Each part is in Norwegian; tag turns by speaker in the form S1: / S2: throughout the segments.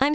S1: I'm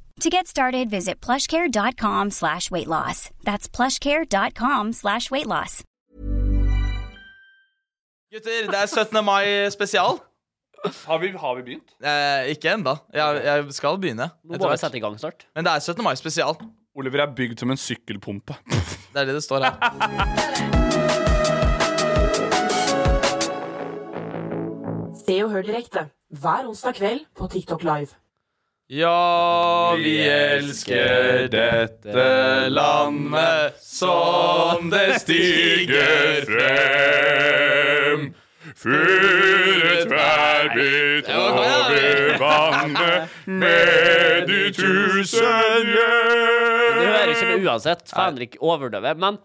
S2: To get started, visit plushcare.com slash weight loss. That's plushcare.com slash weight loss.
S3: Gutter, det er 17. mai spesial.
S4: Har vi, har vi begynt?
S3: Eh, ikke ennå. Jeg, jeg skal begynne.
S5: Nå
S3: etter
S5: må vi
S3: hvert.
S5: sette i gang snart.
S3: Men det er 17. mai spesial.
S4: Oliver er bygd som en sykkelpumpe.
S3: Det er det det står her.
S6: Se og hør direkte hver onsdag kveld på TikTok Live.
S3: Ja, vi elsker dette landet som det stiger
S4: frem. Fyret tverrbit
S3: over
S4: vannet med de tusen
S5: Du hører ikke
S4: hjem.
S5: med uansett. Faen ikke overdøve. Men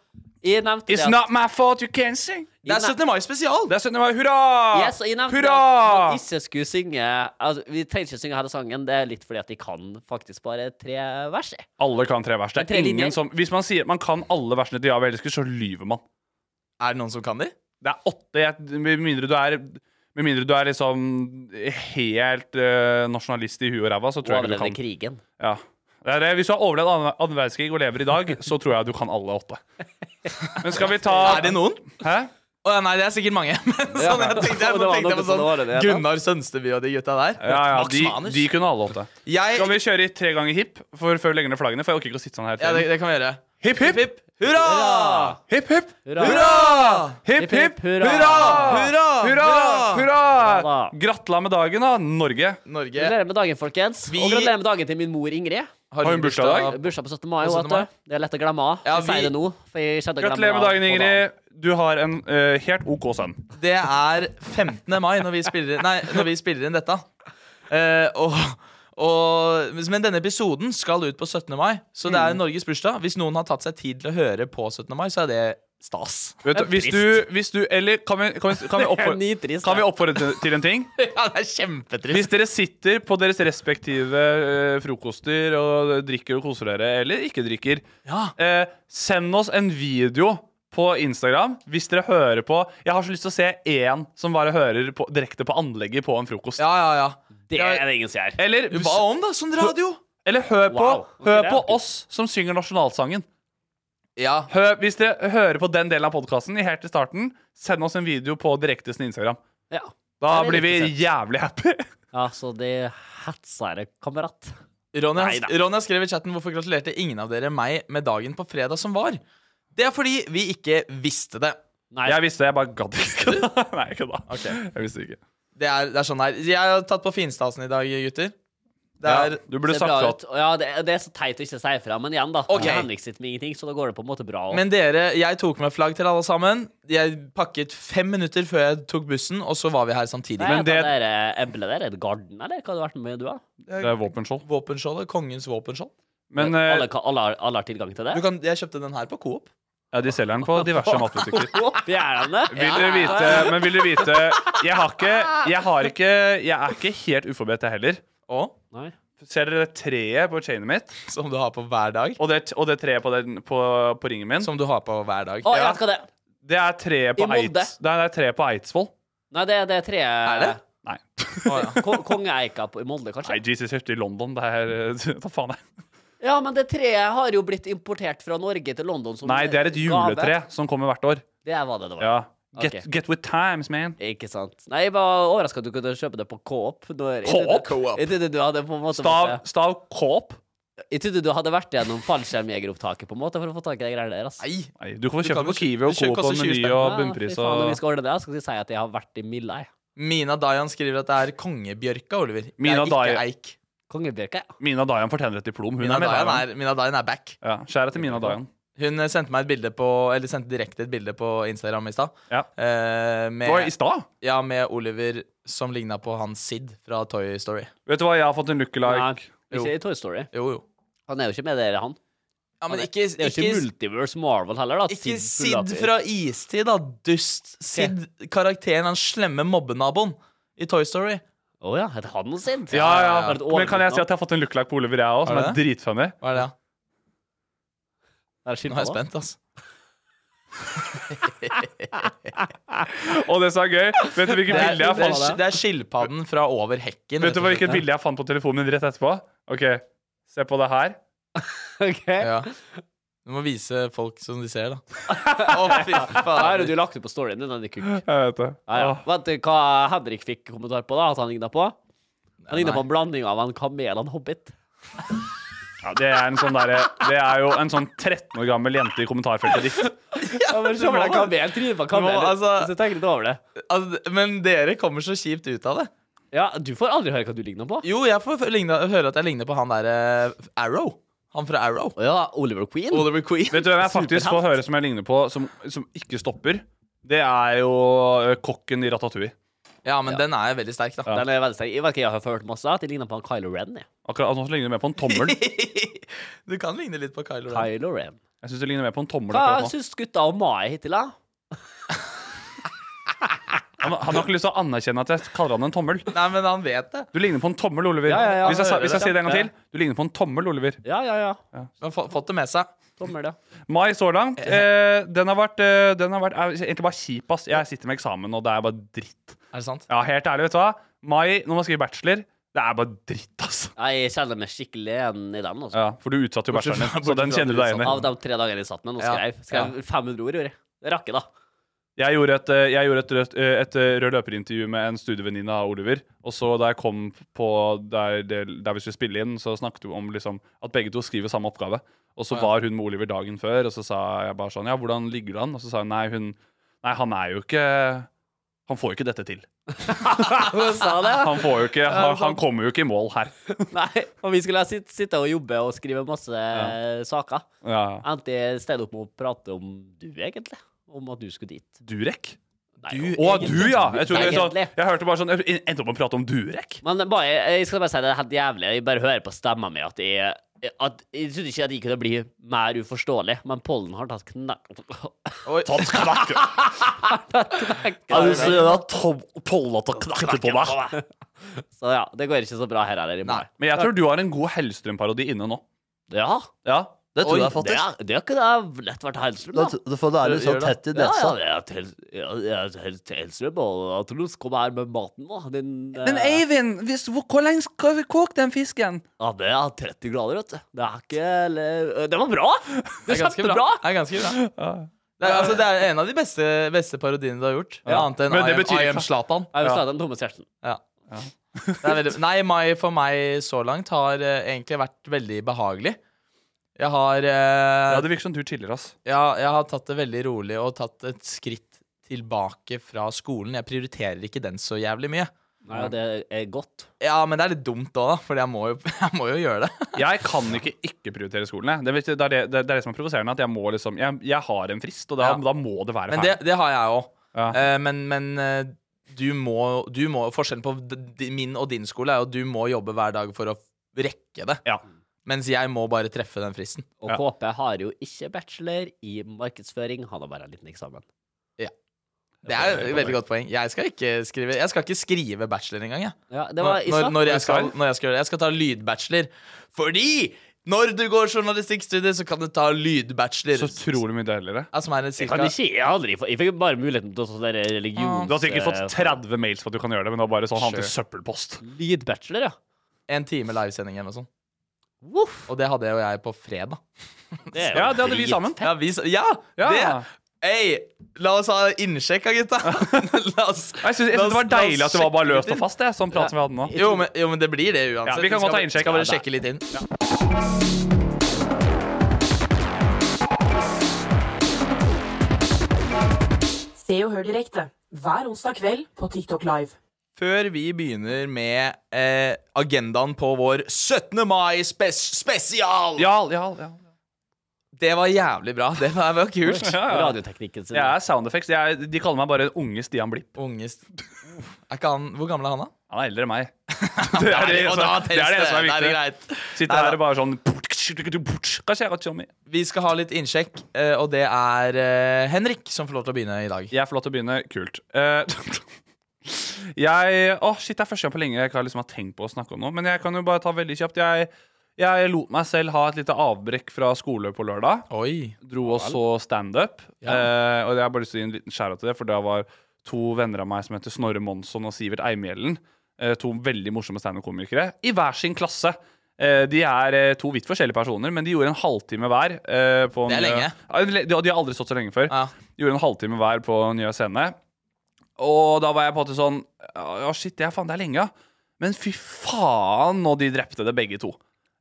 S5: jeg nevnte det
S4: It's
S5: at-
S4: not my fault you can't sing.
S3: Det er 17. mai spesial.
S4: Det er 17. mai. Hurra!
S5: Yes, og jeg nevnte det at
S4: Hurra!
S5: man ikke skulle synge altså, Vi trenger ikke synge hele sangen. Det er litt fordi at de kan faktisk bare tre vers. jeg.
S4: Alle kan tre vers. Det
S5: Tre
S4: er
S5: linjer.
S4: ingen som Hvis man sier man kan alle versene til Ja, vi elsker, så lyver man.
S3: Er det noen som kan de?
S4: Det er åtte jeg, Med mindre du er Med mindre du er liksom helt eh, nasjonalist i huet og ræva, så tror jeg ikke du kan
S5: Overlevde krigen.
S4: ja. det er det. Hvis du har overlevd annen annen verdenskrig og lever i dag, så tror jeg du kan alle åtte. Men skal vi ta
S3: Er det noen?
S4: Hæ?
S3: Å ja, nei, det er sikkert mange. Men sånn, jeg tenkte, jeg,
S5: Og det var
S3: tenkte jeg
S5: noen
S3: på
S5: som var det,
S3: sånn
S5: ja.
S3: Gunnar Sønsteby og de gutta der.
S4: Ja, ja,
S3: Max
S4: de,
S3: Manus.
S4: de kunne alle åtte.
S3: Jeg,
S4: Skal vi kjøre i tre ganger hipp for før vi legger ned flaggene? For jeg orker ikke å sitte sånn her.
S3: ja,
S4: hele
S3: det,
S4: tiden.
S3: det kan vi gjøre.
S4: Hipp, hipp,
S3: Hipp, hurra!
S4: hipp, hipp,
S5: Hurra!
S4: hipp, hipp,
S5: hurra!
S4: hurra!
S3: Hurra!
S4: Hurra! Hurra!
S5: da.
S4: Gratulerer med dagen, da, Norge.
S3: Norge.
S5: Gratulerer med dagen, folkens.
S3: Vi-
S5: Og gratulerer med dagen til min mor Ingrid.
S4: Har hun bursdag i dag?
S5: Bursdag på 17. mai.
S3: På
S5: også,
S3: 17.
S5: vet du. Det er lett å glemme av.
S3: Ja,
S5: Jeg
S3: vi-
S5: sier det nå. For jeg kjente å glemme
S4: Gratulerer med
S5: av
S4: dagen,
S5: på
S4: Ingrid. Du har en eh, helt OK sønn.
S3: Det er 15. mai når vi spiller inn, nei, når vi spiller inn dette. Eh, og, og, men denne episoden skal ut på 17. mai, så det er Norges bursdag. Hvis noen har tatt seg tid til å høre på 17. mai, så er det stas.
S4: Vet du,
S5: Det er
S4: hvis, du, hvis du Eller kan vi, kan vi, kan vi,
S5: dagen.
S4: oppfordre,
S5: Nitrist,
S4: kan vi
S5: ja.
S4: oppfordre til- til en ting?
S3: Ja, det er kjempetrist.
S4: Hvis dere sitter på deres respektive eh, frokoster og drikker og koser dere, eller ikke drikker,
S3: Ja.
S4: eh, send oss en video på Instagram hvis dere hører på. Jeg har så lyst til å se én som bare hører på, direkte på anlegget på en frokost.
S3: Ja, ja, ja.
S5: Det er det ingen som gjør.
S4: Eller,
S3: Hva om, da? Sånn radio?
S4: eller hør på,
S5: Wow.
S4: hør på oss som synger nasjonalsangen.
S3: Ja.
S4: Hø, hvis dere hører på den delen av podkasten helt til starten, send oss en video på direktesten Instagram.
S5: Ja.
S4: Da
S5: Det er
S4: blir vi
S5: riktig
S4: jævlig happy.
S5: ja, så det hetser jeg, kamerat.
S3: Ronny,
S5: Neida.
S3: har- Ronny har skrevet i chatten hvorfor gratulerte ingen av dere meg med dagen på fredag som var. Det er fordi vi ikke visste det.
S5: Nei,
S4: Jeg visste det, jeg bare gadd ikke. Nei, ikke da.
S3: Ok.
S4: Jeg visste ikke.
S3: Det er, det er sånn her. Jeg har tatt på finstasen i dag, gutter. Det
S4: Ja,
S3: er
S4: du burde
S5: ser bra
S4: sagt
S5: ut.
S4: at
S5: Ja, det, det er så teit å ikke si fra, men igjen, da.
S3: Ok.
S5: Det er Henrik sitt med ingenting, så da går det på en måte bra.
S3: Men dere, jeg tok med flagg til alle sammen. Jeg pakket fem minutter før jeg tok bussen, og så var vi her samtidig.
S5: Nei,
S3: Men
S5: men det
S4: det-
S5: der eh, eblet der, er det garden, eller? Hva har det vært med du, da?
S4: det er våpenskjold.
S3: våpenskjoldet, kongens våpenskjold
S4: Men eh,
S5: alle, ka- alle, har- alle har tilgang til det?
S3: du kan, Jeg kjøpte den her på Coop.
S4: ja, de selger den på diverse matbutikker.
S5: Opp, gjør han det?
S4: Vil dere vite, men vil dere vite Jeg har ikke Jeg, har ikke, jeg er ikke helt uforberedt, jeg heller.
S3: Og,
S5: Nei.
S4: Ser dere det treet på chainet mitt,
S3: som du har på hver dag.
S4: og det, og det treet på, den, på, på ringen min?
S3: Som du har på hver dag.
S5: Å, jeg
S4: Ja.
S5: vet hva det er.
S4: Det er treet på,
S5: I Molde.
S4: Eids, nei, det er treet på Eidsvoll.
S5: Nei, det, det er tre
S3: Er det?
S4: Nei.
S3: Å, ja.
S5: Ko- Kongeeika på- i Molde, kanskje?
S4: Nei, Jesus kjøpte i London. Det er Hva faen er det?
S5: Ja, men det treet har jo blitt importert fra Norge til London som
S4: Nei, det er et juletre
S5: gave.
S4: som kommer hvert år.
S5: Det var det det var.
S4: Ja. Get,
S5: Ok.
S4: get with times, man.
S5: Ikke sant. Nei, jeg var overraska at du kunne kjøpe det på Coop. Når-
S4: Coop?
S5: Jeg trodde du hadde på en måte
S4: Stav, stav Kåp.
S5: Jeg trodde du hadde vært gjennom fallskjermjegeropptaket på en måte for å få tak i de greiene der. ass.
S3: Nei!
S4: Nei, du kan få
S3: Du
S4: kjøpe
S3: kan jo
S4: på
S3: kjø-
S4: Kiwi og
S3: du kjø-
S4: Coop og
S3: koster 20
S4: Meny
S3: spenn.
S4: og
S5: Ja, fy
S4: bunnpris
S5: faen, Når vi
S4: og
S5: skal ordne det, så skal jeg si at jeg har vært i Milla. jeg.
S3: Mina Dayan skriver at det er kongebjørka, Oliver. Det
S4: Mina
S3: er ikke
S4: Dayan.
S3: eik.
S5: Kongebjørka, ja.
S4: Mina Dayan fortjener et diplom. Hun
S3: Mina
S4: er med
S3: Dayan
S4: Dayan.
S3: er, Mina Dayan er back.
S4: Ja, Skjær etter Mina Dayan.
S3: Hun eh, sendte meg et bilde på Eller sendte direkte et bilde på Instagram i stad.
S4: Ja.
S3: Eh,
S4: Det var
S3: med,
S4: i stad.
S3: ja, med Oliver som ligna på han Sid fra Toy Story.
S4: Vet du hva, jeg har fått en lookalike.
S3: Jo.
S5: Ikke i Toy Story.
S3: Jo, jo.
S5: Han er jo ikke med dere, han.
S3: Ja, men
S5: Han er-
S3: ikke,
S5: det er jo
S3: ikke,
S5: ikke Multiverse Marvel heller, da. at
S3: ikke
S5: puller opp
S3: Sid
S5: i-
S3: fra istid, da. Dust. Sid, karakteren, han slemme mobbenaboen i Toy Story.
S5: Å ja, heter han Sid?
S4: Ja, ja.
S5: Det er et
S4: Men kan jeg si
S5: overblikk
S4: at jeg har fått en lookalike på Oliver, jeg òg, som
S3: Har
S4: er
S3: du
S4: dritfunny?
S3: Hva er det, da?
S5: nå. Er det
S3: Nå er jeg
S5: skilpadda?
S3: spent, altså.
S4: Og det som er gøy, vet du hvilket
S3: Det er,
S4: bilde jeg
S3: det,
S4: fant?
S3: er, det er skilpadden fra over hekken.
S4: Vet du
S3: og
S4: hvilket
S3: slett.
S4: bilde jeg fant på telefonen min rett etterpå? Ok, se på det her.
S5: Ok.
S3: Ja. Du må vise folk som de ser, da. Å, fy
S5: Da er det
S3: faen.
S5: du lagt ut på storyen din, denne kukk.
S4: Jeg vet det.
S5: Ja, ja.
S4: Åh.
S5: Vet du hva Henrik fikk kommentar på, da? At han ligna på? Han ligna
S3: nei.
S5: på en blanding av en kamel og en hobbit.
S4: Ja, det, er en sånn derre- det er jo en sånn 13 år gammel jente i kommentarfeltet ditt.
S5: Ja, men se for deg kamel, trynet på en kamel.
S3: Du må, altså-
S5: Hvis jeg tenker litt over det.
S3: Altså, men dere kommer så kjipt ut av det.
S5: Ja, du får aldri høre hva du ligner på.
S3: Jo, jeg får ligne, høre at jeg ligner på han derre Arrow. Han fra Arrow.
S5: Å ja, Oliver Queen.
S3: Oliver Queen.
S4: Vet du hvem jeg faktisk får høre som jeg ligner på, som, som ikke stopper? Det er jo ø, kokken i Ratatouille.
S3: Ja, men den er veldig sterk, da.
S5: Den er veldig sterk. Jeg vet ikke, jeg har hørt masse at de ligner på han Kylo Ren. Jeg.
S4: Akkurat altså, ligner det mer på en tommel.
S3: Du kan ligne litt på Kylo Ren.
S5: Kylo Ren.
S4: Jeg synes det ligner mer på en tommel
S5: Hva
S4: akkurat nå.
S5: syns gutta om Mai hittil, da?
S4: Han, han har ikke lyst til å anerkjenne at jeg kaller han en tommel.
S3: Nei, men han vet det.
S4: Du ligner på en tommel, Oliver.
S5: Ja, ja, ja,
S4: hvis jeg, sa-
S5: hører
S4: hvis jeg
S5: det.
S4: sier det en gang
S5: Ja.
S4: til, du ligner på en tommel, Oliver.
S5: Ja, ja, ja.
S3: Han har få- fått det med seg.
S5: Tommel, ja.
S4: Mai så langt. Eh, den har vært, eh, den har vært er egentlig bare kjip, ass. Jeg sitter med eksamen, og det er bare dritt.
S3: Er det sant?
S4: Ja, helt ærlig, vet du hva? Mai, når man skriver bachelor, det er bare dritt, ass.
S5: Nei, Jeg kjenner meg skikkelig igjen i den. Altså.
S4: Ja, for du utsatte jo bacheloren din, så den kjenner du deg igjen
S5: Av
S4: i.
S5: de tre dagene jeg satt med den og
S3: Ja.
S5: skrev. Skrev 500 ord, gjorde jeg. Det rakk jeg, da.
S4: Jeg gjorde et, eh, jeg gjorde et, rødt, eh, et eh, rød løperintervju med en studievenninne av Oliver. Og så da jeg kom på der, det- der vi skulle spille inn, så snakket vi om liksom, at begge to skriver samme oppgave. Og så var hun med Oliver dagen før, og så sa jeg bare sånn Ja, hvordan ligger det an? Og så sa hun nei, hun Nei, han er jo ikke Han får jo ikke dette til.
S5: Hun sa det.
S4: Han får jo ikke Han, han kommer jo ikke i mål her.
S5: Nei, og vi skulle sitte, sitte og jobbe og skrive masse eh, saker.
S4: Ja.
S5: Endte jeg i stedet opp med å prate om du, egentlig. Om at du skulle dit.
S4: Durek?
S5: Nei,
S3: Du-
S4: Å, du, ja! Jeg, trodde,
S5: Egentlig.
S4: sånn, jeg hørte bare sånn Jeg endte opp med å prate om Durek.
S5: Men bare, jeg skal bare si det er helt jævlig. Jeg bare hører på stemma mi at jeg at jeg trodde ikke at jeg kunne bli mer uforståelig, men pollen har tatt knekk
S3: Oi.
S4: Tatt knakk.
S5: Knakte på meg. Så ja, det går ikke så bra her heller. i morgen.
S4: Men jeg tror du har en god Hellstrøm-parodi inne nå.
S5: Ja,
S4: Ja,
S7: Det tror
S3: Oi,
S7: jeg
S5: det,
S7: faktisk.
S5: er, det kunne jeg lett vært Hellstrøm,
S7: Det
S5: da.
S7: er, for det er litt sånn
S3: Gjør det.
S7: tett i
S5: Ja,
S7: nesa.
S5: ja, det er til- ja, det er til- til Hellstrøm, og at Truls kommer her med maten, da. Din,
S4: Men
S5: eh,
S4: Eivind, hvis, hvor, hvor lenge skal vi koke den fisken?
S5: Ja, det er 30 grader, vet du. Det er ikke eller- Det var bra!
S3: Det
S5: Det
S3: er ganske
S5: kjempebra!
S3: bra. Det er, ganske bra. Det, er, altså, det er en av de beste, beste parodiene du har gjort. Annet enn
S4: Men
S3: I
S4: det
S3: am-
S4: betyr
S3: I
S4: ikke-
S3: am Zlatan.
S5: Jeg vil snakke om Thomas Gjertsen.
S3: Ja. Det er veldig, nei, mai for meg så langt har eh, egentlig vært veldig behagelig. Jeg har, eh,
S4: Ja, Det virker som du chiller, ass.
S3: ja, jeg har tatt det veldig rolig og tatt et skritt tilbake fra skolen. Jeg prioriterer ikke den så jævlig mye.
S5: Nei, og det er godt.
S3: Ja, men det er litt dumt òg, da, for jeg må jo, jeg må jo gjøre det.
S4: Jeg kan ikke ikke prioritere skolen. jeg. Det, vet du, det, er det, det, det er det som er provoserende. At jeg, må liksom, jeg, jeg har en frist, og da,
S3: Ja.
S4: da må det være
S3: Men det,
S4: ferdig.
S3: det har jeg òg.
S4: Ja.
S3: Eh, men men eh, du, må, du må Forskjellen på d- d- min og din skole er jo at du må jobbe hver dag for å rekke det.
S4: Ja.
S3: Mens jeg må bare treffe den fristen.
S5: Og
S4: Ja.
S5: KP har jo ikke bachelor i markedsføring, han har bare en liten eksamen.
S3: Det er et veldig godt poeng. Jeg skal ikke skrive, jeg skal ikke skrive bachelor engang. Jeg.
S5: Ja, det var
S3: når,
S5: Isak.
S3: når, jeg skal, når jeg skal gjøre det. Jeg skal ta lydbachelor. Fordi når du går journalistikkstudie, så kan du ta lydbachelor.
S4: Så utrolig mye deiligere.
S3: Ja, som er en
S5: Jeg kan
S3: cirka
S5: ikke, jeg, har aldri, fått- jeg fikk bare muligheten til å sånn der Eh, religions...
S4: Du har sikkert fått 30 mails for at du kan gjøre det, men det var bare sånn han til
S3: Sure.
S4: søppelpost.
S5: Lydbachelor, ja.
S3: en time livesending eller noe sånt.
S5: Voff!
S3: Og det hadde jo jeg på fredag.
S5: Det er jo
S4: Ja, det hadde vi
S5: drit.
S4: sammen.
S3: Ja! Vi, s- ja,
S4: Ja.
S3: Det! Hey, la oss ha innsjekk, da, gutta. la oss
S4: Jeg syns jeg
S3: la
S4: synes
S3: oss- la
S4: det var
S3: oss
S4: deilig at det var bare
S3: sjekke
S4: løst
S3: litt
S4: og fast, det. Sånn prat som vi hadde nå.
S3: inn. Jo men, jo, men det blir det uansett.
S4: Ja, vi kan
S3: skal,
S4: godt ta innsjekk.
S3: Skal bare
S4: Ja, det-
S3: sjekke litt inn.
S6: Se og hør direkte hver onsdag kveld på TikTok Live.
S3: Før vi begynner med eh, agendaen på vår 17. mai spes spesial!
S4: Jarl, jarl, jarl.
S3: Det var jævlig bra. Det var, det var kult.
S5: Radioteknikken sin.
S4: Jeg er sound effects. Jeg er, de kaller meg bare unge Stian Blipp.
S3: Ungest Er ikke han Hvor gammel er han, da?
S4: Han er eldre enn meg. Det er det,
S3: og
S4: som-
S3: da
S4: det, er det
S3: telles
S4: som er
S3: det. Da er det
S4: viktig.
S3: greit.
S4: Sitter
S3: Nei,
S4: her
S3: da.
S4: og bare sånn Hva skjer, Tommy?
S3: Vi skal ha litt innsjekk, eh, og det er eh, Henrik som får lov til å begynne i dag.
S4: Jeg får lov til å begynne. Kult. Eh, jeg Å, shit, det er første gang på lenge jeg ikke har liksom har tenkt på å snakke om noe. Men jeg kan jo bare ta veldig kjapt. Jeg, jeg lot meg selv ha et lite avbrekk fra skole på lørdag.
S3: Oi.
S4: dro og så standup. Eh, og jeg har bare lyst til å gi en liten skjæra til det, for det var to venner av meg som heter Snorre Monsson og Sivert Eimhjellen. Eh, to veldig morsomme standup-komikere i hver sin klasse. Eh, de er eh, to vidt forskjellige personer, men de gjorde en halvtime hver. Eh, på
S3: Det er
S4: Njø-
S3: lenge.
S4: Ja, de, de har aldri stått så lenge før.
S3: Ja.
S4: De gjorde en halvtime hver på Njø scene. Og da var jeg på en måte sånn Ja, shit, det er faen, det er lenge, ja. Men fy faen, når de drepte det, begge to.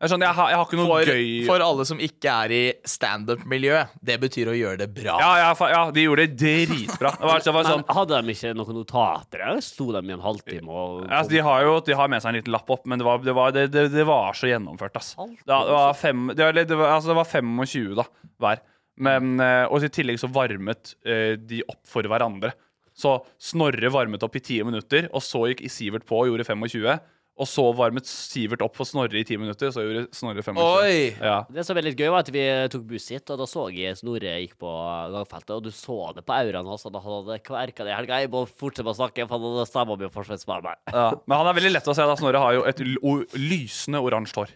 S4: Jeg, skjønner, jeg, har, jeg har ikke noe
S3: For,
S4: gøy
S3: for alle som ikke er i standup-miljø, det betyr å gjøre det bra.
S4: Ja, ja, fa- ja, de gjorde det dritbra. Det var, det var sånn
S5: Men hadde de ikke noen notater? Eller Sto de i en halvtime og
S4: altså, de har jo de har med seg en liten lapp opp, men det var, det var, det, det, det var så gjennomført. Ass. Det, var fem, det, var, det, var, altså, det var 25 da, hver. Men, eh, og i tillegg så varmet eh, de opp for hverandre. Så Snorre varmet opp i 10 minutter, og så gikk Sivert på og gjorde 25. Og så varmet Sivert opp for Snorre i 10 minutter, så gjorde Snorre 25.
S3: Oi.
S4: Ja.
S5: Det som er litt gøy, var at vi eh, tok buss hit, og da så jeg Snorre gikk på gangfeltet, og du så det på auraen hans, og da hadde det kverka det i helga. Jeg må fortsette med å snakke, for han hadde stemma mi og forsvarsspare meg.
S4: Ja. Men han er veldig lett å se. da Snorre har jo et l- o lysende oransje hår.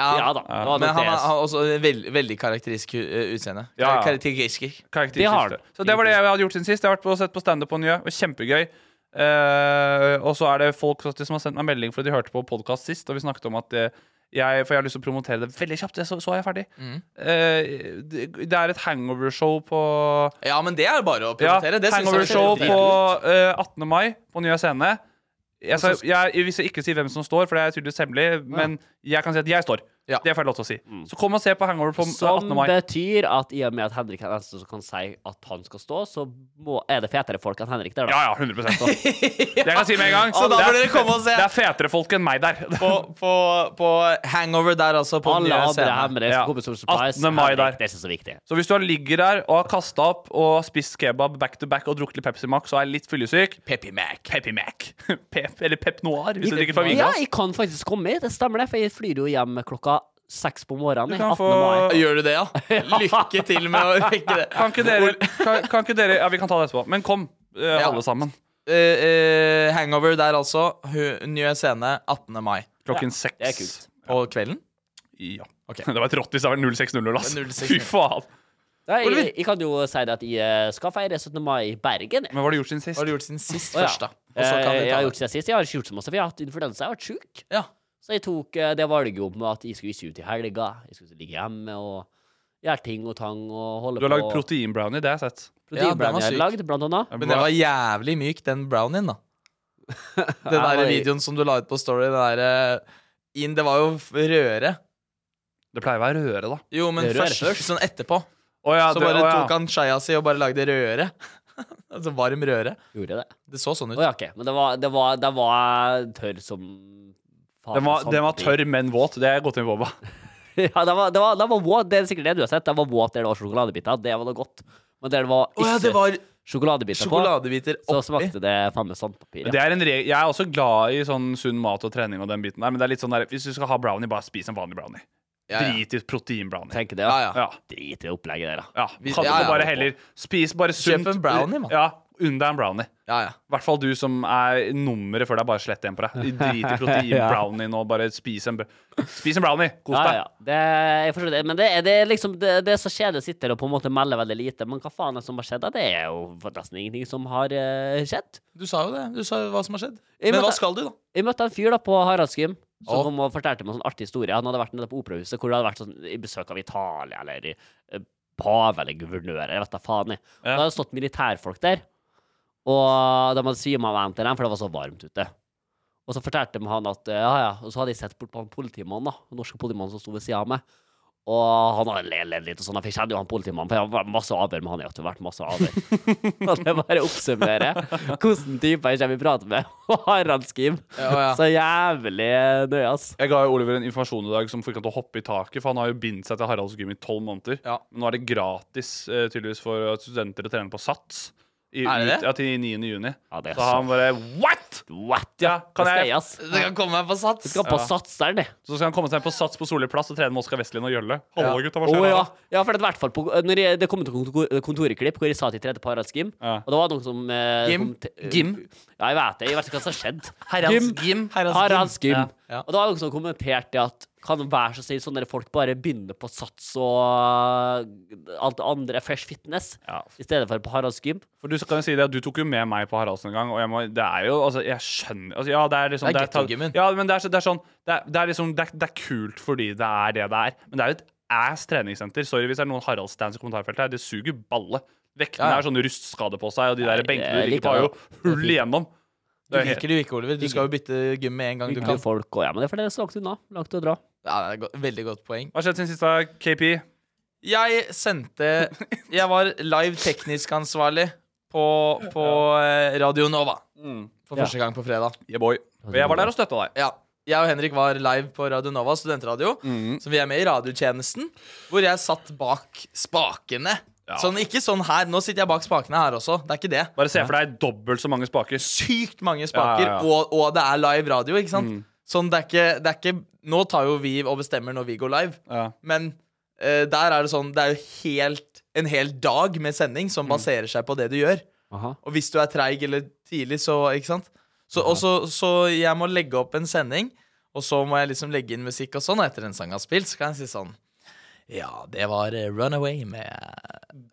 S5: Ja da. Det, var
S3: Men
S5: nok
S3: han
S5: det.
S3: har har også veld, veldig karakteristisk eh, utseende.
S4: Ja, ja.
S3: Karakteristisk.
S4: Karakter
S5: Det har
S4: siste.
S5: den.
S4: Så det var det jeg hadde gjort siden sist. Jeg har vært på, sett på standup på Njø. og Kjempegøy. Eh, og så er det folk faktisk som har sendt meg melding fordi de hørte på podkast sist, og vi snakket om at eh, jeg, For jeg har lyst til å promotere det veldig kjapt. Det så, så er jeg ferdig.
S3: Mm.
S4: Eh, det, det er et hangover-show på
S3: Ja, men det er bare å
S4: Ja,
S3: promotere. det synes jeg er
S4: hangover-show
S3: veldig
S4: på
S3: kult.
S4: eh, 18. mai på Njø scene. Jeg, skal, jeg, hvis jeg ikke si hvem som står, for det er tydeligvis hemmelig, men jeg kan si at jeg står.
S3: Ja. Mm. Sånn
S4: Det får jeg lov til å si. Så kom og se på hangover på 18.
S5: Som
S4: mai.
S5: betyr at i og med at Henrik er den eneste som kan si at han skal stå, så må, er det fetere folk enn Henrik der, da.
S4: Ja, ja, 100 da. Jeg kan si med en gang.
S3: Så da
S4: det er-
S3: bør dere komme og se.
S4: Det er fetere folk enn meg der.
S3: På, på, på hangover der, altså. På den
S5: Alle
S3: nye
S5: andre
S3: scenen.
S5: hemmere
S4: Ja.
S5: som kommer som surprise.
S4: 18. mai der.
S5: Henrik, det er ikke så viktig.
S4: Så hvis du ligger der og har kasta opp og spist kebab back to back og drukket litt Pepsi Max og er litt fyllesyk
S3: Peppy Mac.
S4: Peppi Mac. Pep, eller Pep Noir, hvis du drikker fra
S5: Ja,
S4: Vinglass.
S5: jeg kan faktisk komme. Det stemmer det, for jeg flyr jo hjem klokka seks på morgenen.
S4: Du
S5: i
S4: kan
S5: 18.
S4: få-
S5: mai.
S3: Gjør du det, ja? Lykke til med å rekke det.
S4: Kan ikke dere kan, kan ikke dere, Ja, vi kan ta det etterpå. Men kom, eh,
S3: Ja.
S4: alle sammen.
S3: Eh, eh, hangover der, altså. Hu- Nye scene 18. mai.
S4: Klokken seks.
S5: Det er kult.
S3: Og kvelden?
S4: Ja.
S3: Ok.
S4: Det var et rått hvis det var 0600, ass.
S3: 0600.
S4: Fy faen.
S5: Nei,
S3: Oliver?
S5: jeg, jeg kan jo si det at jeg eh, skal feire 17. mai i Bergen. jeg.
S4: Men hva har du gjort siden sist?
S3: Hva har du gjort siden sist?
S5: Å, ja.
S3: Først, da. Og så kan
S5: Eh,
S3: vi
S5: jeg
S3: ta
S5: har
S3: det.
S5: gjort siden sist. Jeg har ikke gjort så masse, for jeg har hatt influensa. Jeg har vært sjuk.
S3: Ja.
S5: Så jeg tok eh, det valget om at jeg skulle ikke ut i helga. Jeg skulle ligge hjemme og gjøre ting og tang og holde
S4: Du har
S5: på.
S4: lagd proteinbrownie, det har jeg sett.
S3: Ja, den var
S5: Proteinbrownie jeg har
S3: syk.
S5: lagd, blant annet.
S3: Men det var jævlig myk, den brownien, da. Den
S5: Ja,
S3: der
S5: det-
S3: videoen som du la ut på Story, den der eh, inn, Det var jo f- røre.
S4: Det pleier å være røre, da.
S3: Jo, men
S5: Det er røre
S3: først,
S5: først.
S3: sånn etterpå.
S4: Å ja,
S3: Så
S4: det-
S3: bare
S4: å ja.
S3: tok han skeia si og bare lagde røre. altså varm røre.
S5: Gjorde jeg det.
S3: Det så sånn
S5: Å
S3: ut.
S5: ja, OK. Men det var, det var, det var tørr som faen,
S4: Den var, den var
S5: samtidig.
S4: tørr, men våt. Det er godt inn på. Boba.
S5: Ja, det var, det var, det var våt. Det er sikkert det du har sett. Det var våt der det var sjokoladebiter. Det var noe godt. Men der det var
S3: Å
S5: ikke
S3: ja, det var
S5: sjokoladebiter
S3: sjokoladebiter
S5: på, så
S3: oppi.
S5: smakte det faen meg sandpapir.
S4: Men
S5: Ja.
S4: Det er en reg jeg er også glad i sånn sunn mat og trening og den biten der, men det er litt sånn der, hvis du skal ha brownie, bare spis en vanlig brownie.
S3: Ja, ja.
S4: Drit i proteinbrownie.
S5: Tenk det,
S3: Ja,
S5: ja.
S3: ja.
S4: Ja.
S5: Drit i det opplegget der, da.
S4: ja.
S3: Vi-
S4: Kan du
S3: ja, ja.
S4: bare heller spis bare sunt.
S3: en brownie, mann.
S4: Ja, unn deg en brownie.
S3: ja, ja.
S4: I hvert fall du som er nummeret før det er bare slett igjen på deg. Drit i proteinbrownien og bare spis en, br spis en brownie. Kos
S5: Ja,
S4: deg.
S5: ja. Det, jeg forstår det. Men det, er- det er liksom det, det er så kjedelig å sitte her og på en måte melde veldig lite. Men hva faen er det som har skjedd? da? Det er jo nesten ingenting som har eh, skjedd.
S3: Du sa jo det. Du sa jo hva som har skjedd.
S5: Jeg
S3: Men
S5: måtte-
S3: hva skal du, da?
S5: Jeg møtte en fyr da på Haraldsgym som
S3: Å.
S5: kom og fortalte meg en sånn artig historie. Han hadde vært nede på operahuset hvor det hadde vært sånn, i besøk av Italia eller eh, pave eller guvernør eller vet da faen. jeg. Og
S4: Ja.
S5: Det hadde stått militærfolk der, og de hadde svima av en til dem, for det var så varmt ute. Og så fortalte de han at eh, ja, ja. Og så hadde jeg sett bort på han politimannen, da. Den norske politimannen som sto ved sida av meg. Og han hadde le- ledd litt, og sånn, for jeg kjenner jo han politimannen. For jeg har vært masse avhør med han. Jeg har vært masse avhør. Og det bare oppsummerer hvordan typer jeg kommer i prat med. Og Harald Skim.
S3: ja.
S5: Så jævlig nøye, ass.
S4: Jeg ga jo Oliver en informasjon i dag som fikk han til å hoppe i taket, for han har jo bindt seg til Haralds Gym i tolv måneder.
S3: Ja.
S4: Men nå er det gratis eh, tydeligvis for studenter å trene på Sats. I,
S3: Er det
S4: ut-
S3: det?
S4: Ja, til 9. juni.
S5: Ja, det er
S4: så han bare What?!
S5: What?
S4: Ja,
S5: Hva
S4: kan
S5: skal
S4: jeg?
S5: jeg, ass?
S3: Det kan komme meg på
S5: Jeg
S3: sats.
S5: skal på Satseren, jeg.
S4: Så skal han komme seg på Sats på Solli plass og trene med Oskar Westlin og Gjølle. Hallo, gutta, hva
S5: Å
S4: skjer?
S5: ja.
S4: da?
S5: ja, for det er i hvert fall på, når jeg, Det kom til kontor, kontorklipp hvor jeg sa at jeg trente på Haralds Gym.
S4: Ja.
S5: Og det var noen som eh,
S3: Gym?
S5: kom til-
S3: Gym?
S5: Ja, jeg vet det. Jeg vet ikke hva som har skjedd.
S3: Haralds Gym. Haralds Gym.
S5: Haralds Gym.
S3: Ja. Ja.
S5: Og det var noen som kommenterte at kan være så snill, sånne folk bare begynner på Sats og eh, alt det andre, Fresh Fitness,
S4: Ja.
S5: i stedet for på Haralds Gym.
S4: For du kan jo si det at du tok jo med meg på Haraldsen en gang, og jeg må, det er jo Altså, jeg skjønner altså, Ja, det er liksom
S3: Det er
S4: ta-
S3: ghetto-gymmen.
S4: Ja, men det er, så- det er sånn det er, det er liksom det er, det er kult fordi det er det det er, men det er jo et ass treningssenter. Sorry hvis det er noen Haraldsstans i kommentarfeltet her. Det suger balle. Vektene
S3: Ja.
S4: er sånn rustskade på seg, og de der
S5: det-
S4: benkene du
S5: jeg
S4: ligger
S5: liker
S4: på, er
S5: det.
S4: jo hull igjennom.
S3: Du liker det jo ikke, Oliver. Du skal jo bytte gym med en gang du
S5: Hyggelige
S3: kan.
S5: folk, og ja, men det er fordi det er så langt unna. Langt å dra.
S3: Ja, det er et godt- Veldig godt poeng.
S4: Hva har skjedd siden sist, da, KP?
S3: Jeg sendte Jeg var live teknisk ansvarlig på, på eh, Radio Nova.
S4: Mm.
S3: For
S5: Ja.
S3: første gang på fredag.
S4: Yeah, boy. Og jeg var der og støtta deg.
S3: Ja. Jeg og Henrik var live på Radio Nova, studentradio,
S4: Mm.
S3: som vi er med i radiotjenesten. Hvor jeg satt bak spakene.
S4: Ja.
S3: Sånn, ikke sånn her. Nå sitter jeg bak spakene her også. Det er ikke det.
S4: Bare se for deg dobbelt så mange spaker.
S3: Sykt mange spaker,
S4: Ja, Mm. ja, ja.
S3: Og, og det er live radio, ikke sant? Sånn, det er ikke, det er ikke Nå tar jo vi og bestemmer når vi går live.
S4: Ja.
S3: Men eh, der er det sånn Det er jo helt, en hel dag med sending som baserer seg på det du gjør.
S5: Aha.
S3: Og hvis du er treig eller tidlig, så Ikke sant? Så, og så, så jeg må legge opp en sending, og så må jeg liksom legge inn musikk og sånn, og etter en sang har spilt, så kan jeg si sånn Ja, det var eh, Runaway med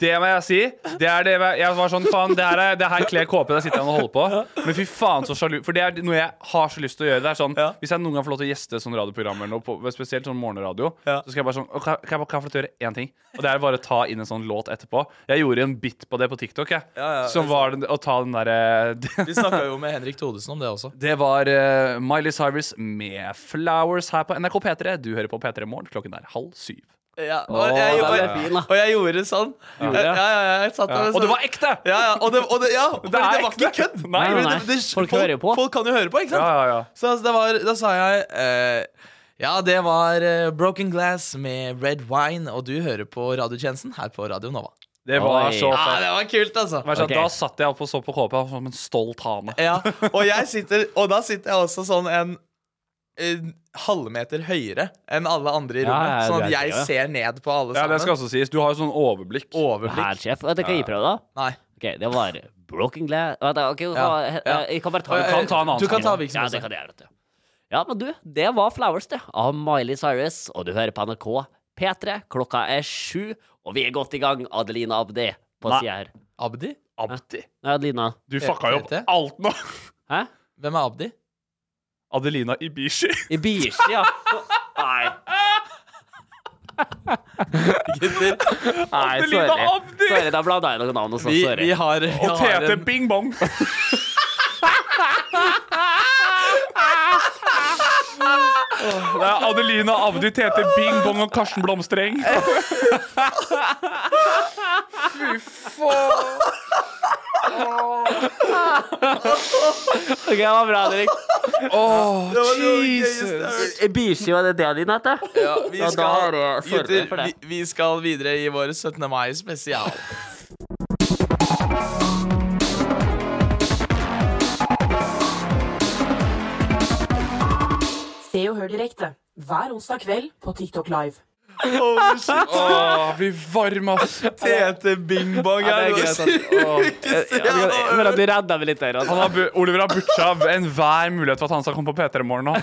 S4: Det må jeg si. Det er det jeg var sånn, faen, det her, er- det her kler KP. Der sitter han og holder på. Men fy faen, så sjalu. For det er noe jeg har så lyst til å gjøre. Det er sånn,
S3: Ja.
S4: Hvis jeg noen gang får lov til å gjeste sånn radioprogram, eller noe, på, spesielt sånn morgenradio,
S3: Ja.
S4: så skal jeg bare sånn «Å, Kan kan jeg bare kan jeg få lov til å gjøre én ting? Og det er bare å ta inn en sånn låt etterpå. Jeg gjorde en bit på det på TikTok, jeg.
S3: Ja, ja,
S4: som var den, å ta den derre
S3: Vi snakka jo med Henrik Thodesen om det også.
S4: Det var eh, Miley Cyrus med Flowers her på NRK P3. Du hører på P3 Morgen. Klokken er halv syv.
S3: Ja, og,
S5: Å,
S3: jeg,
S5: den
S3: gjorde-
S5: er fin, da.
S3: og jeg gjorde sånn. Ja,
S5: det?
S3: ja, ja, jeg satt der
S4: Og
S3: sånn.
S4: det var ekte!
S3: ja, ja, og det, og det, ja, fordi det,
S4: er
S3: var
S4: ekte.
S3: ikke kødd!
S4: Nei,
S3: Fordi
S5: nei, nei.
S3: det- det-
S5: Folk hører jo på.
S3: Folk kan jo høre på, ikke sant?
S4: Ja, ja, ja.
S3: Så altså, det var, da sa jeg eh, Ja, det var eh, Broken Glass med Red Wine, og du hører på radiotjenesten her på Radio Nova.
S4: Ah, Det var
S5: Oi.
S4: så
S3: Ja,
S4: fett.
S3: det var kult, altså.
S4: Vær så snill,
S5: Ok.
S4: Da satt jeg opp og så på KP som en stolt hane.
S3: Ja, og, jeg sitter, og da sitter jeg også sånn en, en halvmeter høyere enn alle andre i
S5: Ja,
S3: rommet,
S5: ja,
S3: sånn
S5: det
S3: at
S5: er
S3: jeg
S5: det, ja.
S3: ser ned på alle
S4: Ja,
S3: sammen.
S4: det skal også sies. Du har jo sånn overblikk.
S3: Overblikk.
S5: Hærsjef. Vet du hva jeg prøvde, da?
S3: Nei.
S5: Ok, det var Broken Glass Vent da, ok,
S3: Ja,
S5: jeg-
S3: ja.
S5: Jeg kan bare ta
S3: Du kan
S4: ta en annen
S5: Du
S4: sang.
S5: kan ta hvilken
S3: Ja,
S5: som
S3: det
S5: helst. Ja, men du, det var Flowers, det. Av Miley Cyrus. Og du hører på NRK P3. Klokka er sju, og vi er godt i gang. Adelina Abdi på
S4: Nei.
S5: sida her.
S3: Abdi?
S4: Abdi.
S5: Nei, Adelina.
S4: Du fucka jo opp
S3: Tete?
S4: alt nå.
S5: Hæ?
S3: Hvem er Abdi?
S4: Adelina Ibishi.
S5: Ibishi, ja. Nei. Nei,
S4: Adelina
S5: sorry.
S4: Abdi!
S5: Sorry, da blanda jeg noen navn og sånn.
S3: Vi, vi
S5: Sorry.
S3: har, vi
S4: Og
S3: har
S4: Tete
S3: en,
S4: Bing Bong. Det er Adelina Abdi, Tete Bing Bong og Karsten Blomstreng.
S5: Ok, det var bra, Erik.
S4: Åh,
S3: Jesus.
S5: Ibishi, var det det din het? det?
S3: Ja, vi
S5: Ja, da
S3: skal,
S5: er det sorry
S3: gutter,
S5: for det.
S3: vi, vi skal videre i vår 17. mai spesial.
S6: Se og hør direkte hver onsdag kveld på TikTok Live.
S4: Åh, vi varm, ass.
S3: Tete Bing Bong
S5: Ja, det er
S3: er
S5: greit,
S3: det
S5: sant.
S3: sykeste jeg har hørt.
S5: Men at du redda meg litt der. altså.
S4: Han har bu Oliver har butcha enhver mulighet for at han skal komme på P3 i morgen nå.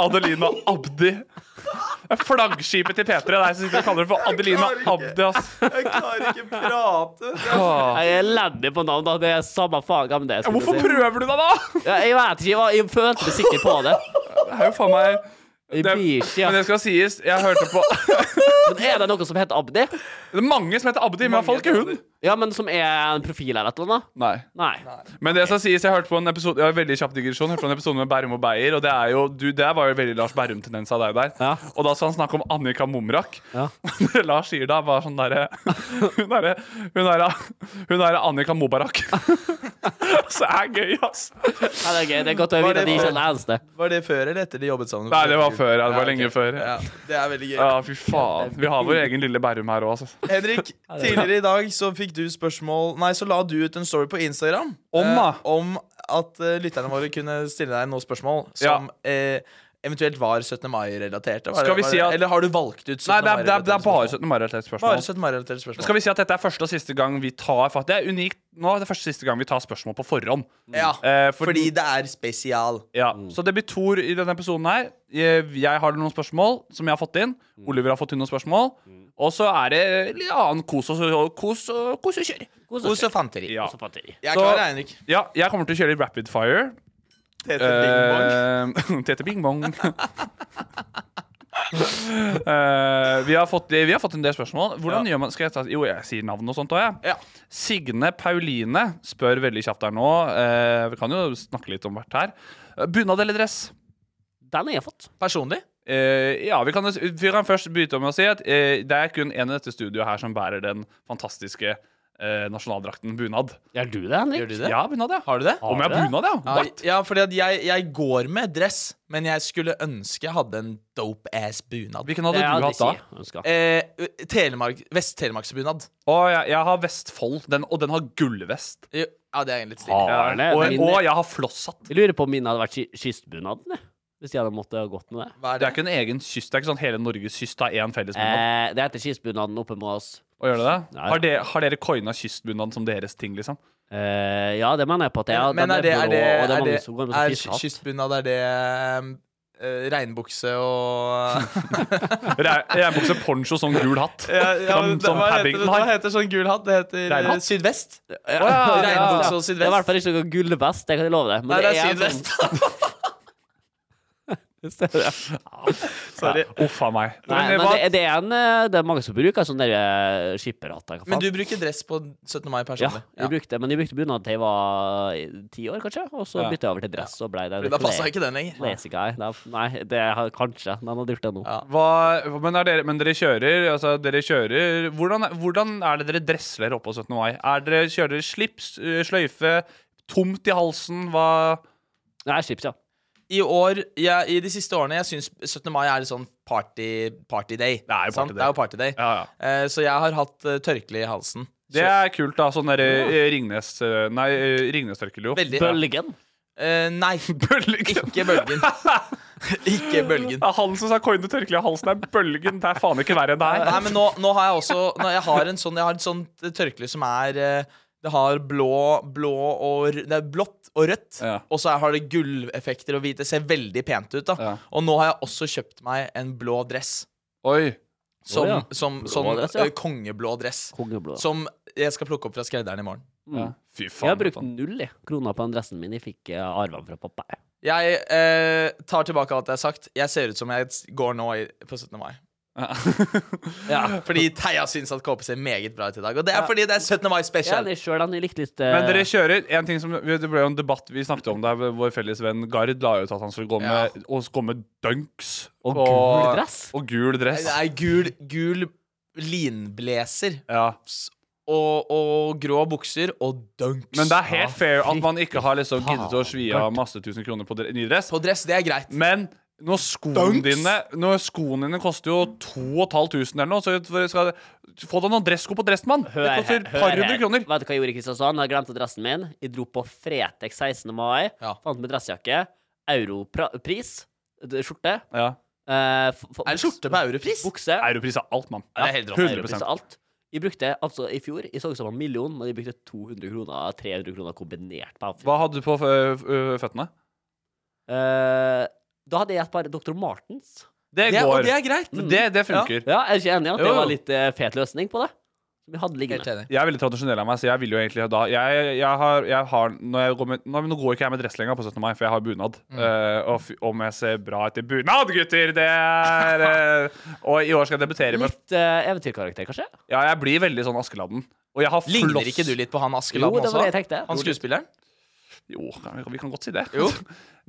S4: Adelina Abdi. Det er Flaggskipet til P3. Det er jeg som sitter og kaller det for Adelina Abdi, ass.
S3: Jeg klarer ikke prate.
S4: Åh.
S5: Jeg er elendig på navn, da. Det er samme faen gamle det. skulle
S4: Hvorfor
S5: jeg si.
S4: prøver du deg, da?
S5: Ja, jeg vet ikke, jeg, var, jeg følte meg sikker på det.
S4: Det er jo faen meg
S5: Jeg
S4: det,
S5: blir ikke, ja.
S4: Men det skal sies, jeg hørte på
S5: Men er det noe som heter Abdi?
S4: Det er mange som heter Abdi, men iallfall ikke hun.
S5: Ja, men som er en profil her, et eller annet?
S4: Nei.
S5: Nei.
S4: Men det skal sies, jeg hørte på en episode Jeg har en veldig kjapp digresjon Jeg hørte på en episode med Bærum og Beyer, og det er jo du, Det var jo veldig Lars Bærum-tendens av deg der.
S5: Ja.
S4: Og da skal han snakke om Annika Momrak.
S5: Ja.
S4: Det Lars sier da, var sånn derre Hun derre Hun derre hun derre Annika Mobarak. Så det er gøy, ass.
S5: Nei, det er gøy. Det er godt å
S3: Var
S5: vite
S3: det
S5: at de ikke
S3: for-
S5: er den eneste.
S3: Var det før eller etter de jobbet sammen?
S4: Nei, det var før, ja. Det var
S3: ok.
S4: lenge før, ja.
S3: Ja, det er veldig gøy.
S4: Ja, fy faen. Vi har vår egen lille Bærum her òg, altså.
S3: Henrik, tidligere i dag så fikk du spørsmål Nei, så la du ut en story på Instagram
S4: Om,
S3: eh,
S4: da.
S3: om at eh, lytterne våre kunne stille deg noen spørsmål som eh, eventuelt var 17. mai-relaterte. var det-
S4: Skal vi
S3: var
S4: si
S3: det-
S4: at-
S3: Eller har du valgt ut 17.
S4: Nei, det er, det er, det
S3: mai-relaterte spørsmål?
S4: er bare 17. mai-relatert spørsmål.
S3: Bare 17. mai-relaterte spørsmål.
S4: Skal vi si at dette er første og siste gang vi tar for at Det er unikt nå. er Det første og siste gang vi tar spørsmål på forhånd.
S3: Ja,
S4: Eh, for-
S3: fordi det er spesial.
S4: Ja, Så det blir Tor i denne episoden her. Jeg, jeg har noen spørsmål som jeg har fått inn.
S3: Mm.
S4: Oliver har fått inn noen spørsmål. Og så er det litt annen kos og, og kos og, kos og kjør.
S3: Kos og fanteri.
S4: Ja.
S5: Så på at de-
S3: Jeg er
S4: Så-
S3: klar, jeg, Henrik.
S4: ja, jeg kommer til å kjøre litt rapid fire.
S3: Tete Bing Bong.
S4: Eh, Tete Bing Bong. Eh, vi, har fått, vi har fått en del spørsmål. Hvordan gjør man skal jeg ta, Jo, jeg sier navn og sånt òg, jeg.
S3: Ja.
S4: Signe Pauline spør veldig kjapt her nå. Eh, vi kan jo snakke litt om hvert her. Eh, Bunad eller dress?
S5: Den har jeg fått.
S3: Personlig?
S4: Eh, ja, vi kan, vi kan først begynne med å si at eh, det er kun en i dette studioet her som bærer den fantastiske eh, nasjonaldrakten bunad.
S5: Gjør du det, Henrik?
S3: Gjør du det?
S4: Ja, bunad, ja.
S3: Har du det?
S4: Om jeg har
S5: det?
S4: bunad, ja?
S3: Ja,
S4: What?
S3: ja fordi at jeg, jeg går med dress, men jeg skulle ønske jeg hadde en dope-ass bunad.
S4: Hvilken hadde
S5: Det
S4: du hatt da?
S5: ikke jeg ønsket.
S3: Eh, Telemark, Vest-Telemarksbunad.
S4: Å, jeg, jeg har Vestfold, den, og den har gullvest.
S3: Jo, Ja, det er egentlig litt stilig.
S4: Ja.
S5: Har den
S4: Og,
S5: det?
S4: og jeg har flosshatt.
S5: Jeg lurer på om min hadde vært ki- kystbunaden, jeg. hvis de hadde måttet ha gått med det.
S3: Hva
S4: Det er ikke en egen kyst. Det er ikke sånn hele Norges kyst har én felles bunad.
S5: Eh, det heter kystbunaden oppe med oss.
S4: Å, gjør det det?
S5: Ja, ja.
S4: Har, de, har dere coina kystbunaden som deres ting, liksom?
S5: Eh, ja, det mener jeg på at det er.
S3: Men
S5: den
S3: er det,
S5: blå,
S3: er det,
S5: og det
S3: er
S5: er
S3: det,
S5: mange som går med sånn
S3: er ky-
S5: fiskehatt.
S3: kystbunad Er det eh, regnbukse og
S4: Regnbukse poncho som gul hatt. som som Paddington
S3: Hva
S4: har.
S3: heter sånn gul hatt? Det heter
S4: Regnhatt.
S3: sydvest.
S4: ja, ja, ja.
S3: Regnbukse og
S5: Det er i hvert
S3: sydvest.
S5: fall ikke noe gullvest, det kan jeg love deg. Men
S3: Nei, det er
S5: en sånn-
S3: sydvest. Sorry.
S4: Uff a meg.
S5: Nei,
S4: Men,
S5: men
S4: hva,
S5: det, det, er en, eh, det er mange som bruker sånn der eh, skipperhatt. hva faen.
S3: Men du bruker dress på 17. mai
S5: ja,
S3: personlig.
S5: jeg brukte, men jeg brukte bunad til jeg var i- ti år, kanskje. Og så
S4: Ja.
S5: bytta jeg over til dress. Og ble det
S3: Fordi Da passa ikke den lenger.
S5: Lazy guy. Da- Nei, det har kanskje. Men han hadde gjort det nå.
S3: Ja.
S4: hva, men, er dere, men dere kjører altså dere kjører, hvordan, hvordan er det dere dresser dere opp på 17. mai? Er dere, kjører dere slips, øh, sløyfe, tomt i halsen? Hva
S5: Nei, chips, ja.
S3: I år, jeg, i de siste årene, jeg syns 17. mai er litt sånn party, party day.
S4: Det er jo
S3: sant?
S4: party day.
S3: Det er jo party day.
S4: Ja, ja.
S3: Eh, så jeg har hatt eh, tørkle i halsen.
S4: Det er kult, da. Sånn derre øh, Ringnes øh, Nei, øh, Ringnes-tørkelo.
S3: Veldig.
S5: Bølgen.
S3: Eh, nei,
S4: Bølgen.
S3: ikke bølgen. ikke bølgen.
S4: Det er han som sa coine tørkle i halsen. Det er bølgen. Det er faen ikke verre enn det
S3: Nei,
S4: her.
S3: men nå, nå har jeg også nå, Jeg har en sånn, jeg har et sånt tørkle som er eh, Det har blå, blå og rød- Det er blått og rødt.
S4: Ja.
S3: Og så har det gulleffekter og hvit. Det ser veldig pent ut. da
S4: Ja.
S3: Og nå har jeg også kjøpt meg en blå dress.
S4: Oi.
S3: Som,
S5: ja.
S3: som,
S5: Blå
S3: som
S5: dress, ja.
S3: eh, kongeblå dress.
S5: Kongeblod.
S3: Som jeg skal plukke opp fra skredderen i morgen.
S4: Ja. Fy faen.
S5: jeg har brukt null jeg, kroner på den dressen min jeg fikk eh, arven fra pappa. jeg.
S3: Jeg eh, tar tilbake alt jeg har sagt. Jeg ser ut som jeg s- går nå i, på 17. mai.
S5: Ja.
S3: Fordi Theia syns at KP ser meget bra ut i dag. Og det er fordi det er 17. mai
S5: Jeg
S3: special.
S5: hadde sjøl den jeg likte litt eh,
S4: Men dere kjører en ting som Det ble jo en debatt vi snakket om der vår felles venn Gard la ut at han skulle gå med, og gå med dunks.
S5: Og gul dress.
S4: Og gul dress.
S3: Det er gul, gul linblazer
S4: Ja.
S3: og, og grå bukser og dunks.
S4: Men det er helt fair at man ikke har liksom giddet å svi av masse tusen kroner på dre- ny dress.
S3: På dress, det er greit.
S4: Men når skoene
S3: Dunks!
S4: dine Når skoene dine koster jo 2500 eller noe, så for- skal det- få deg noen dressko på Dressmann. Det
S5: Hør
S4: koster
S5: her,
S4: et
S5: hør
S4: par
S5: her.
S4: hundre kroner.
S5: Vet du hva jeg gjorde i Kristiansand? Jeg glemte dressen min. Jeg dro på Fretex 16. mai.
S3: Ja.
S5: Fant meg dressjakke. Europris. Skjorte.
S4: Ja.
S5: Eh, f- f-
S3: Er det skjorte på europris?
S5: Bukse.
S4: Europris er alt, mann.
S3: Ja, det er helt rått.
S4: 100
S5: Europris og alt. Jeg brukte altså i fjor Jeg så ut som en million, men jeg brukte 200 kroner 300 kroner kombinert på outfit.
S4: Hva hadde du på ø, ø, føttene?
S5: Eh, da hadde jeg et par Dr. Martens.
S4: Det
S3: Det er, Mm. og
S4: går.
S3: det er greit.
S5: Mm.
S4: Det, det funker.
S5: Ja, er du ikke enig i at det
S4: Jo, jo.
S5: var litt eh, fet løsning på det? Som jeg hadde
S3: Helt
S5: liggende.
S3: enig.
S4: Jeg er veldig tradisjonell av meg, så jeg vil jo egentlig da Jeg, jeg har, jeg har når jeg går med, nå, nå går ikke jeg med dress lenger på 17. mai, for jeg har bunad.
S3: Mm.
S4: Eh, og fy- om jeg ser bra ut i bunad, gutter! Det er eh, Og i år skal jeg debutere med
S5: Litt eh, eventyrkarakter, kanskje?
S4: Ja, jeg blir veldig sånn Askeladden. Og jeg har floss.
S3: Ligner ikke du litt på han Askeladden
S5: Jo, det
S3: også?
S5: var det jeg tenkte.
S3: Han skuespilleren?
S4: Jo, vi kan godt si det.
S3: Jo,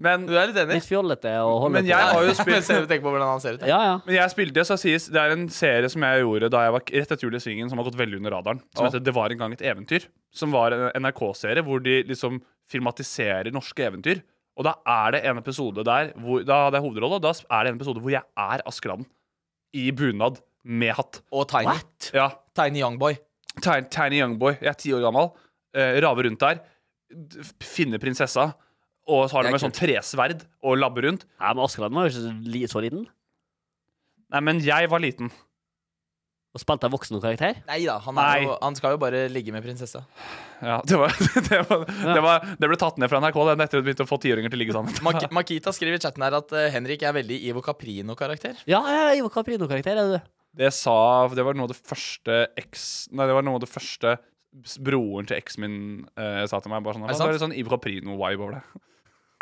S4: Men,
S3: du er litt enig?
S5: Litt fjollete og holde
S4: men jeg har jo
S3: Men
S4: spilt
S3: se- Tenk på hvordan han ser ut.
S5: Ja, ja.
S4: Men jeg spilte det, så sies Det er en serie som jeg gjorde da jeg var rett etter Jul i Svingen, som har gått veldig under radaren. Som
S3: Ja.
S4: heter Det var en gang et eventyr. Som var en NRK-serie hvor de liksom filmatiserer norske eventyr. Og da er det en episode der hvor, Da hadde jeg hovedrolle, og da er det en episode hvor jeg er Askeladden. I bunad. Med hatt.
S3: Og Tiny.
S4: Ja.
S3: Tiny Young Boy.
S4: Tiny, tiny Youngboy. Jeg er ti år gammel. Eh, raver rundt der. d- Finner prinsessa. Og så har
S3: Det er
S4: de med sånn tresverd og labber rundt.
S5: Nei, men Askeladden var jo ikke så li- så liten.
S4: Nei, men jeg var liten.
S5: Og spilte en voksen karakter.
S3: Nei da, han, er
S4: Nei.
S3: Jo, han skal jo bare ligge med prinsessa.
S4: Ja, det, var, det, var, det, var, det ble tatt ned fra NRK den etter at vi begynte å få tiåringer til å ligge sammen.
S3: Mak Makita skriver i chatten her at eh, Henrik er veldig Ivo Caprino-karakter.
S5: Ja, ja, Ivo Caprino-karakter er du.
S4: Det sa Det var noe av det første eks... Nei, det var noe av det første s- broren til eksen min eh, sa til meg. Bare sånn,
S3: det
S4: det
S3: sant?
S4: var litt sånn Ivo Caprino-vibe over det.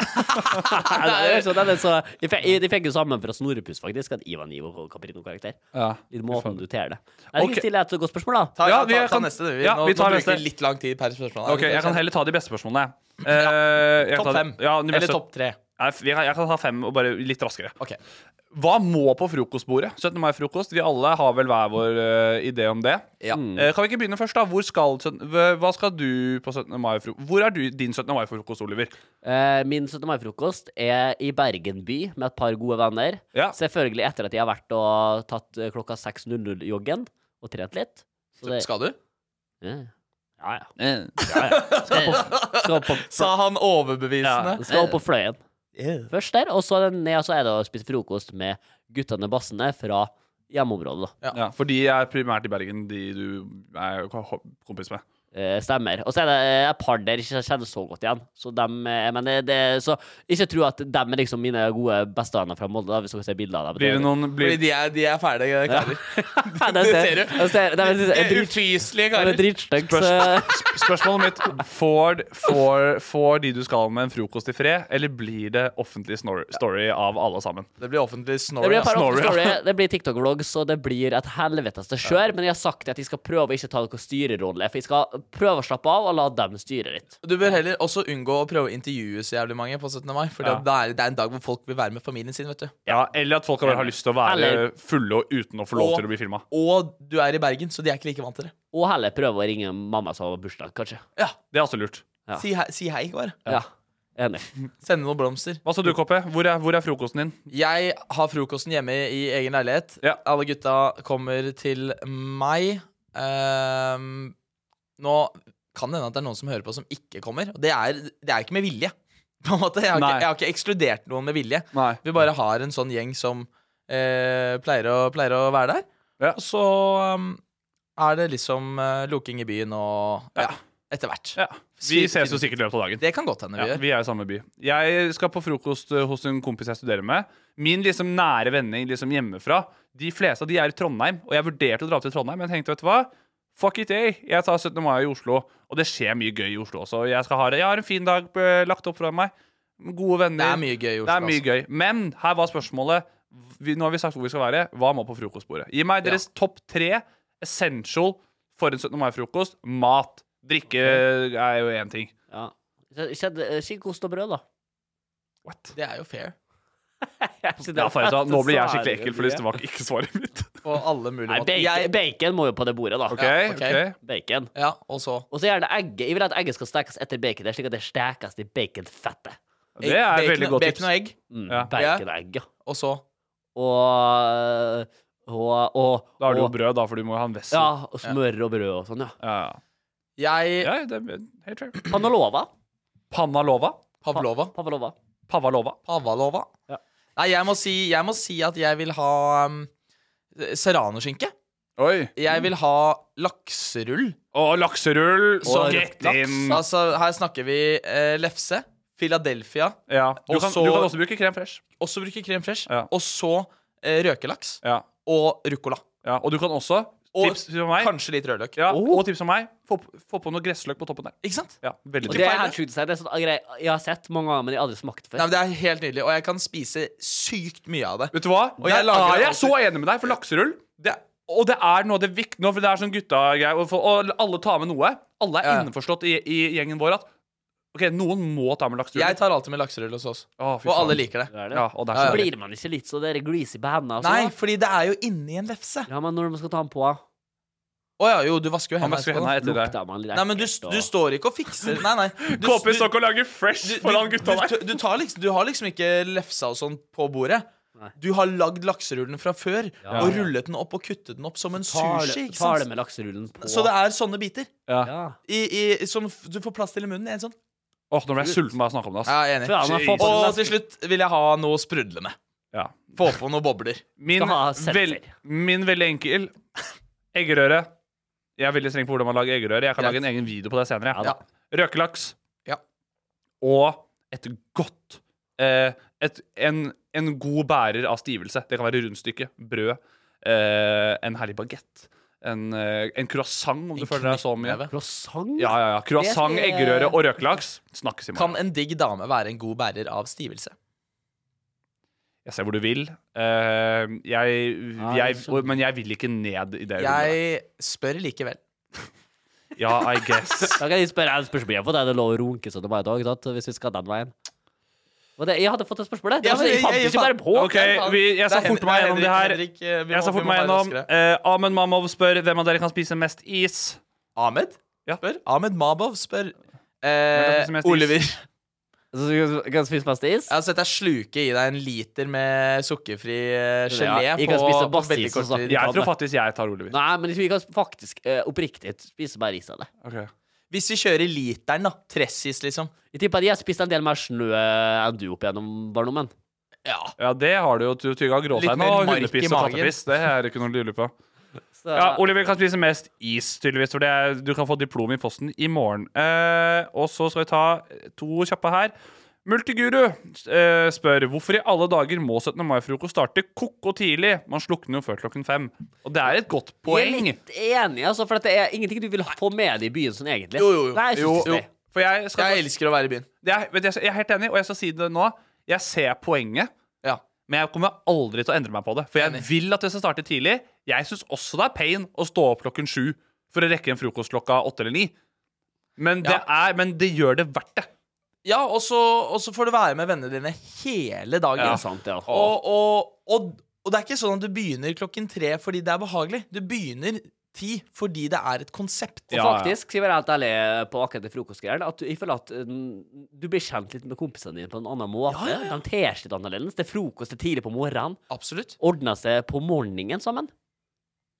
S5: Nei, det er jo sånn, den er så, de, fikk, de fikk jo sammen fra Snorrepuss, faktisk, at Ivan Ivo Caprino-karakter.
S4: Ja.
S5: I måten du ter det. Jeg
S4: Ok.
S5: vil stille et godt spørsmål, da.
S3: Ta,
S4: Ja,
S3: ja,
S4: vi
S3: ta, ta
S4: kan-
S3: neste, du. Vi,
S4: ja,
S3: nå,
S4: vi tar
S3: nå
S4: neste.
S3: bruker vi litt lang tid per spørsmål.
S4: OK, jeg kan heller ta de beste spørsmålene. jeg. Eh, jeg kan ta
S3: Topp
S4: de-
S3: fem.
S4: Ja, de beste-
S3: Eller topp tre.
S4: Nei, f- Jeg kan jeg kan ta fem, og bare litt raskere.
S3: Ok.
S4: Hva må på frokostbordet? 17. mai-frokost. Vi alle har vel hver vår eh, idé om det.
S3: Ja.
S4: Eh, kan vi ikke begynne først, da? Hvor skal, søtten- hva hva skal du på 17. mai? fro- Hvor er du, din 17. mai-frokost, Oliver?
S5: Eh, Min 17. mai-frokost er i Bergen by med et par gode venner.
S4: Ja.
S5: Selvfølgelig etter at jeg har vært og tatt eh, klokka 6.00-joggen og trent litt. Så det-
S3: Skal du?
S5: Ja, ja. ja,
S4: Eh.
S5: ja. Skal på, skal på,
S3: Sa han overbevisende.
S5: ja, skal på fløyen. Først der, og så ned, og så er det å spise frokost med guttene bassene fra hjemmeområdet. da.
S4: Ja, for de er primært i Bergen, de du er ko- kompis med.
S5: Eh, stemmer. Og så er det eh, et par der jeg ikke kjenner så godt igjen. Så dem, eh, men det, det, så ikke tro at dem er liksom mine gode bestevenner fra Molde, da, hvis dere ser bilder av dem.
S4: Blir det noen
S3: Fordi
S4: blir,
S3: de er, de er ferdige karer.
S5: det
S3: ser du.
S5: Det ser, det er, det er, drit-
S3: Ufyselige
S5: det er
S3: karer.
S5: dritstygg, så-
S4: Spørs- Spørsmålet mitt får, får, får de du skal med, en frokost i fred, eller blir det offentlig snor story av alle sammen?
S3: Det blir offentlig snor.
S5: Det blir, et par
S4: Snorre,
S5: offentlige
S4: ja.
S5: story, det blir TikTok-vlogs, og det blir et helvetes til kjør. Men jeg har sagt at jeg skal prøve å ikke ta noen styrerolle. For jeg skal prøve å slappe av og la dem styre litt.
S3: Du bør heller også unngå å prøve å intervjue så jævlig mange på 17. mai. For
S4: Ja.
S3: det, er, det er en dag hvor folk vil være med familien sin, vet du.
S4: Ja, Eller at folk har har lyst til å være
S5: Eller-
S4: fulle og uten å få lov
S3: Og-
S4: til å bli filma.
S3: Og du er i Bergen, så de er ikke like vant til det.
S5: Og heller prøve å ringe mamma som har bursdag, kanskje.
S3: Ja,
S4: Det er også lurt.
S5: Ja.
S3: Si, hei, si hei, bare.
S5: Ja, Enig.
S3: Sende noen blomster.
S4: Hva sa du, Koppe? Hvor er, hvor er frokosten din?
S3: Jeg har frokosten hjemme i egen leilighet.
S4: Ja.
S3: Alle gutta kommer til meg. Ehm, nå kan det hende at det er noen som hører på, som ikke kommer. Og det er, det er ikke med vilje. På en måte. Jeg, har
S4: Nei.
S3: ikke, jeg har ikke ekskludert noen med vilje.
S4: Nei.
S3: Vi bare har en sånn gjeng som eh, pleier, å, pleier å være der.
S4: Ja.
S3: Og så um, er det liksom eh, loking i byen og ja, etter hvert.
S4: Ja. Vi ses jo sikkert i løpet av dagen.
S3: Det kan godt hende vi
S4: Ja,
S3: gjør.
S4: vi er i samme by. Jeg skal på frokost eh, hos en kompis jeg studerer med. Min liksom nære vending liksom hjemmefra De fleste av de er i Trondheim, og jeg vurderte å dra til Trondheim, men jeg tenkte, vet du hva? Fuck it, jeg. Jeg tar 17. mai i Oslo, og det skjer mye gøy i Oslo også. Jeg, skal ha det. jeg har en fin dag eh, lagt opp fra meg. Gode venner.
S3: Det er mye gøy i Oslo.
S4: Det er mye
S3: altså.
S4: gøy. Men her var spørsmålet vi, Nå har vi sagt hvor vi skal være. Hva må på frokostbordet? Gi meg deres topp tre essential for en 17. mai-frokost. Mat. Drikke eh, er jo én ting.
S5: Ja. Skikk ost og brød, da.
S4: What?
S3: Det er jo fair
S4: Ja, for jeg sa, nå blir jeg skikkelig ekkel, for det var ikke svaret mitt.
S3: på alle mulige
S5: Nei,
S3: måter.
S5: bacon,
S3: Jeg,
S5: bacon må jo på det bordet, da.
S4: Ok,
S3: Ja, ok.
S4: ok
S5: Bacon.
S3: ja, og så
S5: Og så gjerne egget. Jeg vil at egget skal stekes etter baconet, slik at det stekes i baconfettet.
S4: Det er et
S3: bacon,
S4: veldig godt tips.
S3: Bacon og egg,
S5: Mm,
S4: Ja.
S5: Baconegg, ja.
S3: og så
S5: Og, og, og,
S4: Da har du jo
S5: og
S4: brød, da, for du må jo ha en vessel.
S5: Ja, og smør og brød og sånn, ja.
S4: Ja.
S3: Jeg
S4: ja, det er helt fair.
S5: Panalova.
S4: Panalova.
S3: Pavlova.
S5: Pavlova.
S4: Pavalova.
S3: Pavlova.
S5: Ja.
S3: Nei, jeg må, si, jeg må si at jeg vil ha um, serranoskinke.
S4: Oi.
S3: Jeg vil ha lakserull.
S4: Og lakserull. Så
S5: Og
S4: rett
S3: Laks.
S4: inn.
S3: Altså, her snakker vi eh, lefse, Philadelphia,
S4: Ja. Du,
S3: Og
S4: kan,
S3: så-
S4: du kan også bruke krem fresh.
S3: også bruker krem fresh,
S4: Ja.
S3: og så eh, røkelaks
S4: Ja.
S3: og ruccola.
S4: ja. Og du kan også
S3: Og
S4: Tips fra meg.
S3: Kanskje litt rødløk.
S4: Ja, Og tips fra meg. Få, p- få på noe gressløk på toppen der.
S3: Ikke sant?
S4: Ja, veldig
S5: Og
S4: tips.
S5: det er
S3: feil,
S5: helt
S3: det.
S5: sjukt å si. Det er sånn greie jeg har sett mange ganger, men jeg har aldri smakt det
S3: Nei,
S5: før.
S3: men Det er helt nydelig, og jeg kan spise sykt mye av det.
S4: Vet du hva?
S3: jeg
S4: Der
S3: lager
S4: er
S3: det
S4: jeg så
S3: alltid.
S4: enig med deg, for lakserull
S3: Det,
S4: Og det er noe av det viktige nå, for det er sånn gutta-greier. Og, for- og alle tar med noe. Alle er
S3: Ja.
S4: innforstått i, i gjengen vår at OK, noen må ta med lakserull.
S3: Jeg tar alltid med lakserull hos oss.
S4: Å, fy
S3: Og alle
S4: faen.
S3: liker det.
S5: Det er det.
S4: Ja, og det er
S3: Ja,
S4: så
S3: ja.
S4: deilig.
S5: Blir man ikke litt så der greasy på hendene? og
S3: Nei,
S5: sånn,
S3: fordi det er jo inni en lefse.
S5: da? Ja, men når man skal ta den på,
S3: Å ja, jo, du vasker jo
S4: Han
S3: hendene
S4: vasker
S3: etterpå.
S4: hendene
S3: da.
S4: etter det.
S5: lukter man litt
S3: Nei, men du,
S5: ekkelt,
S3: du
S5: og-
S3: står ikke og fikser Nei, nei. Du,
S4: KP
S3: du-
S4: står ikke og lager fresh foran gutta
S3: du,
S4: der.
S3: du, tar liksom, du har liksom ikke lefsa og sånn på bordet.
S5: Nei.
S3: Du har lagd lakserullen fra før
S5: Ja.
S3: og rullet den opp og kuttet den opp som en
S5: Tar
S3: sushi. Ikke
S5: det- Tar
S3: sant?
S5: det med lakserullen på.
S3: Så det er sånne biter
S5: ja.
S3: i, i, som f- du får plass til i munnen. i En sånn.
S4: Åh, Nå ble jeg sulten bare av å snakke om det. ass.
S3: Ja, jeg er enig.
S5: Faen, jeg får på den
S3: Og
S5: nesten-
S3: til slutt vil jeg ha noe sprudlende.
S4: Ja.
S3: Få på noen bobler.
S4: Min,
S5: Skal ha seltzer.
S4: vel, min veldig enkel eggerøre. Jeg er veldig streng på hvordan man lager eggerøre. Jeg kan
S3: Greit.
S4: lage en egen video på det senere.
S3: Ja.
S4: Røkelaks.
S3: Ja.
S4: Og et godt eh, et, en, en god bærer av stivelse. Det kan være rundstykke, brød, eh, en herlig bagett, en, eh, en croissant, om du føler deg så mye.
S3: knyttneve.
S5: Croissant?
S4: Ja, ja, ja. Croissant,
S5: Det er-
S4: eggerøre og røkelaks. Snakkes i
S3: Kan
S4: morgen.
S3: en digg dame være en god bærer av stivelse?
S4: Jeg ser hvor du vil. Eh, jeg,
S5: Ja,
S4: jeg,
S5: jeg skjønner.
S4: men jeg vil ikke ned i det. rommet.
S3: Jeg spør likevel.
S4: Ja, I guess.
S5: Da kan jeg spørre et spørsmål igjen, for det er det lov å runke sånn om i dag, ikke sant? hvis vi skal den veien. Og det, jeg hadde fått et spørsmål, det. det
S3: Ja,
S5: var,
S3: men
S5: jeg,
S3: jeg-
S5: fant
S3: jeg- jeg
S5: ikke bare
S3: fant-
S5: på.
S4: Ok, vi, jeg skal
S3: Det er
S4: forte meg
S3: Hen-
S4: gjennom det her.
S3: Henrik, Henrik, eh, vi må-
S4: Jeg skal
S3: vi må
S4: forte meg
S3: være
S4: gjennom
S3: raskere.
S4: eh, Ahmed Mamov spør hvem av dere kan spise mest is.
S3: Ahmed?
S4: Ja.
S3: Spør. Ahmed Mabov spør.
S4: kan
S3: Eh,
S4: spise mest is.
S3: Oliver.
S5: Så du kan- kan spise mest is?
S3: Jeg har sett deg sluke i deg en liter med sukkerfri eh, gelé
S5: Ja, jeg
S3: på,
S5: kan spise
S3: på
S5: bastis
S3: veldig kort
S5: også.
S3: tid.
S5: Ja.
S4: Jeg tror faktisk jeg tar Oliver.
S5: Nei, men vi kan faktisk eh, oppriktig spise bare is av det.
S4: Ok.
S3: Hvis vi kjører literen, da. Tressis, liksom.
S5: Jeg tipper at jeg har spist en del mer snø enn du opp gjennom barndommen.
S3: Ja.
S4: Ja, det har du jo. Du tygga
S3: Litt
S4: gråstein
S3: mer
S4: og
S3: mark i
S4: hundepiss og
S3: magen.
S4: kattepiss. Det er det ikke noe å lure på.
S5: Så-
S4: Ja, Oliver kan spise mest is, tydeligvis, for det er, du kan få diplom i posten i morgen. Eh, og så skal vi ta to kjappe her. Multiguru eh, spør hvorfor i alle dager må 17. mai-frokost starte koko tidlig? Man slukner jo før klokken fem. Og det er et godt
S5: Jeg er
S4: poeng.
S5: litt enig, altså, for at det er ingenting du vil få med deg i byen sånn egentlig.
S3: Jo, jo, jo.
S5: Nei, jeg
S3: Jo,
S5: synes ikke det.
S4: For jeg, skal,
S3: Jeg elsker å være i byen.
S4: det er, vet du, jeg er helt enig, og jeg skal si det nå. Jeg ser poenget,
S3: Ja.
S4: men jeg kommer aldri til å endre meg på det. For jeg vil at det skal starte tidlig. Jeg syns også det er pain å stå opp klokken sju for å rekke en frokost klokka åtte eller ni. Men det, er, men det gjør det verdt det.
S3: Ja, og så, og så får du være med vennene dine hele dagen.
S5: Ja, sant, ja.
S3: Og, og, og, og det er ikke sånn at du begynner klokken tre fordi det er behagelig. Du begynner ti fordi det er et konsept.
S5: Og
S4: Ja, ja.
S5: faktisk, skal jeg være helt ærlig eh, på akkurat det frokostgreiene, at du, jeg føler at mm, du blir kjent litt med kompisene dine på en annen måte. De ter seg litt annerledes. Det er frokost det er tidlig på morgenen.
S3: Absolutt.
S5: Ordner seg på morgenen sammen.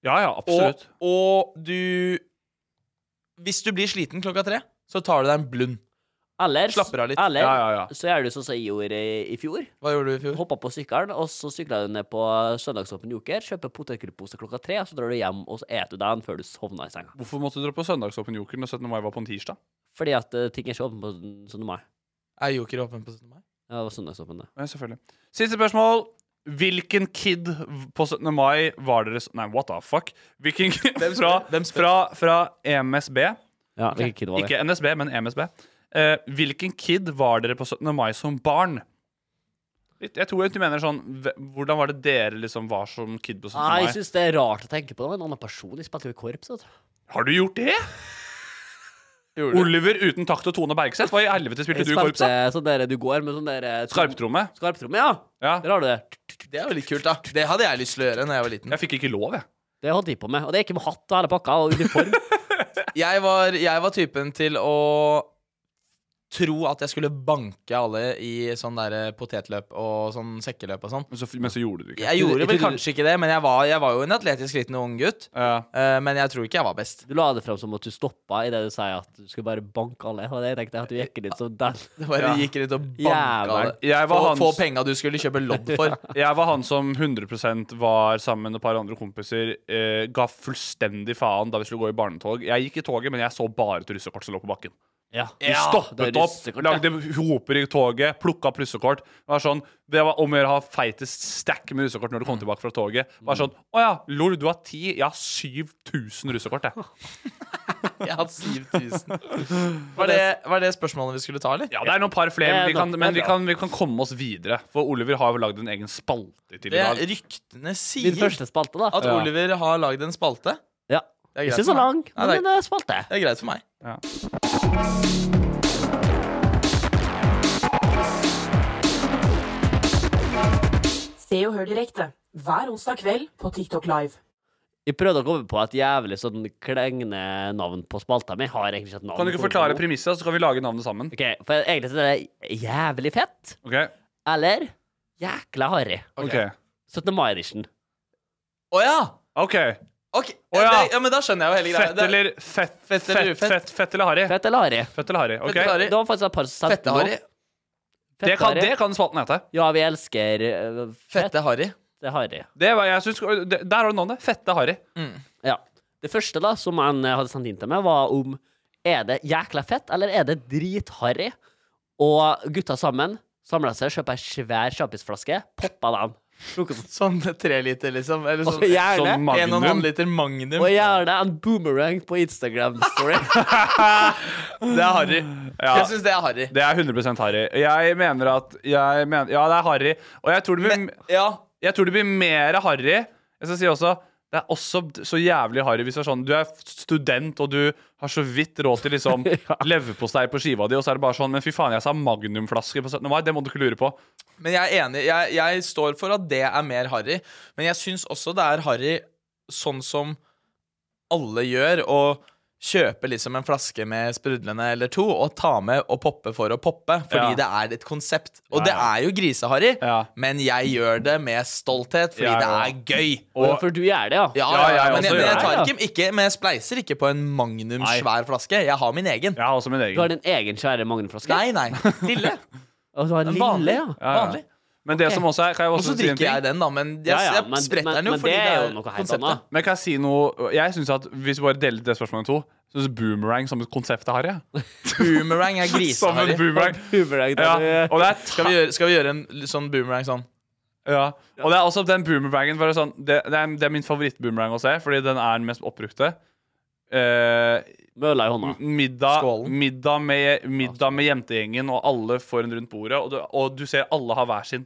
S4: Ja, ja,
S3: Og,
S4: absolutt.
S3: og du Hvis du blir sliten klokka tre, så tar du deg en blund.
S5: Eller,
S3: Slapper av litt.
S5: eller
S4: Ja, ja, ja.
S5: så gjør du sånn som jeg gjorde i, i fjor.
S3: Hva gjorde du i fjor?
S5: Hoppa på sykkelen, og så sykla du ned på søndagsåpen Joker, kjøper potetgullpose klokka tre, og så drar du hjem og så eter du den før du sovner i senga.
S4: Hvorfor måtte du dra på søndagsåpen joker når 17. mai var på en tirsdag?
S5: Fordi at eh, ting er ikke åpne på sånn mai.
S3: Er Joker åpen på 17. mai?
S5: Ja, det var søndagsåpen, det.
S4: Ja, selvfølgelig. Siste spørsmål. Hvilken kid på 17. mai var deres Nei, what the fuck? Hvilken
S3: Hvem
S4: fra,
S3: spør- hvem spør?
S4: fra, fra MSB
S5: Ja, hvilken kid var det?
S4: Ikke NSB, men E MSB. Eh, hvilken kid var dere på 17. mai som barn? Litt- Jeg tror jeg du mener sånn hve- Hvordan var det dere liksom var som kid på 17.
S5: Nei,
S4: mai?
S5: Ah, jeg syns det er rart å tenke på. Det var en annen person. Jeg spilte jo i korps. Vet du.
S4: Har du gjort det? Oliver uten takt og Tone Bergseth? Hva i helvete spilte du
S5: Jeg
S4: i korps?
S5: spilte
S4: da?
S5: sånn der du går med sånn der
S4: Skarptromme.
S5: Skarptromme, ja.
S4: Ja.
S5: Der har du det.
S3: Det er jo litt kult, da. Det hadde jeg lyst til å gjøre når jeg var liten.
S4: Jeg fikk ikke lov, jeg.
S5: Det holdt de på med. Og det er ikke med hatt og hele pakka, og uniform.
S3: Jeg var, jeg var typen til å tro at jeg skulle banke alle i sånn der potetløp og sånn sekkeløp og sånn.
S4: Men så, men så gjorde du ikke.
S3: Jeg gjorde vel
S5: Jeg trodde-
S3: kanskje ikke det, men jeg var, jeg var jo en atletisk liten ung gutt.
S4: Ja.
S3: eh, men jeg tror ikke jeg var best.
S5: Du la det fram som at du stoppa idet du sier at du skulle bare banke alle. Og det tenkte jeg at du gikk litt sånn som den.
S3: Det bare
S4: Ja.
S3: gikk rundt og banka
S5: Jævlen.
S3: alle.
S4: Jeg var
S3: Få,
S4: han
S3: få
S4: s-
S3: penga du skulle kjøpe lodd for.
S4: Jeg var han som 100 var sammen med et par andre kompiser. Eh, ga fullstendig faen da vi skulle gå i barnetog. Jeg gikk i toget, men jeg så bare til russekort som lå på bakken.
S5: Ja.
S4: De stoppet opp, lagde roper i toget, plukka plussekort. Det var sånn, det var om å gjøre å ha feitest stack med russekort når du kom
S3: Mm.
S4: tilbake fra toget. Det var sånn, Å ja, lol, du har ti. Jeg har 7000 russekort, jeg.
S3: Jeg har hatt 7000. Var det, var det spørsmålet vi skulle ta, eller?
S4: Ja, det er noen par flere, men,
S5: Det er
S4: vi kan,
S5: nok-
S4: men vi,
S5: det er bra.
S4: kan, vi kan komme oss videre. For Oliver har jo lagd en egen spalte til
S3: Det
S4: i dag.
S3: ryktene
S5: Min
S3: sier
S5: første spalte, da.
S3: at Oliver har lagd en spalte.
S5: Ja.
S3: Det er greit
S5: Ikke så
S3: for meg.
S5: lang,
S3: Nei,
S5: men
S3: det,
S5: en eh, spalte.
S3: er, det er greit for meg.
S6: Se og hør direkte hver onsdag kveld på TikTok Live.
S5: Jeg prøvde å komme på et jævlig sånn klengende navn på spalta mi. Har egentlig ikke et navn.
S4: Kan du ikke
S5: på
S4: forklare
S5: den.
S4: premisset, så kan vi lage navnet sammen?
S5: Ok, for egentlig så er det jævlig fett,
S4: Ok,
S5: eller jækla harry.
S4: ok,
S5: Ok. 17. mai-edition.
S3: Å ja!
S4: ok
S3: Ok,
S4: Å ja.
S3: Det, ja, men da skjønner jeg jo hele greia.
S4: Fett
S3: Det-
S4: eller fett, fett,
S3: Fett eller
S4: fett,
S3: ufett?
S4: fett, eller harry?
S5: Fett eller harry?
S4: Fett eller harry, ok
S3: Fett eller harry?
S5: Det var faktisk et par sendt
S3: Fette Harry.
S4: Det kan, det kan spalten hete.
S5: Ja, vi elsker eh, fette
S3: Fette Harry.
S5: harry.
S4: Det var, jeg synes, det, der har du navnet. Fette harry.
S5: Ja. Det første da, som han eh, hadde sendt inn til meg, var om er det jækla fett, eller er det dritharry? Og gutta sammen samla seg, kjøpte ei svær sjampisflaske, poppa den.
S3: Sånn tre liter, liksom. Eller
S5: Og
S3: sånn,
S5: så gjerne,
S4: Sånn
S3: en og en halv
S4: magnum.
S3: liter Magnum.
S5: og gjerne en boomerang på Instagram-story.
S3: Det er harry.
S4: Ja.
S3: Jeg syns det er harry.
S4: Det er 100 harry. Jeg mener at jeg mener, Ja, det er harry. Og jeg tror det blir,
S3: Ja.
S4: jeg tror det blir mer harry. Jeg skal si også det er også så jævlig harry hvis det er sånn, du er student og du har så vidt råd til liksom leverpostei på skiva di, og så er det bare sånn Men fy faen, jeg sa magnumflaske på 17. mai. Det må du ikke lure på.
S3: Men jeg er enig. Jeg, jeg står for at det er mer harry. Men jeg syns også det er harry sånn som alle gjør, å kjøpe liksom en flaske med sprudlende eller to og ta med og poppe for å poppe, fordi
S4: Ja.
S3: det er et konsept. Og det er jo griseharry,
S4: Ja.
S3: men jeg gjør det med stolthet, fordi
S4: Jeg
S3: det er gøy.
S5: Og for du gjør det, ja.
S3: Ja,
S4: Ja,
S3: ja, ja,
S4: jeg
S3: men, jeg,
S4: også
S3: men
S4: gjør
S3: jeg
S4: det.
S3: tar ikke, ikke Men jeg spleiser ikke på en magnum
S4: Nei.
S3: svær flaske. Jeg har min egen.
S4: Jeg har også min
S5: Du har
S4: egen.
S5: din egen svære magnumflaske?
S3: Nei, nei. Lille.
S5: Og du har en
S3: En
S5: lille,
S3: vanlig.
S5: ja.
S4: Ja, ja.
S3: Vanlig.
S4: Men det som også er Kan jeg
S3: Og
S4: også
S3: så
S4: si en
S3: drikker
S4: ting?
S3: jeg den, da. Men jeg,
S5: Ja, ja,
S3: jeg
S5: men-
S3: spretter
S5: men-
S3: den jo
S5: men
S3: fordi
S5: det
S3: det
S5: er jo
S3: er
S5: noe helt annet.
S3: konseptet.
S4: Men kan jeg si noe Jeg synes at Hvis vi bare deler det spørsmålet i to, så synes boomerang som et konsept er harry. jeg.
S3: Boomerang er
S4: Som en
S3: griseharry.
S4: boomerang.
S5: Boomerang, da.
S4: Ja, og det er
S3: Skal vi, gjøre, skal vi gjøre en l- sånn boomerang sånn?
S4: Ja. Og det er også den boomerangen bare sånn, det, det, er, det er min favoritt-boomerang å se, fordi den er den mest oppbrukte. Eh,
S5: Møla i hånda.
S4: middag,
S3: Skålen.
S4: middag, med, middag med jentegjengen, og alle får en rundt bordet, og du, og du ser alle har hver sin.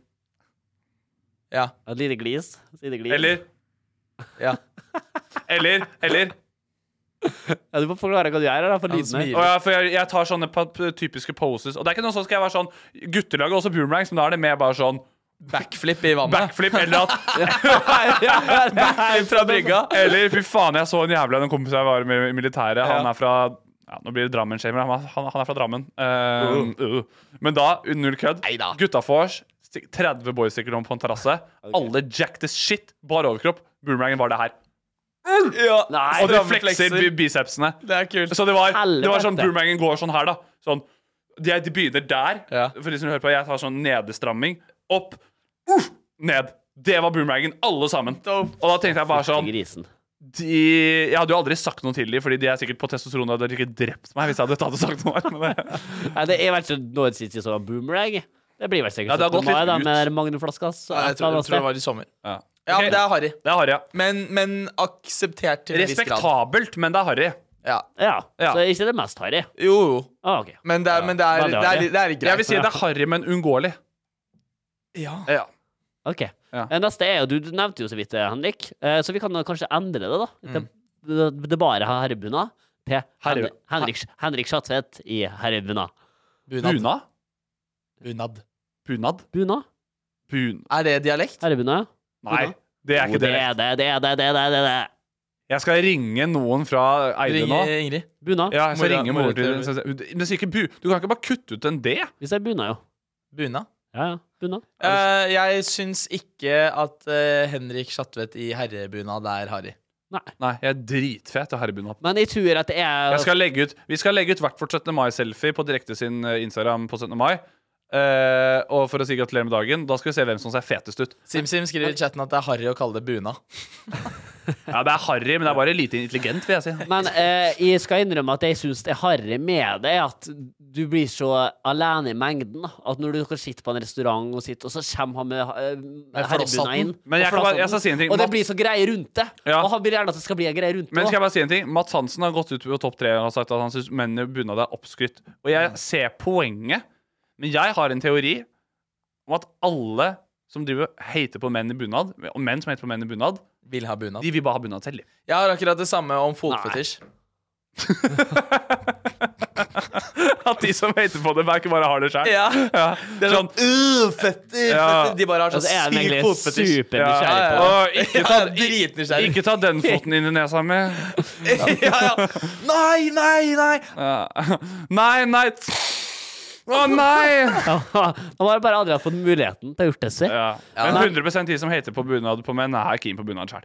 S3: Ja.
S5: Et lite glis. Et lite glis.
S4: Eller
S3: ja.
S4: Eller Eller
S5: Ja, du får forklare hva du gjør, da, for
S3: Han
S5: lyden her.
S3: smiler.
S4: Og jeg, for jeg, jeg tar sånne pa- p- typiske poses. Og det er ikke noe sånn skal jeg være sånn Guttelaget har også boomerangs, men da er det mer bare sånn
S3: Backflip i vannet.
S4: backflip eller at
S3: Backflip fra brygga.
S4: Eller fy faen, jeg så en jævla en kompis jeg var med i militæret. Han er fra ja, Nå blir det Drammen-shamer. Han, han, han er fra Drammen. Eh, uh. Men da, null kødd,
S3: Neida.
S4: gutta vors, stikk- 30 boys stikker om på en terrasse. Alle jacked as shit, bar overkropp. Boomerangen var det her.
S3: Ja.
S5: Nei,
S4: Og det
S3: stramme
S4: flekser
S3: flekser.
S4: bi- bicepsene.
S3: Det er kult.
S4: Så det var, det var
S5: Helvete.
S4: sånn boomerangen går sånn her, da. Sånn, de, de begynner der.
S3: Ja.
S4: For de som hører på, jeg tar sånn nedestramming. Opp, uff, ned. Det var boomerangen, alle sammen.
S3: Dope.
S4: Og da tenkte jeg bare sånn
S5: Grisen.
S4: de, Jeg hadde jo aldri sagt noe til dem, Fordi de er sikkert på testosteron og hadde ikke drept meg hvis jeg hadde tatt og sagt noe. Men det,
S5: Nei, det er vel ikke noe sist jeg så en boomerang. Det blir vel
S4: Ja,
S5: sikkert
S4: det har
S5: 17.
S4: gått litt
S5: mai, da,
S4: ut.
S5: med den magnumflaska. så
S3: Nei,
S5: et
S3: jeg tror, jeg
S5: eller annet
S3: tror det var i sommer.
S4: ja.
S3: Ja,
S4: Ok,
S3: men det er harry.
S4: det er harry, ja.
S3: Men, men akseptert til en viss grad.
S4: Respektabelt, men det er harry.
S3: Ja.
S5: sted. Ja,
S4: Ja.
S5: Så ikke det mest harry.
S3: Jo, jo.
S5: Ah, ok.
S3: Men det er, men det er,
S5: Veldig
S3: det
S5: harry.
S3: er, litt- det er litt greit.
S4: Jeg vil si det er harry, men uunngåelig.
S3: Ja.
S4: Ja.
S5: Ok.
S4: Ja.
S5: Eh, Neste er jo Du du nevnte jo så vidt det, Henrik. Eh, Så vi kan da kanskje endre det, da.
S3: Mm.
S5: Til, det bare herrebunad til Hen
S4: Herre-
S5: Henrik, Henrik Schatvedt i herrebunad.
S3: Bunad.
S4: Bunad?
S3: Bunad.
S4: Bunad?
S5: Bunad?
S4: Bun...
S3: Er det dialekt?
S5: Herrebunad?
S4: Nei, det er
S5: Jo,
S4: ikke det.
S5: det er det, det er det, det er det. det, er det.
S4: Jeg skal ringe noen fra Eide nå.
S3: Ringer Ingrid.
S5: Bunad.
S4: Ja, jeg skal
S3: Mora-
S4: ringe
S3: mora
S4: moren til
S3: til-
S4: så- så- Men sier ikke bu. Du kan ikke bare kutte ut en D.
S5: Vi sier bunad, jo.
S3: Bunad.
S5: Ja, ja. Bunad.
S3: Eh, jeg syns ikke at eh, Henrik Schatvedt i herrebunad er harry.
S5: Nei.
S4: Nei, jeg er dritfet og herrebunad.
S5: Men jeg tror at det er
S4: Jeg skal legge ut, vi skal legge ut hvert vårt 17. mai-selfie på direkte sin eh, Instagram på 17. mai. Eh, og for å si gratulerer med dagen, da skal vi se hvem som ser fetest ut.
S3: SimSim skriver i chatten at det er harry å kalle det bunad.
S4: Ja, det er harry, men det er bare lite intelligent, vil jeg si.
S5: Men eh, jeg skal innrømme at jeg syns det harry med det, er at du blir så alene i mengden. da. At når du kan sitte på en restaurant, og, sitte, og så kommer han med, eh, herrebunad
S3: flosshatten.
S5: inn.
S4: Men jeg
S5: og
S4: kan bare-
S5: flosshatten,
S4: jeg skal si en ting.
S5: Og det
S4: Mats-
S5: blir så greie rundt det.
S4: Ja.
S5: Og han vil gjerne at det skal bli en greie rundt det.
S4: Men skal
S5: også.
S4: jeg bare si en ting? Mats Hansen har gått ut på topp tre og har sagt at han syns mennene i bunad er oppskrytt. Og jeg ser poenget, men jeg har en teori om at alle som driver og hater på menn i bunad, og menn som hater på menn i bunad,
S3: Vil ha bunad.
S4: de vil bare ha bunad selv. de.
S3: Jeg har akkurat det samme om fotfetisj.
S4: At de som hater på det, merker bare har det sjøl.
S3: Ja. Det er sånn
S4: Sånn.
S3: uh, fetter,
S4: Ja.
S3: fetter. De bare har
S5: Og
S3: så
S5: så Altså, er han
S3: syk
S5: egentlig
S3: fotfetisj.
S5: supernysgjerrig
S3: Ja, ja,
S5: på det.
S3: ja.
S4: Og ikke ta,
S3: Ja, dritnysgjerrig.
S4: ikke ta den foten inn i nesa mi.
S3: ja, ja. Nei, nei, nei!
S4: Ja. Nei, nei Å, nei!
S5: Han har bare aldri hatt fått muligheten til å gjort det selv.
S4: Ja. Men 100 de som hater på bunad på menn, er keen på bunad sjøl.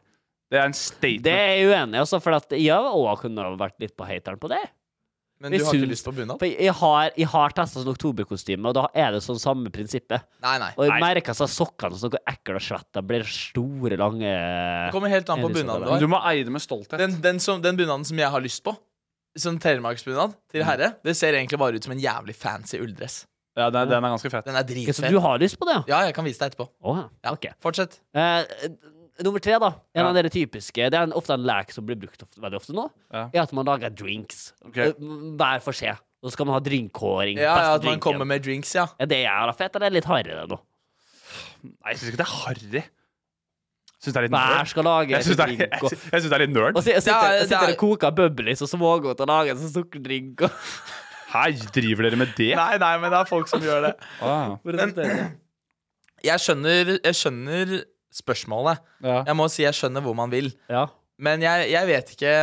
S4: Det er en statement.
S5: Det er jeg uenig i, også, for at jeg òg kunne ha vært litt på hateren på det.
S3: Men du
S5: Jeg
S3: har ikke
S5: syns-
S3: lyst på bunad?
S5: For jeg har, jeg har testa sånn oktoberkostyme, og da er det sånn samme prinsippet.
S3: Nei, nei.
S5: Og
S4: Nei.
S5: jeg merker seg sokkene som går ekle og svette. De blir store, lange
S3: Det kommer helt an på bunaden du
S4: Men
S3: har.
S4: Du må eie det med stolthet.
S3: Den, den, som, den bunaden som jeg har lyst på, som telemarksbunad
S5: Mm.
S3: til herre, det ser egentlig bare ut som en jævlig fancy ulldress.
S4: ja, den, den er ganske fet.
S3: Den er
S5: Ok, Så
S3: dritfet.
S5: du har lyst på det, ja?
S3: Ja, jeg kan vise deg etterpå.
S5: Å, ja.
S3: Ja.
S5: ok.
S3: Fortsett.
S5: Eh, nummer tre, da. En
S4: Ja.
S5: av dere typiske. Det er en, ofte en lek som blir brukt ofte, veldig ofte nå.
S4: Ja.
S5: Er at man lager drinks.
S4: Ok.
S5: Eh, Hver for seg. Så skal man ha drinkkåring.
S3: Ja,
S5: beste
S3: ja, at man
S5: drinken.
S3: kommer med drinks, ja.
S5: Er det jævla fett, eller er det litt hardere nå?
S4: Nei, jeg syns ikke det er harry. Syns det er litt
S5: Hver
S4: nerd.
S5: skal lage
S4: Jeg syns det, er-
S5: drink
S4: jeg
S5: og-
S4: syns- jeg syns det er litt nerd.
S5: Og si- sitter,
S3: det er-
S5: sitter og koker bubblies og smågodt og lager en sånn sukkerdrink og
S4: Her driver dere med det?
S3: Nei, nei, men det er folk som gjør det.
S4: Ah,
S5: Men-
S3: Jeg skjønner, jeg skjønner spørsmålet.
S4: ja.
S3: Jeg må si jeg skjønner hvor man vil.
S5: Ja.
S3: Men jeg, jeg vet ikke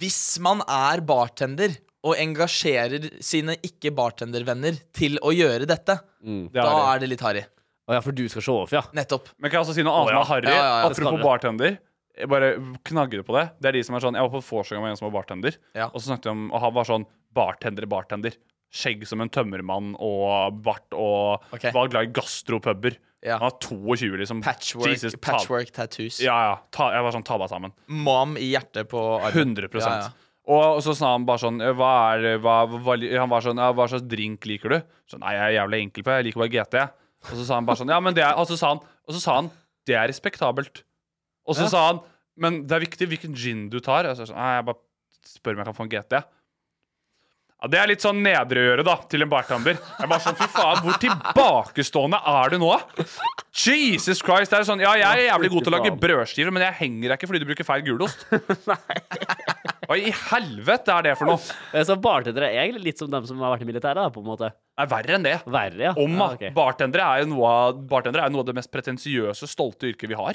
S3: Hvis man er bartender og engasjerer sine ikke-bartendervenner til å gjøre dette,
S5: Mm.
S4: Det er
S3: da
S4: harry.
S3: er det litt harry.
S5: Å ja, for du skal se off, ja.
S3: Nettopp.
S4: Men kan jeg også si noe annet
S5: Å,
S4: som
S5: ja.
S4: er harry?
S3: Ja, ja, ja, det
S5: skal
S4: Apropos
S5: vi.
S4: bartender. Jeg bare knagger på det. Det er de som er sånn Jeg var på vorsenga med en som var bartender,
S3: Ja.
S4: og så snakket vi om Og han var sånn bartender, bartender. Skjegg som en tømmermann og bart og
S3: Ok.
S4: var glad i gastropuber.
S3: Ja.
S4: Han var 22, liksom.
S3: Patchwork,
S4: Jesus, ta-
S3: patchwork tattoos.
S4: Ja, ja. Ta, jeg var sånn Ta deg sammen.
S3: Mam i hjertet på armen.
S4: 100
S3: Ja, ja.
S4: Og så sa han bare sånn Hva er det- hva, hva, Han var sånn ja, Hva slags drink liker du? Så, Nei, jeg er jævlig enkel på Jeg liker bare GT. jeg.» Og så sa han bare sånn Ja, men det er Og så sa han, og så sa han Det er respektabelt. Og så sa han Men det er viktig hvilken gin du tar. Og så er jeg sånn Nei, jeg bare spør om jeg kan få en GT. jeg.» Ja, Det er litt sånn nedre å gjøre, da, til en bartender. Jeg bare sånn, fy faen, Hvor tilbakestående er du nå? Jesus Christ! det er sånn, Ja, jeg er jævlig god til å lage brødskiver, men jeg henger deg ikke fordi du bruker feil gulost. Hva i helvete er det for noe?
S5: Eh, Så bartendere er egentlig litt som dem som har vært i militæret, da, på en måte.
S4: Det er verre enn det.
S5: Verre, ja.
S4: Om
S5: ja,
S4: at
S5: ok.
S4: bartendere er jo noe av, bartendere er jo noe av det mest pretensiøse, stolte yrket vi har.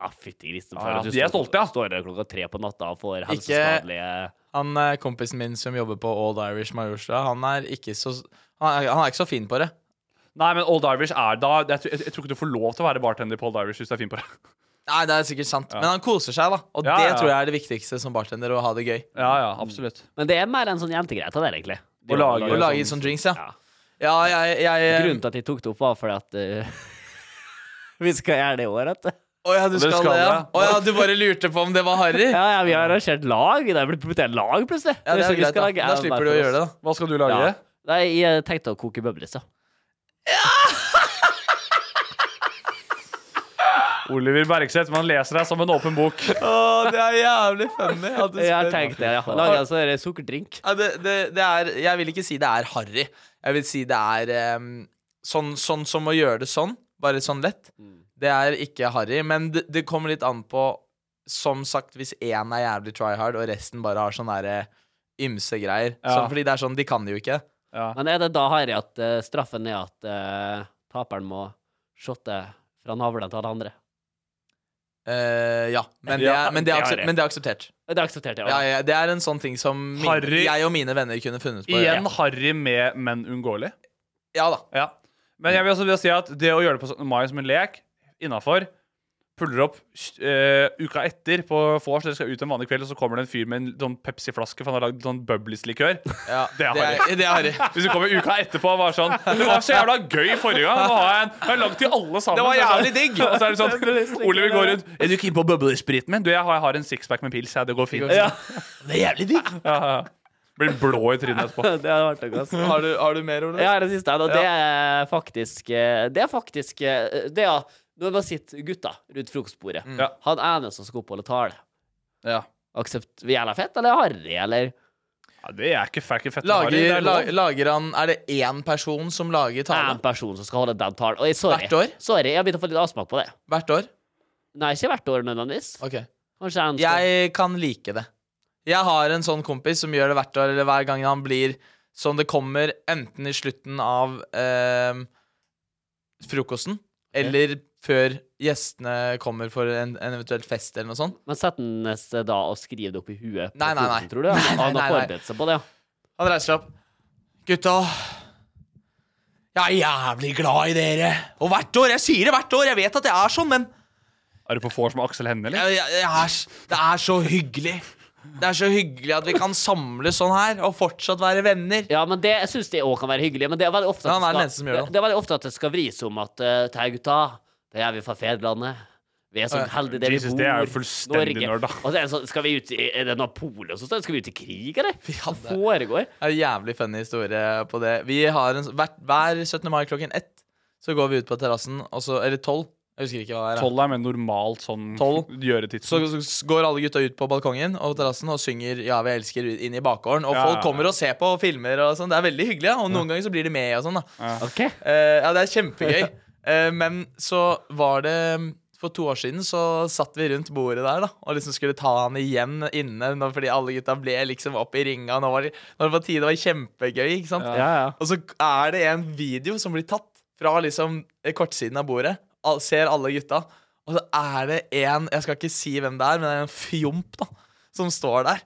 S5: Ja, fytti grisen.
S4: Ja,
S5: for at du
S4: de er
S5: står-
S4: stolte, ja.
S5: Står der klokka tre på natta og får helseskadelige
S3: Han eh, kompisen min som jobber på Old Irish Majorstua, han er ikke så han er, han er ikke så fin på det.
S4: Nei, men Old Irish er da Jeg, tror- jeg, jeg tror ikke du får lov til å være bartender på Old Irish hvis du er fin på det.
S3: Nei, det er sikkert sant, men han koser seg, da. Og
S4: Ja,
S3: det
S4: ja.
S3: tror jeg er det viktigste som bartender, å ha det gøy.
S4: Ja, ja, absolutt.
S5: Men det er mer en sånn jentegreie av det, egentlig. De
S4: Å lage-
S3: Å
S5: lager-
S4: Ja,
S3: lage
S4: sånn-
S3: sånn drinks, ja.
S5: Ja.
S3: Ja, jeg, jeg eh,
S5: Grunnen til at de tok det opp, var fordi at eh, Vi skal gjøre det i år, vet du.
S3: Å ja, du
S4: Og det
S3: skal,
S4: skal
S3: det, ja.
S4: jeg.
S3: Å ja, du bare lurte på om det var harry?
S5: Ja, ja, vi har arrangert lag. Det er blitt prioritert lag, plutselig.
S3: Ja, det
S5: Så
S3: er
S5: vi
S3: greit,
S5: skal
S3: da.
S5: lage
S3: Da
S5: en hver
S3: slipper du å
S5: for
S3: gjøre det, da.
S5: oss.
S4: sånn. Hva skal du lage?
S5: Ja. Nei, jeg tenkte å koke bøblis, ja.
S4: Oliver Bergseth, man leser deg som en åpen bok.
S3: Å, det er jævlig funny. at du
S5: Jeg har
S3: spør.
S5: tenkt det, ja. Lage en sånn der sukkerdrink.
S3: Ja, det, det, det er, jeg vil ikke si det er harry. Jeg vil si det er em, sånn, sånn som å gjøre det sånn, bare sånn lett.
S5: Mm.
S3: Det er ikke harry, men det, det kommer litt an på Som sagt, hvis én er jævlig try hard, og resten bare har sånne der, eh, ymse greier.
S4: Ja.
S3: Sånn, fordi det er sånn, de kan jo ikke.
S4: Ja.
S5: Men er det da harry at eh, straffen er at eh, taperen må shotte fra navlen til alle andre?
S3: Eh, ja, men det
S4: Ja,
S3: er, men det
S4: det
S3: er,
S4: er
S3: aksep-
S4: harry.
S3: men det er akseptert.
S5: Det aksepterte jeg.
S3: Ja,
S5: også.
S3: ja, det er en sånn ting som min,
S4: Harry.
S3: jeg og mine venner kunne funnet på. å gjøre.
S4: Igjen harry med, men uunngåelig.
S3: Ja da.
S4: sånn- Ja. Men jeg vil også vil si at det å gjøre det på 17. mai som en lek, innafor puller opp eh, uka etter på vors, dere skal ut en vanlig kveld, og så kommer det en fyr med en sånn Pepsi-flaske, for han har lagd sånn Bubblies-likør.
S3: Ja,
S4: Det er harry.
S3: det er harry.
S4: Hvis du kommer uka etterpå og var sånn Det var så jævla gøy forrige gang. Nå har jeg en jeg har lagd til alle
S3: Det
S4: sammen.
S3: var
S4: Og så er
S3: jævlig digg.
S4: Og så er det sånn Oliver går rundt Er du keen på bøblespriten min? Du, jeg har, jeg har en sixpack med pils. Ja, det går fint.
S3: går
S4: Ja.
S5: Det er jævlig digg.
S4: Ja, ja. Blir blå i trynet etterpå.
S5: Det hadde vært noe, altså.
S3: Har du, har du mer, Ole?
S5: Ja, det siste her, og det er faktisk eh, Det er faktisk eh, Det ja, når man sitter gutta rundt frokostbordet
S3: Mm.
S4: Ja.
S5: Han ene som skal opp og tale
S4: Ja.
S5: Aksept jævla fett, eller harry, eller
S4: Ja, det er ikke fælt fett. Harry. Det
S3: Lager,
S4: er
S3: la,
S4: lov.
S3: lager han Er det én person som lager
S5: en
S3: tale
S5: person som skal holde den talen Oi, sorry,
S3: Hvert år?
S5: sorry, jeg har begynt å få litt avsmak på det
S3: hvert år?
S5: Nei, ikke hvert år nødvendigvis
S3: Ok.
S5: Kanskje en
S3: Jeg kan like det. Jeg har en sånn kompis som gjør det hvert år, eller hver gang han blir sånn det kommer, enten i slutten av eh, frokosten, eller før gjestene kommer for en, en eventuelt fest eller noe sånt.
S5: Men sett den neste da og skriv det opp i huet på
S3: Nei, nei, nei.
S5: foten, Tror du?
S3: Nei, nei,
S5: Han
S3: nei,
S5: har
S3: nei.
S5: forberedt seg på det, ja
S3: Han reiser seg opp. Gutta, jeg er jævlig glad i dere. Og hvert år. Jeg sier det hvert år. Jeg vet at jeg er sånn, men
S4: Er du på vors med Aksel Hennie, eller?
S3: jeg, jeg, jeg er, s- det er så hyggelig. Det er så hyggelig at vi kan samles sånn her og fortsatt være venner.
S5: Ja, men det, jeg syns det òg kan være hyggelig. Men det er veldig ofte at,
S3: Ja, han er den
S5: det,
S3: eneste
S5: skal,
S3: som gjør det.
S5: det, er veldig ofte at det skal vris om at uh, Tei, gutta, det er vi fra fedrelandet. Vi er så
S3: Ja.
S5: heldige der
S4: Jesus,
S5: vi bor.
S4: det er jo fullstendig nerd, da.
S5: Og så er det sånn, skal vi ut i Er det Napoleon som står? Skal vi ut i krig, eller? Hva
S3: hadde-
S5: foregår?
S3: Det er en jævlig funny historie på det. Vi har en, s- hvert, Hver 17. mai klokken ett så går vi ut på terrassen, og så- eller tolv. Jeg husker ikke hva det er.
S4: Tolv er med normalt sånn
S3: Tolv. Så,
S4: gjøretidspunkt.
S3: så s- går alle gutta ut på balkongen og terrassen og synger 'Ja, vi elsker' ut- inn i bakgården. Og
S4: Ja,
S3: folk
S4: ja,
S3: kommer og ser på og filmer og sånn. Det er veldig hyggelig, ja. og noen ganger så blir de med og sånn. da
S5: OK.
S3: Eh, ja, det er kjempegøy. Eh, men så var det mm, For to år siden så satt vi rundt bordet der da og liksom skulle ta han igjen inne nå, fordi alle gutta ble liksom opp i ringa. Nå var det, nå var det på tide. Det var kjempegøy, ikke sant?
S5: Ja, ja.
S3: Og så er det en video som blir tatt fra liksom eh, kortsiden av bordet. Al ser alle gutta. Og så er det en Jeg skal ikke si hvem det er, men det er en fjomp da som står der.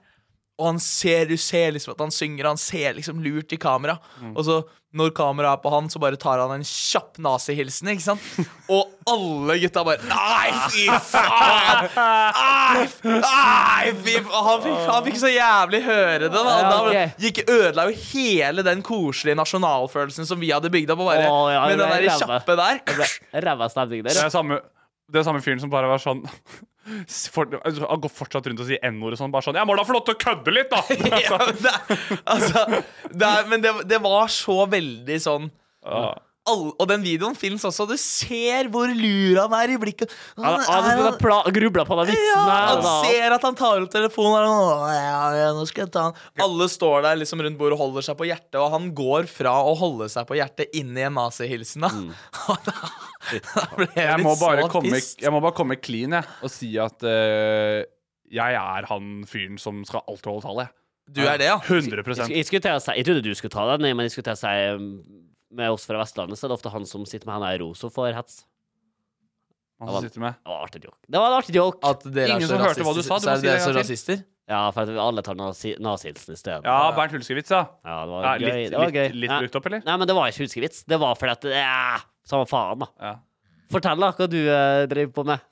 S3: Og han ser, du ser liksom at han synger, og han ser liksom lurt i kamera. Og så, når kameraet er på han, så bare tar han en kjapp nazihilsen, ikke sant? Og alle gutta bare Nei, fy
S4: Ah!
S3: faen! Nei, f- nei, fy faen! Og Han, fikk- han fikk så jævlig høre det. Da. Og da
S5: Ja, ok.
S3: gikk, ødela jo hele den koselige nasjonalfølelsen som vi hadde bygd opp. Og bare,
S5: Å, ja, det
S3: med den
S5: ble
S3: der
S5: ræva.
S3: kjappe der.
S5: Ræva stemning
S4: Det
S5: der.
S4: er samme, det er samme fyren som bare var sånn for, altså, Han går fortsatt rundt og sier N-ord og sånn. Bare sånn 'Jeg må da få lov til å kødde litt', da!
S3: Ja, men det, er- altså, det er, men det, det var så veldig sånn
S4: Ja.
S3: all, Og den videoen fins også. Du ser hvor lur han er i blikket.
S5: Han har pla- grubla på den
S3: ja,
S5: vitsen her.
S3: han
S5: da.
S3: ser at han tar ut telefonen. Og han, «Å, ja, ja, nå skal jeg ta han. Alle står der liksom rundt bordet og holder seg på hjertet, og han går fra å holde seg på hjertet inn i en nazihilsen. Da. da ble jeg,
S4: Mm. Jeg
S3: litt
S4: må, bare
S3: så
S4: komme,
S3: pissed.
S4: jeg må bare komme clean jeg, og si at eh, jeg er han fyren som skal alltid holde tallet. jeg.
S3: Du er det, ja?
S4: 100
S5: Jeg, skulle- jeg, skulle til å si, jeg trodde du skulle ta den, men jeg skulle til å si um, med oss fra Vestlandet, så er det ofte han som sitter med henne i ro, som får hets.
S4: Han som sitter med.
S5: Det var en artig joke. Det var en artig joke.
S3: At dere
S4: Ingen
S3: er så
S4: som hørte hva du
S3: rasistiske,
S4: sa,
S3: så er
S4: du må si det
S3: dere
S4: en
S3: så
S4: gang til.
S3: rasister?
S5: Ja, for at vi alle tar nazi- nazihilsen i stedet.
S4: Ja, Bernt Hulskevits, ja.
S5: Ja, det
S4: Ja,
S5: var
S4: litt-
S5: gøy. Det var
S4: litt-
S5: gøy.
S4: litt
S5: Nei.
S4: brukt opp, eller?
S5: Nei, men det var ikke huskevits. Det var fordi at det ja, Samme faen, da.
S4: ja.
S5: Fortell, da, hva du eh, driver på med.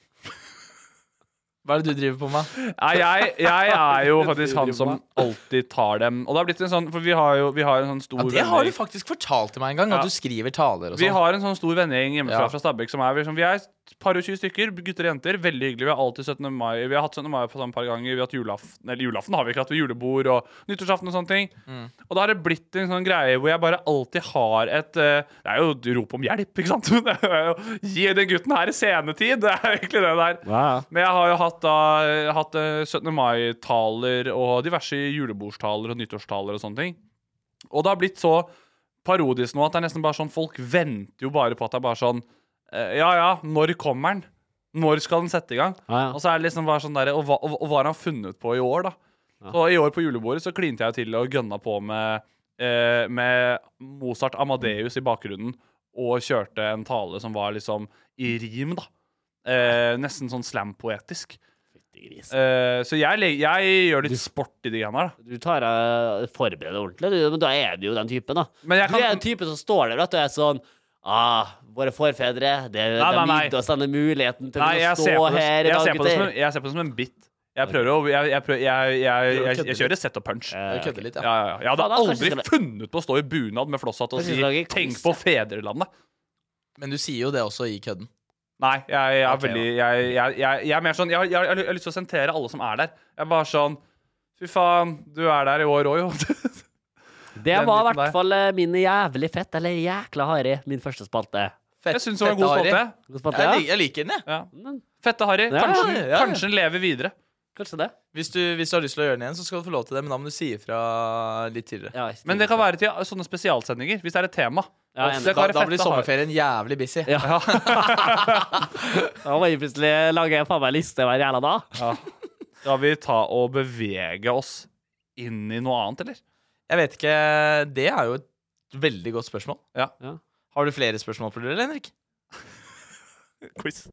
S3: Hva er det du driver på med?
S4: Nei, jeg, jeg er jo faktisk han som alltid tar dem. Og det har blitt en sånn, for vi har jo vi har en sånn
S3: Ja,
S4: stor
S3: det har du
S4: vennegjeng.
S3: faktisk fortalt til meg en gang,
S4: Ja.
S3: at du skriver taler og
S4: Vi
S3: sånn.
S4: har en sånn stor vennegjeng hjemmefra
S3: Ja.
S4: fra Stabæk som er liksom, Vi er et par og tjue stykker, gutter og jenter. Veldig hyggelig. Vi har alltid 17. mai. Vi har hatt 17. mai på samme par ganger. Vi har hatt julaften, eller julaften har vi ikke hatt, vi har julebord og nyttårsaften og sånne ting.
S3: Mm.
S4: Og da har det blitt en sånn greie hvor jeg bare alltid har et eh, Det er jo et rop om hjelp, ikke sant? Det er jo, Gi den gutten her scenetid! Det er jo egentlig det der. Men jeg har jo hatt, da, hatt eh, 17. mai-taler og diverse julebordstaler og nyttårstaler og sånne ting. Og det har blitt så parodisk nå at det er nesten bare sånn folk venter jo bare på at det er bare sånn eh, Ja ja, når kommer den? Når skal den sette i gang?
S5: Ja, ja.
S4: Og så er det liksom bare sånn der, og, hva, og, og hva har han funnet på i år, da? Så i år på julebordet så klinte jeg til og gønna på med, eh, med Mozart Amadeus i bakgrunnen, og kjørte en tale som var liksom i rim, da. Eh, nesten sånn slam-poetisk.
S5: Fytti gris.
S4: Eh, så jeg, le- jeg gjør litt sport i de greiene her, da.
S5: Du tar eh, forbereder deg ordentlig, du, men da er du jo den typen, da.
S4: Men jeg
S5: Du er
S4: kan-
S5: den typen som står der vet du, og er sånn ah, Våre forfedre det,
S4: Nei,
S5: De
S4: nei, nei.
S5: gitt oss denne muligheten til
S4: Nei,
S5: å
S4: jeg
S5: stå
S4: ser, på det,
S5: her i
S4: jeg,
S5: dag,
S4: ser på det som en,
S5: gutter.
S4: jeg ser på det som en bit. Jeg prøver å Jeg, jeg, prøver, jeg, jeg, jeg, jeg, jeg kjører set og punch. Ja,
S3: Jeg kødder litt,
S4: ja,
S3: ja.
S4: ja. Jeg hadde
S5: Ja, da, kanskje
S4: aldri
S5: skal det-
S4: funnet på å stå i bunad med flosshatt og
S5: Kanskje
S4: si
S5: skal lage
S4: 'tenk
S5: kos,
S4: på fedrelandet'.
S3: Men du sier jo det også i kødden.
S4: Nei, jeg, jeg er
S3: Ok,
S4: veldig jeg, jeg, jeg, jeg er mer sånn jeg, jeg, jeg, har lyst til å sentere alle som er der. Jeg er bare sånn Fy faen, du er der i år òg, jo.
S5: Det
S4: den
S5: var i
S4: biten der.
S5: hvert fall eh, min jævlig fett, eller jækla harry, min første spalte.
S3: Fett-
S4: Jeg syns det var en
S3: fette
S4: god
S3: Harry.
S4: spalte.
S5: God spalte,
S3: Jeg,
S5: ja?
S3: lik- jeg liker den, jeg.
S4: Ja. Fette Harry.
S5: Ja,
S4: Kanskje,
S3: ja, ja.
S4: kanskje den lever videre.
S5: Kanskje det.
S3: Hvis du, hvis du har lyst til å gjøre den igjen, så skal du få lov til det, men da må du si ifra litt tidligere.
S5: Ja, ikke
S4: Men det kan være til sånne spesialsendinger, hvis det er et tema.
S5: Ja,
S4: Det kan
S5: enig.
S3: Da,
S4: være
S3: da
S4: Fette
S3: blir
S4: Harry.
S3: sommerferien jævlig busy.
S5: Ja. Da må jeg plutselig lage faen meg liste hver jævla dag.
S4: Ja. Skal vi ta og bevege oss inn i noe annet, eller?
S3: Jeg vet ikke Det er jo et veldig godt spørsmål.
S4: Ja.
S5: Ja.
S3: Har du flere spørsmål på det, eller, Henrik?
S4: Quiz.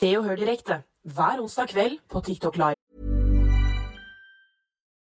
S6: Se og hør direkte hver onsdag kveld på TikTok Live.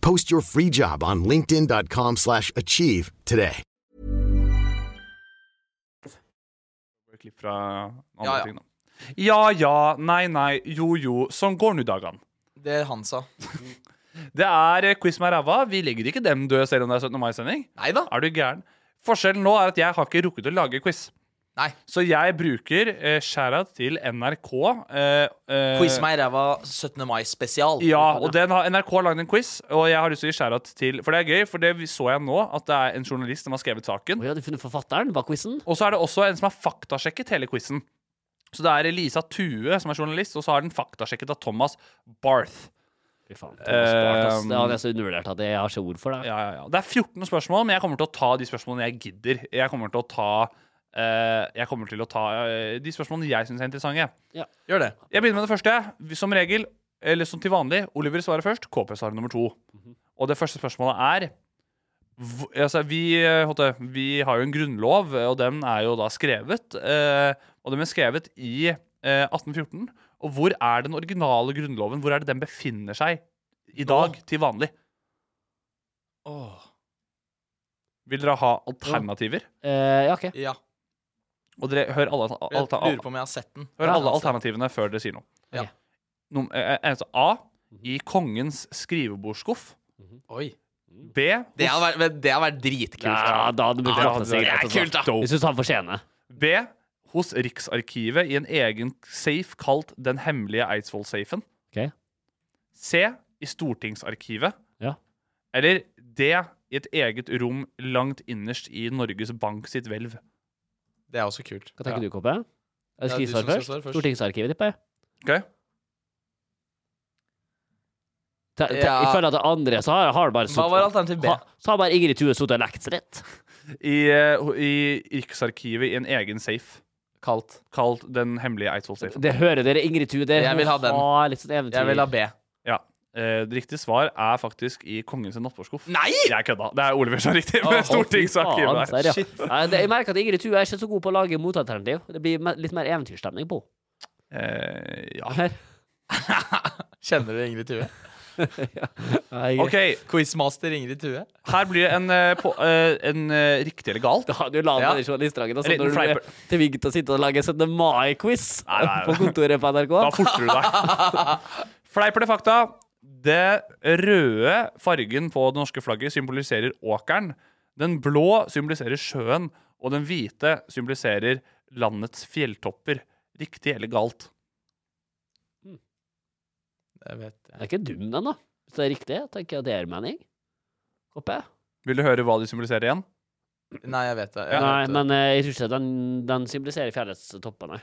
S8: Post your free job on linkedin.com/achieve slash achieve today.
S4: Klipp fra andre
S3: Ja, ja.
S4: ting, da. Ja ja, nei nei, jo jo, sånn går nu dagene.
S3: Det han sa.
S4: Det er eh, quiz med ræva. Vi legger ikke dem døde selv om det er 17. mai-sending.
S3: Nei da.
S4: Er du gæren? Forskjellen nå er at jeg har ikke rukket å lage quiz.
S3: Nei.
S4: Så jeg bruker eh, shoutout til NRK. Eh, eh,
S3: Quiz meg i ræva 17. mai-spesial.
S4: Ja, og den har, NRK har lagd en quiz, og jeg har lyst til å gi skjærat til For det er gøy, for det vi- så jeg nå, at det er en journalist som har skrevet
S5: Å
S4: saken.
S5: ja, du funnet forfatteren bak quizen?
S4: Og så er det også en som har faktasjekket hele quizen. Så det er Elisa Tue som er journalist, og så har den faktasjekket av Thomas Barth.
S5: Fy faen. det var smart, ass.
S4: Ehm.
S5: Det er så undervurdert at jeg har ikke ord for det.
S4: Ja, ja, ja. Det er 14 spørsmål, men jeg kommer til å ta de spørsmålene jeg gidder. Jeg kommer til å ta, eh, jeg kommer til å ta eh, de spørsmålene jeg syns er interessante.
S3: Gjør det.
S4: Jeg begynner med det første. Som regel, eller som til vanlig, Oliver svarer først, KP svarer nummer to.
S3: Mhm.
S4: Og det første spørsmålet er hv- altså, vi, eh, Hotte, vi har jo en grunnlov, og den er jo da skrevet. Eh, og den ble skrevet i eh, 1814. Og hvor er den originale grunnloven? Hvor er det den befinner seg i dag, til vanlig? Vil dere ha alternativer?
S5: Eh, ja, OK.
S3: Ja.
S4: Og dere hører alle,
S3: Jeg
S4: alle,
S3: lurer på om jeg har sett den.
S4: Hør alle alternativene før dere sier noe.
S3: Ja. Mhm.
S4: Num- eh, eh, altså A. I kongens skrivebordsskuff.
S3: Oi.
S4: B.
S3: Det har
S4: Hos,
S3: vært, men det har vært dritkult.
S5: Ja, da hadde du
S4: Ja,
S5: klart det
S4: det er
S5: sikkert.
S3: kult, da.
S5: Vi syns altså. han fortjener
S4: B. Hos Riksarkivet i en egen safe kalt Den hemmelige Eidsvoll-safen.
S5: Ok.
S4: C. I Stortingsarkivet.
S5: Ja.
S4: Eller D. I et eget rom langt innerst i Norges Bank sitt hvelv.
S3: Det er også kult.
S5: Hva tenker du, KP? Er det
S3: Ja, du
S5: skrivesvar
S3: som skal
S5: først?
S3: svare først.
S5: Stortingsarkivet, tipper jeg.
S4: Ok?
S5: Te- te-
S3: Ja.
S5: I forhold til andre så har, har det bare
S3: Hva var alternativ B?
S5: Ha, så har bare Ingrid Thue sittet og lekt seg litt.
S4: I, eh, ho- I Riksarkivet i en egen safe
S3: Kaldt.
S4: kalt Den hemmelige Eidsvoll-safen.
S5: Det hører dere, Ingrid Thue. Dere
S3: Jeg vil ha den.
S5: har litt sånn eventyr.
S3: Jeg vil ha B.
S4: Ja. Eh, det riktige svar er faktisk i Kongens nattbordskuff.
S3: Nei!
S4: Jeg kødda. Det er Oliver som er riktig.
S3: Å,
S4: Men
S5: Å, fy faen,
S4: Stortingsarkivet
S5: serr,
S4: der.
S5: ja. Nei, det- Jeg merker at Ingrid Thue er ikke så god på å lage motalternativ. Det blir me- litt mer eventyrstemning på
S4: Eh, ja.
S5: henne.
S3: Kjenner du Ingrid Tue?
S4: OK,
S3: Quizmaster Ingrid Tue.
S4: her blir det en, eh, på, eh, en eh, riktig eller galt.
S5: Da, du la
S3: Ja.
S5: meg i journalistdragen
S4: En
S5: og sånn
S4: liten
S5: når du
S4: fleip.
S5: ble tvunget til å sitte og lage 17. mai-quiz
S4: Nei, nei, nei.
S5: på kontoret på NRK.
S4: Da forter du deg. Fleip eller fakta? Det røde fargen på det norske flagget symboliserer åkeren. Den blå symboliserer sjøen, og den hvite symboliserer landets fjelltopper. Riktig eller galt?
S3: Det vet jeg.
S5: Den er ikke dum, den, da. Hvis det er riktig, tenker jeg det er mening. Håper jeg.
S4: Vil du høre hva de symboliserer igjen?
S3: Nei, jeg vet det. Jeg
S5: Nei,
S3: vet det.
S5: men eh, jeg tror ikke den, den symboliserer fjellets toppene.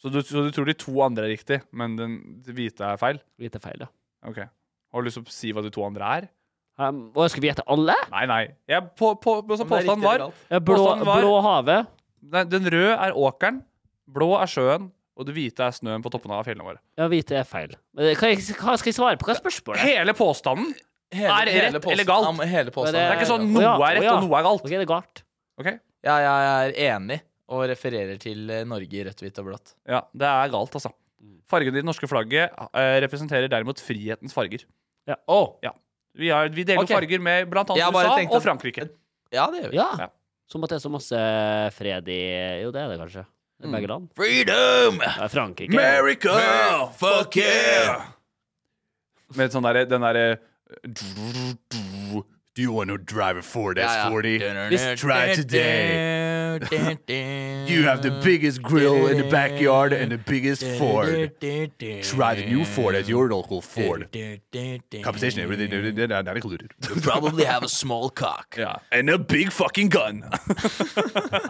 S4: Så du, så du tror de to andre er riktig, men den hvite er feil?
S5: Lite feil, ja.
S4: Ok. Har du lyst til å si hva de to andre er?
S5: Um, og jeg skulle vi gjette alle?
S4: Nei, nei. Jeg, på, på, så
S3: Om det er
S4: påstanden
S3: riktig
S4: var
S3: eller galt.
S5: Ja, Blå,
S4: Påstanden var-
S5: blå havet.
S4: nei, Den røde er åkeren, blå er sjøen, og det hvite er snøen på toppene av fjellene våre.
S5: Ja, hvite er feil. Men hva, hva skal jeg svare på? Hva er spørsmålet?
S4: Hele påstanden!
S3: Hele,
S4: Er det
S3: hele
S4: rett
S3: påstanden-
S4: eller galt?
S3: Ja, men hele påstanden
S4: Det
S5: Det
S4: er ikke sånn
S5: Eh, Å
S4: noe
S5: ja,
S4: er
S5: å
S4: rett
S5: ja.
S4: og noe er galt.
S5: Ok, det er galt.
S4: Ok?
S3: Ja, jeg er enig og refererer til eh, Norge i rødt, hvitt og blått.
S4: Ja, det er galt, altså.
S5: Mm.
S4: Fargen i det norske flagget eh, representerer derimot frihetens farger.
S3: Oh.
S4: Ja. Vi, har- vi deler
S3: Ok.
S4: farger med blant
S3: Jeg
S4: annet
S3: bare
S4: USA
S3: tenkte
S4: og
S3: at-
S4: Frankrike.
S3: Ja, det gjør vi.
S5: Ja.
S4: Ja.
S5: Som at det er så masse fred i Jo, det er det kanskje. Det
S4: Mm.
S5: er begge land.
S3: Freedom!
S5: Det er Frankrike.
S4: America!
S3: Fuck yeah!
S4: Med sånn derre den derre Do you want to drive a Ford S40? Try today. You have the biggest grill in the backyard and the biggest Ford. Try the new Ford at your local Ford. Compensation everything not included.
S3: Probably have a small cock.
S4: Yeah. And a big fucking gun.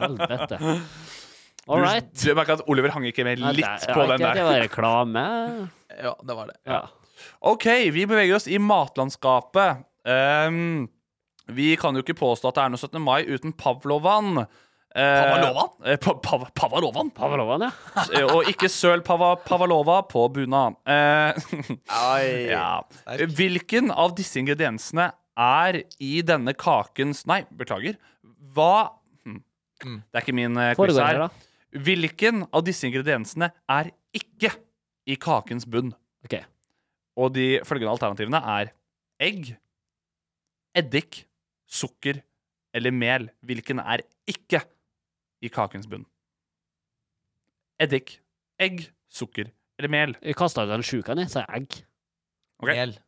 S5: Helvete. All right.
S4: Du merker at Oliver hang ikke med
S5: Nei, det
S4: litt
S5: er-
S4: på
S5: ja,
S4: den
S5: ikke at Det
S4: der.
S5: var reklame.
S3: Ja, det var det.
S5: Ja.
S4: OK, vi beveger oss i matlandskapet. Ehm, vi kan jo ikke påstå at det er noe 17. mai uten Pavlovan.
S3: Pavlovan?
S4: Eh, pa pav Pavlovan?
S5: Pavlovan, ja.
S4: Eh, Og ikke søl pava Pavlova på buna. Eh,
S3: Ai.
S4: ja. Hvilken av disse ingrediensene er i denne kakens Nei, beklager. Hva hm. Det er ikke min eh, quiz
S5: Foregår
S4: her.
S5: her, da.
S4: Hvilken av disse ingrediensene er ikke i kakens bunn?
S5: OK.
S4: Og de følgende alternativene er egg, eddik, sukker eller mel. Hvilken er ikke i kakens bunn? Eddik, egg, sukker eller mel.
S5: Vi kasta ut den sjuka, ni, sa jeg egg.
S4: Ok.
S3: Mel.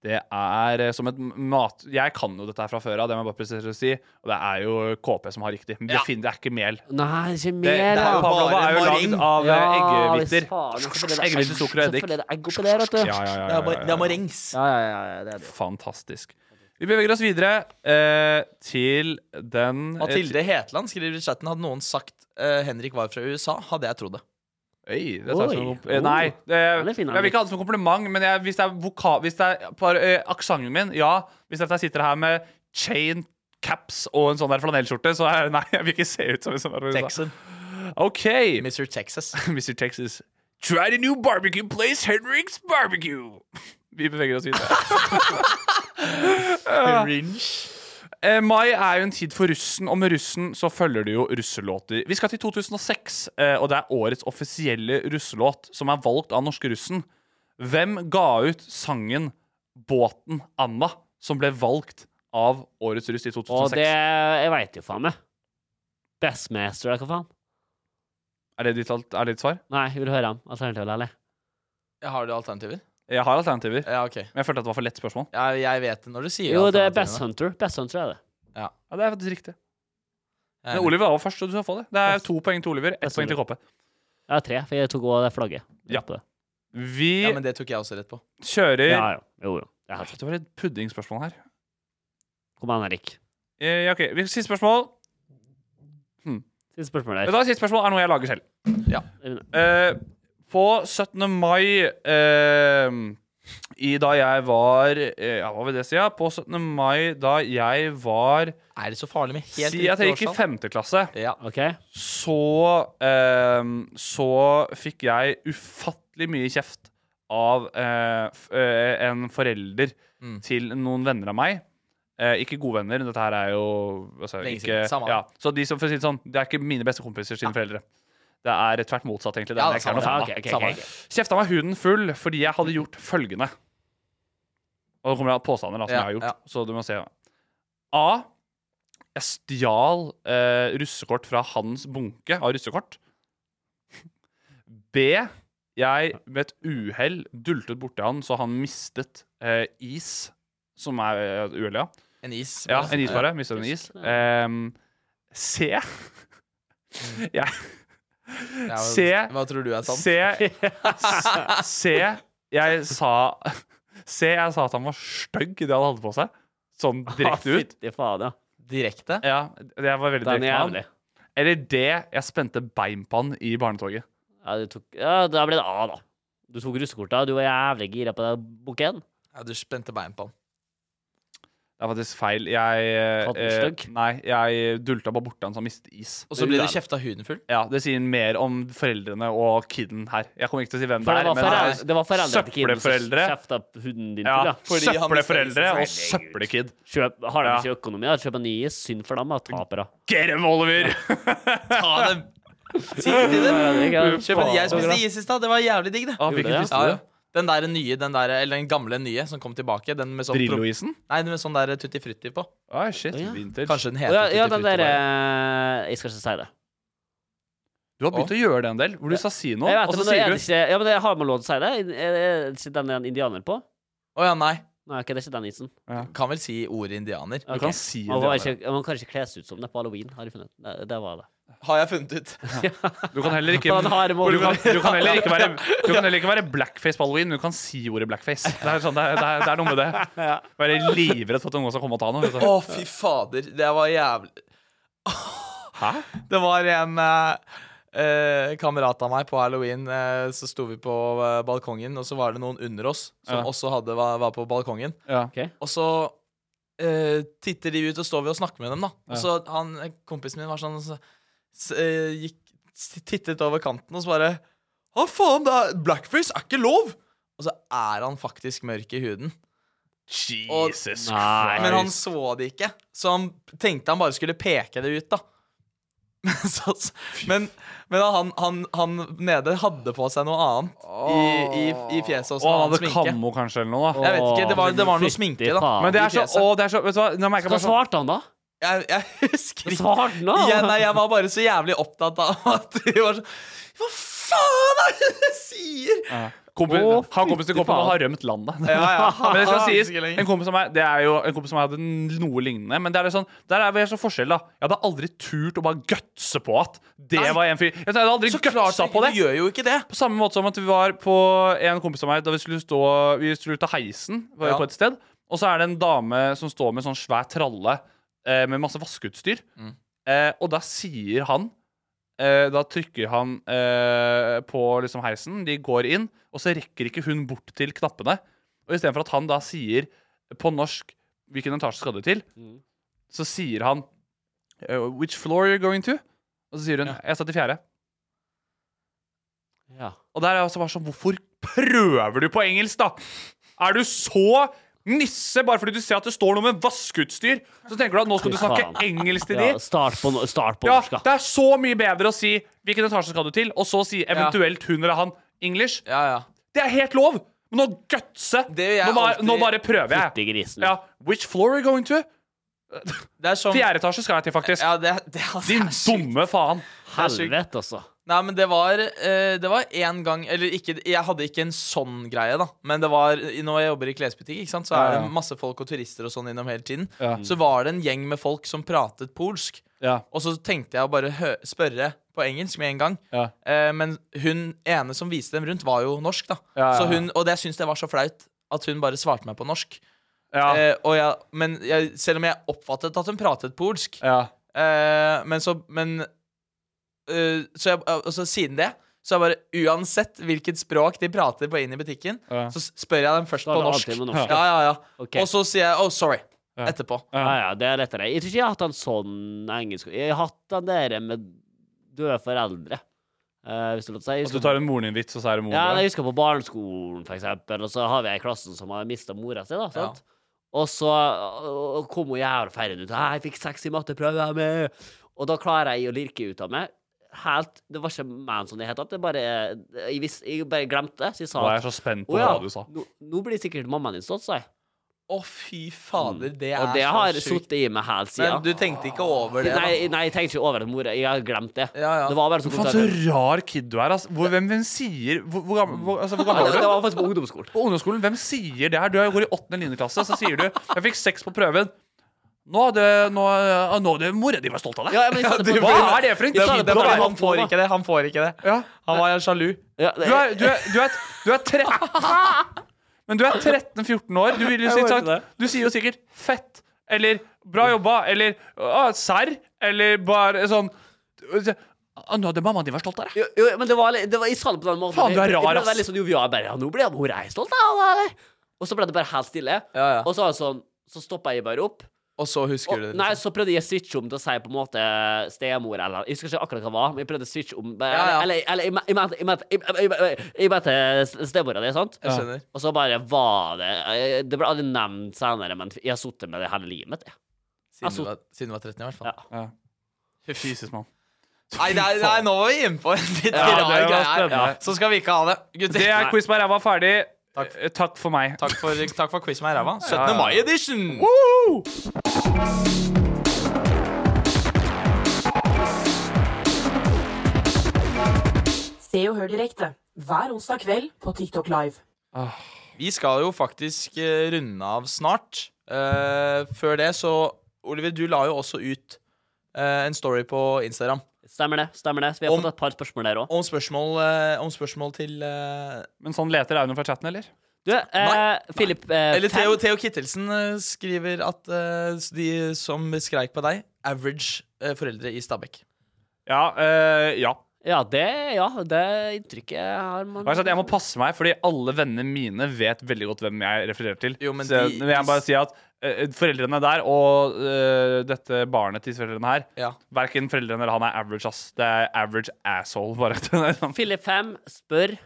S4: Det er eh, som et mat... Jeg kan jo dette her fra før av, det må jeg bare presisere å si. Og det er jo KP som har riktig. Men det,
S3: Ja.
S4: fin- det er ikke mel.
S5: Nei, ikke
S4: Det,
S5: mer,
S4: det er
S3: bare
S4: jo Pavlova er jo
S3: maring.
S4: lagd av eh,
S5: Ja, hvis
S4: eggehviter.
S5: faen, selvfølgelig er det
S4: Eggehviter,
S5: egg.
S4: sukker og eddik.
S5: Selvfølgelig er det egg oppi der, vet du.
S4: Ja, ja,
S3: Det
S4: ja, ja,
S3: er,
S4: ja,
S3: bare- det
S4: ja.
S3: er marengs.
S5: Ja, ja, ja, ja, det er det.
S4: Fantastisk. Vi beveger oss videre eh, til den eh,
S3: Mathilde Hetland skriver i chatten Hadde noen sagt eh, Henrik var fra USA, hadde jeg trodd det.
S4: Oi, det tar jeg som
S5: Oi.
S4: en kompl- eh,
S3: Oh.
S4: Nei,
S5: Den er
S4: det,
S5: fin,
S4: jeg vil ikke ha det som kompliment, men jeg, hvis det er, voka, hvis det er par- eh, aksenten min Ja, hvis jeg sitter her med chain caps og en sånn der flanellskjorte, så er Nei, jeg vil ikke se ut som en sånn der fra USA.
S3: Texan.
S4: OK,
S3: Mr. Texas.
S4: Mr. Texas. Try the new barbecue place, Henrik's Barbecue. Vi beveger oss videre. Eh, mai er jo en tid for russen, og med russen så følger det jo russelåter. Vi skal til 2006, eh, og det er årets offisielle russelåt, som er valgt av norske russen. Hvem ga ut sangen 'Båten Anna', som ble valgt av årets russ i 2006?
S5: Og det Jeg veit jo faen meg. Bestmaster, hva faen?
S4: Er, det ditt, alt- er det ditt svar?
S5: Nei, jeg vil høre ham. Alternativet, eller?
S3: Jeg har du alternativer?
S4: Jeg har alternativer,
S3: Ja, OK.
S4: men jeg følte at det var for lett spørsmål.
S3: Jeg, jeg vet det når du sier
S5: Jo, det er Best sånn.
S3: alternativene.
S5: Hunter. Best Hunter er det.
S4: Ja, Det er faktisk riktig.
S3: Jeg er
S4: Men
S3: enig.
S4: Oliver var først, så du skal få det. Det er to poeng til Oliver, ett
S5: Best
S4: poeng til Koppe.
S5: Jeg har tre, for jeg tok òg det flagget.
S4: Ja. Eh.
S5: Oppå det.
S4: Vi
S3: Ja, men det tok jeg også rett på.
S5: ja,
S4: kjører
S5: ja. Jo, jo. Det er
S4: Åh,
S5: helt-
S4: Det var et puddingspørsmål her.
S5: Kom an, Erik.
S4: Eh, ja, ok, vi- Siste spørsmål.
S5: Siste spørsmål
S4: Vet
S5: der.
S4: du hva, Siste spørsmål er noe jeg lager selv.
S3: Ja.
S4: Eh, på 17. mai eh, i da jeg var eh, Ja, hva vil det si? Ja? På 17. mai da jeg var
S3: Er det så farlig med helt
S4: Si at jeg gikk i femte klasse,
S3: Ja.
S5: OK?
S4: så eh, Så fikk jeg ufattelig mye kjeft av eh, f eh, en forelder
S3: Mm.
S4: til noen venner av meg. Eh, ikke gode venner. Dette her er jo altså,
S3: Lenge
S4: ikke,
S3: siden, samme.
S4: Ja. Så de som, for å si det sånn, det er ikke mine beste kompiser sine foreldre. Det er tvert motsatt, egentlig. Det
S3: Ja,
S4: er
S3: det er
S4: jeg ikke er noe
S3: samme.
S4: fan av.
S5: Ja, ok, ok,
S3: Samme.
S5: ok, ok.
S4: Kjefta meg huden full fordi jeg hadde gjort følgende. Og nå kommer det påstander da, som
S3: Ja,
S4: jeg har gjort.
S3: ja.
S4: Så du må se. A. Jeg stjal eh, russekort fra hans bunke av russekort. B. Jeg med et uhell dultet borti han, så han mistet eh, is. Som er eh, et uhell, ja.
S3: En is.
S4: Ja, en is bare. Mistet en is. Ehm, C. Jeg
S3: Ja,
S4: Se.
S3: Hva tror du er
S5: Sånn.
S3: sant?
S4: Se, se Jeg sa Se, jeg sa at han var stygg i det han hadde på seg. Sånn
S5: Ah,
S4: direkte ut.
S5: Fytti faen, ja.
S3: Direkte?
S4: Ja, det var veldig direkte
S5: Den er
S4: med han.
S5: jævlig.
S4: Eller det jeg spente bein på han i barnetoget.
S5: Ja, du tok, ja, da ble det A, da. Du tok russekortet, og du var jævlig gira på den bukken.
S3: Ja, du spente bein på han.
S4: Det er faktisk feil. Jeg
S5: Katten
S4: eh,
S5: stygg?
S4: Nei, jeg dulta bare borti han som mistet is.
S3: Og så blir det kjefta huden full.
S4: Ja, det sier mer om foreldrene og kiden her. Jeg kommer ikke til å si hvem det
S5: For det
S4: er,
S5: var,
S4: men
S3: foreldre-
S5: forel- det var foreldrene til kiden som
S4: Søppelforeldre.
S5: kjefta hunden din.
S4: ja,
S5: Ja.
S3: fordi han
S4: søppelforeldre
S3: mistet
S4: og
S5: isen.
S4: søppelkid.
S5: Kjøp, har de
S4: Ja.
S5: ikke økonomi? da? Kjøp en ny is. Synd for dem, da. Tapere.
S4: Get him, Oliver!
S3: Ta dem. Ti til dem. Kjøp en Jeg spiste
S5: is.
S3: is i stad. Det var jævlig digg, det.
S4: Ah,
S5: Gjorde
S4: hvilken
S5: det?
S4: visste
S3: Ja,
S4: du?
S3: ja. Den der nye, den der, eller den gamle nye som kom tilbake. Den med sånn pro-
S4: Drillo-isen?
S3: Nei, den med sånn der tutti frutti på.
S4: Oi, shit.
S5: Å, ja.
S4: Vintage.
S3: Kanskje den heter
S5: Ja, ja,
S3: tutti
S5: den
S3: frutti
S5: der
S3: bare.
S5: eh, Jeg skal ikke si det.
S4: Du har begynt å gjøre det en del, hvor du sa si noe,
S5: jeg vet
S4: og
S5: det,
S4: så
S5: men det
S4: sier
S5: er
S4: du
S5: det ikke Ja, men det har man lov til å si det? Er det ikke den det er en indianer på?
S3: Å ja, nei.
S5: Nei, ok, det er ikke den isen.
S3: Kan vel si ordet indianer.
S5: Ok.
S4: kan si
S5: man, var
S4: indianer.
S5: ikke, man kan ikke kle seg ut som det på halloween, har jeg funnet. Det, det var det.
S3: Har jeg funnet ut.
S4: Du kan heller ikke
S5: For han har
S4: du
S5: mål-
S4: kan, du kan heller ikke være, du kan heller ikke være blackface på halloween, men du kan si ordet blackface. Det er, sånn, det er, det er, det er noe med det. Være livredd for at noen skal komme og ta noe. vet du.
S3: Å, fy fader. Det var jævlig
S4: Hæ?
S3: Det var en eh, eh, kamerat av meg på halloween. eh, så sto vi på eh, balkongen, og så var det noen under oss som
S4: Ja.
S3: også hadde, var, var på balkongen.
S4: Ja.
S3: Og så eh, titter de ut, og står vi og snakker med dem, da. Og så han, eh, kompisen min var sånn så, s, eh, gikk, s- Tittet over kanten og så bare Hva faen, det er, blackface er ikke lov! Og så er han faktisk mørk i huden.
S4: Jesus
S5: Og- Nei.
S4: Christ.
S3: Men han så det ikke, så han tenkte han bare skulle peke det ut, da. Men så- men, men han, han, han nede hadde på seg noe annet i, i, i fjeset også.
S4: Og han
S3: annen
S4: hadde
S3: sminke.
S4: kammo kanskje eller noe, da.
S3: Jeg vet ikke, det var, det var noe
S5: Fytti
S3: sminke, da.
S5: faen.
S4: Men det er
S3: i
S4: så,
S3: fjeset.
S4: å, det er så, vet du hva, nå merker jeg
S5: Hva
S4: bare sånn
S5: svarte han, da?
S3: Jeg, jeg husker
S5: Hva
S3: ikke.
S5: svarte han, da?
S3: Jeg, nei, jeg var bare så jævlig opptatt av at de var sånn Hva faen er det du sier?!
S4: Kompis,
S5: Å,
S4: han kompisen til
S5: fytti
S4: kompisen
S5: faen.
S4: har rømt landet.
S3: ja.
S4: Men det skal
S3: Ah,
S4: sies,
S3: ikke lenger.
S4: en kompis av meg Det er jo en kompis som hadde noe lignende. Men det er litt sånn, der er vi så forskjell, da. Jeg hadde aldri turt å bare gutse på at det
S3: Nei.
S4: var en fyr. Jeg hadde aldri
S3: Så klart
S4: gutsa på det.
S3: du gjør jo ikke det.
S4: På samme måte som at vi var på en kompis av meg da vi skulle stå Vi skulle ut av heisen var vi
S3: Ja.
S4: på et sted, og så er det en dame som står med en sånn svær tralle eh, med masse vaskeutstyr. Eh, og da sier han eh, Da trykker han eh, på liksom heisen, de går inn, og så rekker ikke hun bort til knappene. Og istedenfor at han da sier på norsk hvilken etasje skal du til, så sier han eh, Which floor are you going to? Og så sier hun Jeg satt i fjerde.
S5: Ja.
S4: Og der er jeg også bare sånn Hvorfor prøver du på engelsk, da? Er du så nisse bare fordi du ser at det står noe med vaskeutstyr? Så tenker du at nå skal du
S5: Fy faen.
S4: snakke engelsk til de?
S5: ja start på, no- start på
S4: Ja,
S5: norsk,
S4: det
S5: da.
S4: er så mye bedre å si 'hvilken etasje skal du til', og så si eventuelt hun eller han English.
S3: Ja, ja.
S4: Det er helt lov! Men nå gutse!
S3: Det gjør jeg
S4: Nå, bare-
S3: alltid.
S4: nå bare prøver jeg.
S5: Fytti grisen.
S4: Ja, Which floor are you going to?
S3: Det er sånn
S4: Fjerde etasje skal jeg til, faktisk.
S3: ja, det, det, altså,
S4: Din
S3: det er sjukt.
S4: dumme faen.
S5: Helvete, altså.
S3: Nei, men det var eh, Det var en gang Eller ikke Jeg hadde ikke en sånn greie da Men det var Når jeg jobber i klesbutikk Ikke sant Så er
S4: Ja, ja.
S3: det masse folk og turister og sånn innom hele tiden
S4: Ja.
S3: Så var det en gjeng med folk som pratet polsk
S4: Ja.
S3: Og så tenkte jeg å bare hø spørre på engelsk med en gang
S4: Ja.
S3: Eh, Men hun ene som viste dem rundt var jo norsk da
S4: Ja, ja,
S3: Så
S4: ja.
S3: hun Og det jeg synes det var så flaut At hun bare svarte meg på norsk
S4: Ja.
S3: Eh, og jeg, Men jeg, selv om jeg oppfattet at hun pratet polsk
S4: ja.
S3: Eh, men så Men eh, så, jeg, og så siden det så er bare Uansett hvilket språk de prater på inn i butikken,
S4: Ja.
S3: så s- spør jeg dem først
S5: Da
S3: på
S5: er det
S3: norsk.
S5: alltid med norsk,
S3: Ja, ja, ja.
S5: Ok.
S3: Og så sier jeg 'oh, sorry' etterpå.
S5: Ja, ja, det er lettere. Jeg tror ikke jeg har hatt en sånn engelsk Jeg har hatt den der med døde foreldre. Eh, hvis du lov til å si. Jeg
S4: At du
S5: husker-
S4: tar en moren din vits, og så er det moren
S5: ja,
S4: din.
S5: jeg husker på barneskolen, for eksempel, og så har vi ei i klassen som har mista mora si, da. Sant? Og så og kom hun jævla ferdig ut. «Hei, 'Jeg fikk seks i matteprøva mi!' Og da klarer jeg å lirke ut av meg. Helt, Det var ikke men som det het. at det bare- Jeg, visste- jeg bare glemte det. Så jeg sa
S4: Nå er
S5: at
S4: jeg så spent på
S5: «Å ja,
S4: hva du sa.
S5: nå, nå blir sikkert mammaen din stått, sa jeg.
S3: Å, fy fader, det er
S5: Og det har
S3: så sjukt.
S5: sittet i meg helt siden.
S3: Men du tenkte ikke over det?
S5: Nei,
S3: da?
S5: nei, jeg tenkte ikke over at mora Jeg har glemt det.
S3: Ja, ja.
S5: Det var bare så
S4: Faen, så rar kid du er. Altså. Hvor, hvem, hvem sier hvor, hvor, gammel, hvor, altså, hvor
S5: Ja,
S4: gammel
S5: det,
S4: er
S5: det
S4: du?
S5: var faktisk på ungdomsskolen.
S4: På ungdomsskolen, hvem sier det her? Du er- går i åttende linjeklasse, så sier du 'jeg fikk seks på prøven'. Nå hadde, nå, ja, nå hadde mora di vært stolt av deg.
S5: Ja, men jeg sa det på-
S4: Hva er det for en
S5: Jeg sa
S4: kid?
S3: Det er
S4: du
S3: fordi
S4: er?
S3: han får ikke det. Han får ikke det.
S4: Ja.
S3: Han var sjalu.
S5: Ja,
S4: Du er, du er, du er, du er 13 Men du er 13-14 år. Du, vil jo si,
S5: Jeg hørte det.
S4: sagt, du sier jo sikkert 'fett' eller 'bra jobba' eller «Å, 'serr' eller bare sånn «Å, 'Nå hadde mammaen din vært stolt av deg'.
S5: jo, jo, men det var, litt- det var, jeg sa det på den måten.
S4: Faen, du er
S5: Jeg- jeg
S4: rar,
S5: ble
S4: ass.
S5: veldig sånn jovial. Bare, ja, nå ble mora jeg stolt av deg. eller?» Og så ble det bare helt stille.
S3: Ja, ja.
S5: Og så var det sånn Så stoppa jeg bare opp.
S3: Og så husker
S5: Og,
S3: du det. liksom?
S5: nei, så prøvde jeg å switche om til å si på en måte stemor eller Jeg husker ikke akkurat hva det var, men jeg prøvde å switche om
S3: Ja, ja.
S5: Eller, eller jeg men- jeg mente- jeg mente- jeg- jeg- jeg- jeg- jeg mente stemora di, sant?
S3: Jeg skjønner.
S5: Og så bare var det Det ble aldri nevnt senere, men jeg har sittet med det hele livet mitt. jeg.
S3: Siden,
S5: Altså-
S3: du var, siden du var 13 i hvert fall.
S5: Ja.
S4: Ja.
S3: Huff.
S4: Jesus, mann.
S3: Nei, nei, nei, nå var vi inne på en litt
S5: Ja, det
S3: rar
S4: var
S3: greie her.
S4: spennende.
S3: Så skal vi ikke ha det. Gutter,
S4: Det er quiz med ræva ferdig.
S3: Takk.
S4: Eh, Takk for meg.
S3: takk, for, takk for quiz med ræva. 17.
S4: Ja, ja.
S3: mai-edition!
S4: Woo!
S6: Se og hør direkte hver onsdag kveld på TikTok Live.
S3: Vi skal jo faktisk eh, runde av snart. Eh, før det så Oliver, du la jo også ut eh, en story på Instagram
S5: Stemmer det. stemmer det Så vi har
S3: Om-
S5: fått et par spørsmål der òg.
S3: om spørsmål, eh, om spørsmål til eh,
S4: Men sånn leter Aune fra chatten, eller?
S5: Du, eh, Philip eh,
S3: Eller
S5: Fem-
S3: Theo, Theo Kittelsen eh, skriver at eh, de som skreik på deg, average eh, foreldre i Stabekk.
S4: Ja. eh, ja.
S5: Ja, det ja, det inntrykket har man
S4: Bare sånn, jeg må passe meg, fordi alle vennene mine vet veldig godt hvem jeg refererer til.
S3: Jo, men
S4: så
S3: de-
S4: jeg, vil jeg bare si at eh, foreldrene der og eh, dette barnet til foreldrene her
S3: Ja.
S4: Verken foreldrene eller han er average, ass. Det er average asshole, bare. sånn- Hvem
S5: Philip 5 spør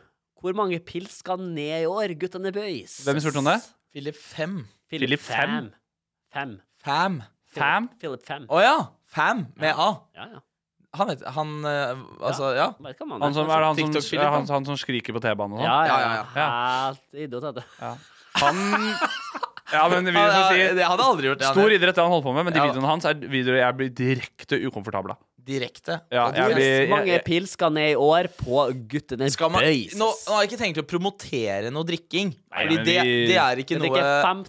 S5: hvor mange pils skal ned i år, guttene boys?
S4: spurte om det?
S3: Philip 5.
S4: Philip Fem?
S5: Fem. Fem.
S3: Fam.
S4: Fam?
S5: Philip 5.
S3: Å ja! Fam med A.
S5: Ja, ja.
S3: Han vet Han eh, Altså, ja.
S5: Vet hva man
S4: Han som, er det han, som,
S3: TikTok-Philip,
S4: er han,
S3: han.
S4: han som skriker på T-banen og sånn?
S5: Ja, ja,
S3: Ja,
S5: ja.
S3: ja,
S5: Helt idiot, vet du.
S4: Han Ja, men
S3: Han,
S4: videoen som
S3: ja,
S4: sier
S3: det hadde aldri gjort det. han
S4: Stor
S3: gjør.
S4: idrett det han holder på med, men de
S3: Ja.
S4: videoene hans er videoer jeg blir direkte ukomfortabel av.
S3: Direkte.
S4: Ja,
S3: Og du-
S4: jeg blir
S5: Hvor mange
S4: jeg, jeg,
S5: pils skal ned i år på guttene
S3: Skal man,
S5: boys?
S3: nå, nå har jeg ikke tenkt å promotere noe drikking.
S4: Nei,
S3: fordi
S4: men
S3: det,
S4: vi-
S3: det er ikke
S5: Skal
S3: noe
S5: drikke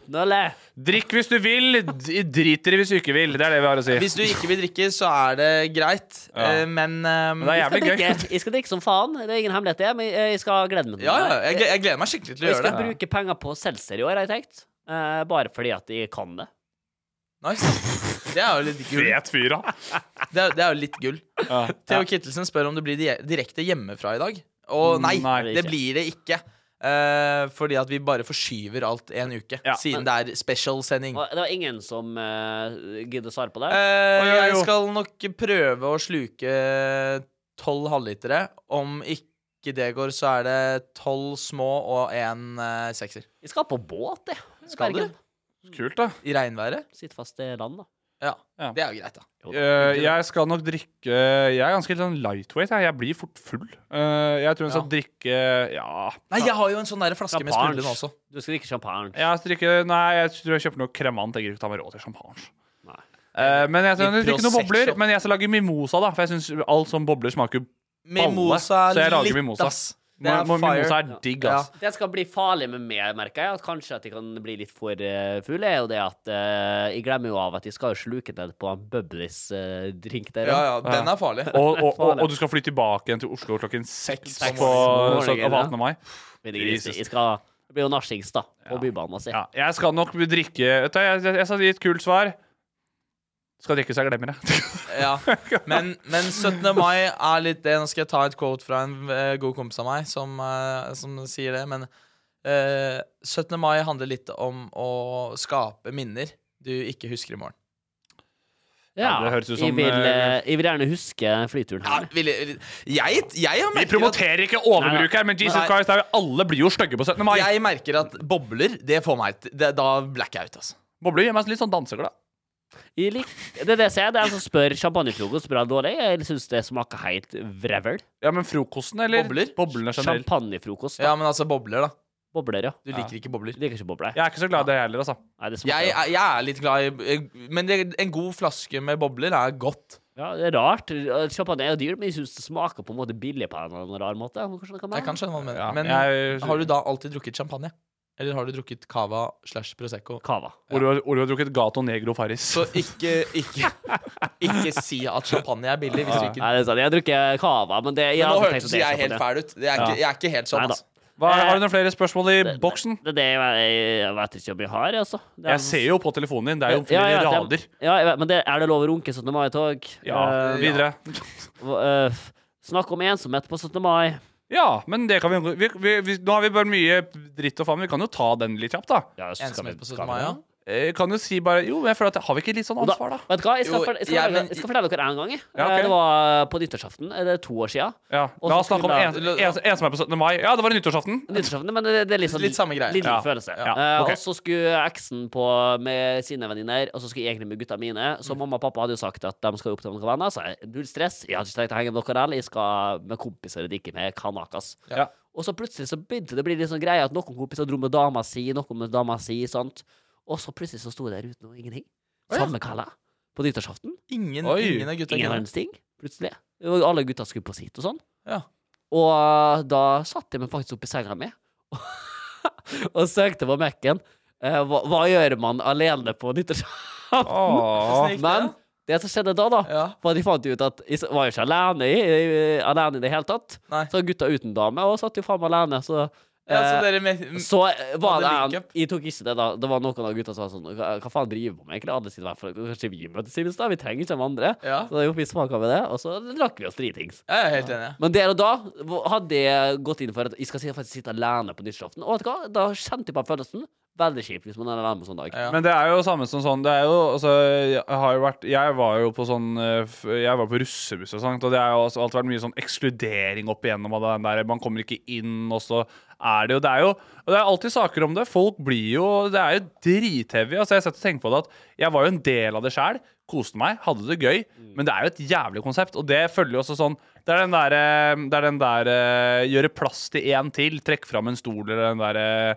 S5: 15 øl, jeg.
S4: Drikk hvis du vil, d- drit dere hvis du ikke vil. Det er det vi har å si.
S3: Hvis du ikke vil drikke, så er det greit.
S4: Ja.
S3: Eh, men ehm,
S4: Men det er
S5: Jeg skal,
S4: jævlig gøy.
S5: drikke, jeg skal drikke som faen. Det er ingen hemmelighet, det. Men jeg jeg skal glede meg til
S3: ja,
S5: det.
S3: ja, jeg, gle- jeg gleder meg skikkelig til å
S5: Og jeg
S3: gjøre
S5: skal
S3: det.
S5: bruke penger på seltzer i år, har jeg tenkt. Eh, bare fordi at jeg kan det.
S3: Nice. Det er jo litt gull.
S4: Fet fyr, da.
S3: Det er, det er jo litt gull.
S4: Ja.
S3: Theo Kittelsen spør om du blir di- direkte hjemmefra i dag. Og nei,
S4: Nei,
S3: det
S5: ikke.
S3: blir det ikke. Eh, fordi at vi bare forskyver alt en uke,
S4: Ja.
S3: siden det er special-sending.
S5: Og det var ingen som uh, gidder å svare på det.
S3: Eh,
S4: Oi, oi,
S3: jeg
S4: oi.
S3: skal nok prøve å sluke tolv halvlitere. Om ikke det går, så er det tolv små og én eh, sekser.
S5: Jeg skal på båt, jeg.
S3: Skal du?
S5: Bergen.
S4: Kult, da.
S3: I regnværet?
S5: Sitt fast i land, da.
S3: Ja.
S4: Ja.
S3: Det er jo greit, da.
S4: Eh, jeg skal nok drikke Jeg er ganske litt sånn lightweight. Jeg, jeg blir fort full. Eh, jeg tror jeg skal drikke Ja.
S3: Nei, jeg har jo en sånn der flaske
S5: Ja,
S3: med sprudlende
S5: barns.
S3: også.
S5: Du skal drikke champagne.
S4: Jeg skal drikke Nei, jeg tror jeg kjøper noe kremant. Jeg gidder ikke ta meg råd til champagne.
S5: Nei.
S4: Eh, men jeg, jeg
S3: Litt
S4: drikker noen bobler,
S3: Prosecco.
S4: men jeg skal lage mimosa, da. For jeg syns alt som bobler smaker balle.
S3: Mimosa
S4: så jeg lager
S3: litt,
S4: mimosa.
S3: ass. Det er
S4: Mo- mo-
S3: fire.
S4: Mimosa er digg, ass.
S5: Det skal bli farlig med meg, merker jeg. At kanskje at jeg kan bli litt for eh, full, er jo det at eh, jeg glemmer jo av at jeg skal jo sluke ned på en Bubbles-drink der.
S3: Ja, ja, den er farlig.
S4: Og, og, og, og du skal fly tilbake igjen til Oslo klokken seks
S3: Seks
S4: på
S5: om morgenen,
S4: sø- av 18. mai.
S5: Men jeg,
S4: Jesus.
S5: jeg skal det blir jo nachings, da. På bybanen. Altså.
S4: Ja, jeg skal nok drikke Vet du, jeg, jeg, jeg skal gi et kult svar. Skal drikke så jeg glemmer det.
S3: Ja. Men, men 17. mai er litt det. Nå skal jeg ta et quote fra en eh, god kompis av meg som, eh, som sier det. Men eh, 17. mai handler litt om å skape minner du ikke husker i morgen.
S4: Ja, det høres ut som,
S5: jeg, vil,
S4: eh,
S5: eh, jeg vil gjerne huske flyturen
S3: Ja,
S5: her.
S3: vil, vil, jeg, jeg, har
S4: Vi
S3: merket at,
S4: promoterer ikke overbruk her, men Jesus
S3: Nei.
S4: Christ, det er jo- alle blir jo stygge på 17. mai.
S3: jeg merker at bobler, det får meg til det, Da blacker jeg ut, altså.
S4: Bobler gjør meg litt sånn danseglad.
S5: Jeg lik, det er det jeg sier. Det er en som spør champagnefrokost bra eller dårlig. Jeg syns det smaker helt vrevl.
S4: Ja, men frokosten, eller?
S3: Bobler?
S4: Boblene generelt.
S5: Champagnefrokost.
S3: Ja,
S5: da.
S3: men altså bobler, da.
S5: Bobler, ja.
S3: Du liker ikke bobler.
S5: Jeg liker ikke bobler.
S4: Jeg er ikke så glad i det heller, altså.
S5: Nei, det
S3: Jeg,
S5: smaker jo-
S3: er- jeg er litt glad i eh, Men det, en god flaske med bobler er godt.
S5: ja, Det er rart. Champagne er jo dyrt, men jeg syns det smaker på en måte billig på en eller annen rar måte. Kanskje det kan være?
S3: Jeg kan skjønne hva du mener.
S4: Ja,
S3: men
S4: jeg-
S3: har du da alltid drukket champagne? Eller har du drukket cava slash prosecco?
S5: Cava.
S4: Olo Olo har drukket Gato Negro Farris.
S3: Så ikke, ikke, ikke si at champagne er billig. Hvis du ikke
S5: Nei, det er sant. Jeg drikker cava, men det jeg
S3: men
S5: har
S3: Nå
S5: aldri
S3: hørtes
S5: tenkt at
S3: jeg
S5: det er
S3: helt
S5: champagne.
S3: fæl ut. Jeg er ikke, jeg er ikke helt sånn.
S5: Neida.
S3: Altså.
S4: Hva, har du noen flere spørsmål i boksen?
S5: Eh, Det er det jeg, jeg, jeg vet ikke om jeg har, altså. Det er-
S4: Jeg ser jo på telefonen din, det er jo
S5: Ja,
S4: flere
S5: ja, det er-
S4: rader.
S5: Ja, jeg vet, men det, er det lov å runke 17. mai-tog?
S4: Ja,
S5: Eh,
S4: videre.
S5: snakk om ensomhet på 17. mai.
S4: Ja, men det kan vi, vi, vi, vi Nå har vi bare mye dritt og faen, men vi kan jo ta den litt kjapt, da.
S5: Ja, så skal
S3: Ensomhet
S5: vi-
S3: på 17.
S5: skal vi
S3: mai, ja.
S5: det?
S4: eh, kan jo si bare Jo, men jeg føler at har vi ikke litt sånn
S5: Og da-
S4: ansvar, da?
S5: Vet du hva, jeg skal,
S3: Jo,
S5: for, jeg skal,
S3: ja,
S5: fortelle,
S3: men-
S5: jeg skal fortelle dere en gang. jeg.
S4: Ja, ok.
S5: Eh, Det var på nyttårsaften. eh, Det er to år siden.
S4: Ja,
S5: Og
S4: La
S5: så
S4: oss snakke om
S5: skulle
S4: en, en, en, som er på 17. mai. Ja, det var i nyttårsaften.
S5: Nyttårsaften, men det, det er litt sånn
S3: Litt samme greie.
S5: Litt
S4: Ja.
S5: følelse.
S4: Ja,
S5: Eh,
S4: ok.
S5: og så skulle eksen på med sine venninner, og så skulle jeg egentlig med gutta mine. Så
S4: Mm.
S5: mamma og pappa hadde jo sagt at de skal opp til noen venner. Så jeg, null stress, jeg hadde ikke tenkt å henge med dere heller. Jeg skal med kompiser og ikke med kanakas.
S4: Ja.
S5: Og så plutselig så begynte det å bli litt sånn greie at noen kompiser dro med dama si, noen med dama si, sant. Og så plutselig så sto jeg der uten noe ingenting.
S3: Å, ja.
S5: Samme kalla. På nyttårsaften.
S3: Ingen,
S4: Oi.
S3: ingen av gutta
S5: Ingen
S3: kunne.
S5: verdens ting, plutselig. Og alle gutta skulle på sitt og sånn.
S3: Ja.
S5: Og eh, da satt jeg meg faktisk opp i senga mi og søkte på Mac-en. Eh, hva, hva gjør man alene på nyttårsaften?
S4: Åh.
S3: Hvordan gikk det?
S5: Men det som skjedde da, da,
S3: Ja.
S5: var at de fant ut at jeg s- var jo ikke alene i, i- alene i det hele tatt.
S3: Nei.
S5: Så gutta uten dame og satt jo faen meg alene, så
S3: Ja, så
S5: eh,
S3: dere med,
S5: så eh, var det
S3: Hadde
S5: en
S3: link-up.
S5: Jeg tok ikke det, da. Det var noen av gutta som var sånn Hva hva faen driver vi med, egentlig? Alle sitter hver for Kanskje vi møtes i minste? Vi trenger ikke de andre.
S3: Ja.
S5: Så da gjorde vi smaka med det, og så drakk vi oss dritings.
S3: Jeg er helt enig.
S5: Men der og da v- hadde jeg gått inn for at jeg skal si- faktisk sitte alene på nyttårsaften. Og vet du hva? Da kjente jeg på følelsen. Veldig kjipt hvis man er alene på sånn dag.
S3: Ja.
S4: Men det er jo samme som sånn Det er jo, altså, jeg har jo vært Jeg var jo på sånn eh, f- Jeg var på russebuss og sånt Og det har jo også alltid vært mye sånn ekskludering opp igjennom av den der Man kommer ikke inn Og så er det jo Det er jo Og det er alltid saker om det Folk blir jo Det er jo drithevig Altså jeg setter og tenker på det at Jeg var jo en del av det selv Koste meg Hadde det gøy Men det er jo et jævlig konsept Og det følger jo også sånn det er den der, eh, det er den der eh, gjøre plass til en til, trekk fram en stol eller den der eh,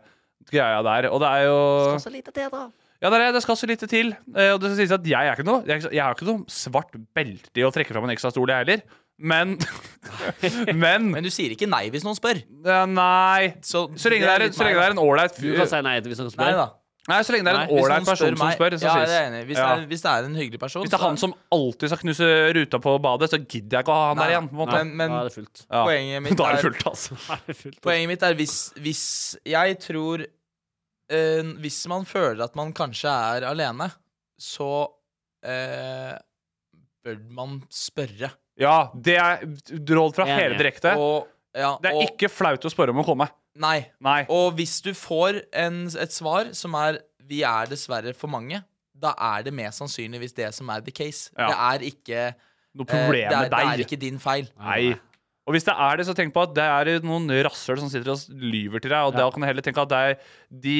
S4: greia der. Og det er jo...
S5: Skal så lite til, da.
S4: Ja, det, er, det Det skal så lite til. Eh, og det skal sies at jeg er ikke noe Jeg, er ikke- jeg har ikke noe svart belte i å trekke fram en ekstra stol, jeg heller. Men Men
S3: Men du sier ikke nei hvis noen spør.
S4: eh, Nei.
S3: Så,
S4: Så lenge det er, en-
S3: litt
S4: så
S3: meg,
S4: lenge det
S3: da.
S4: er en ålreit
S5: Du kan
S4: fyr
S5: si nei til hvis noen
S3: Nei
S5: spør.
S3: da.
S4: Nei, så lenge det er en
S3: Nei, hvis
S4: ålreit
S3: noen
S4: person
S3: spør
S4: som
S3: meg-
S4: spør, så
S3: ja,
S4: sies
S3: det er jeg enig. i. Hvis,
S4: Ja.
S3: det er, hvis det er en hyggelig person
S4: Hvis det er han som alltid skal knuse ruta på badet, så gidder jeg ikke å ha han
S3: Nei,
S4: der igjen. På en måte.
S3: men, men
S5: Da er det fullt.
S4: ja.
S3: poenget mitt
S4: Da er det
S3: er
S4: fullt, altså.
S3: Poenget mitt er hvis, hvis Jeg tror eh, Hvis man føler at man kanskje er alene, så eh, bør man spørre.
S4: Ja, det er råd fra
S5: Enig.
S4: hele direkte.
S3: Og, ja,
S4: Det er
S3: og,
S4: ikke flaut å spørre om å komme.
S3: Nei.
S4: Nei.
S3: Og hvis du får en, et svar som er 'vi er dessverre for mange', da er det mest sannsynligvis det som er the case.
S4: Ja.
S3: Det er ikke eh,
S4: Noe
S3: det,
S4: problem
S3: er,
S4: med
S3: det er
S4: deg.
S3: ikke din feil.
S4: Nei. Og hvis det er det, så tenk på at det er noen rasshøl som sitter og lyver til deg. Og da kan du heller tenke at det er, de,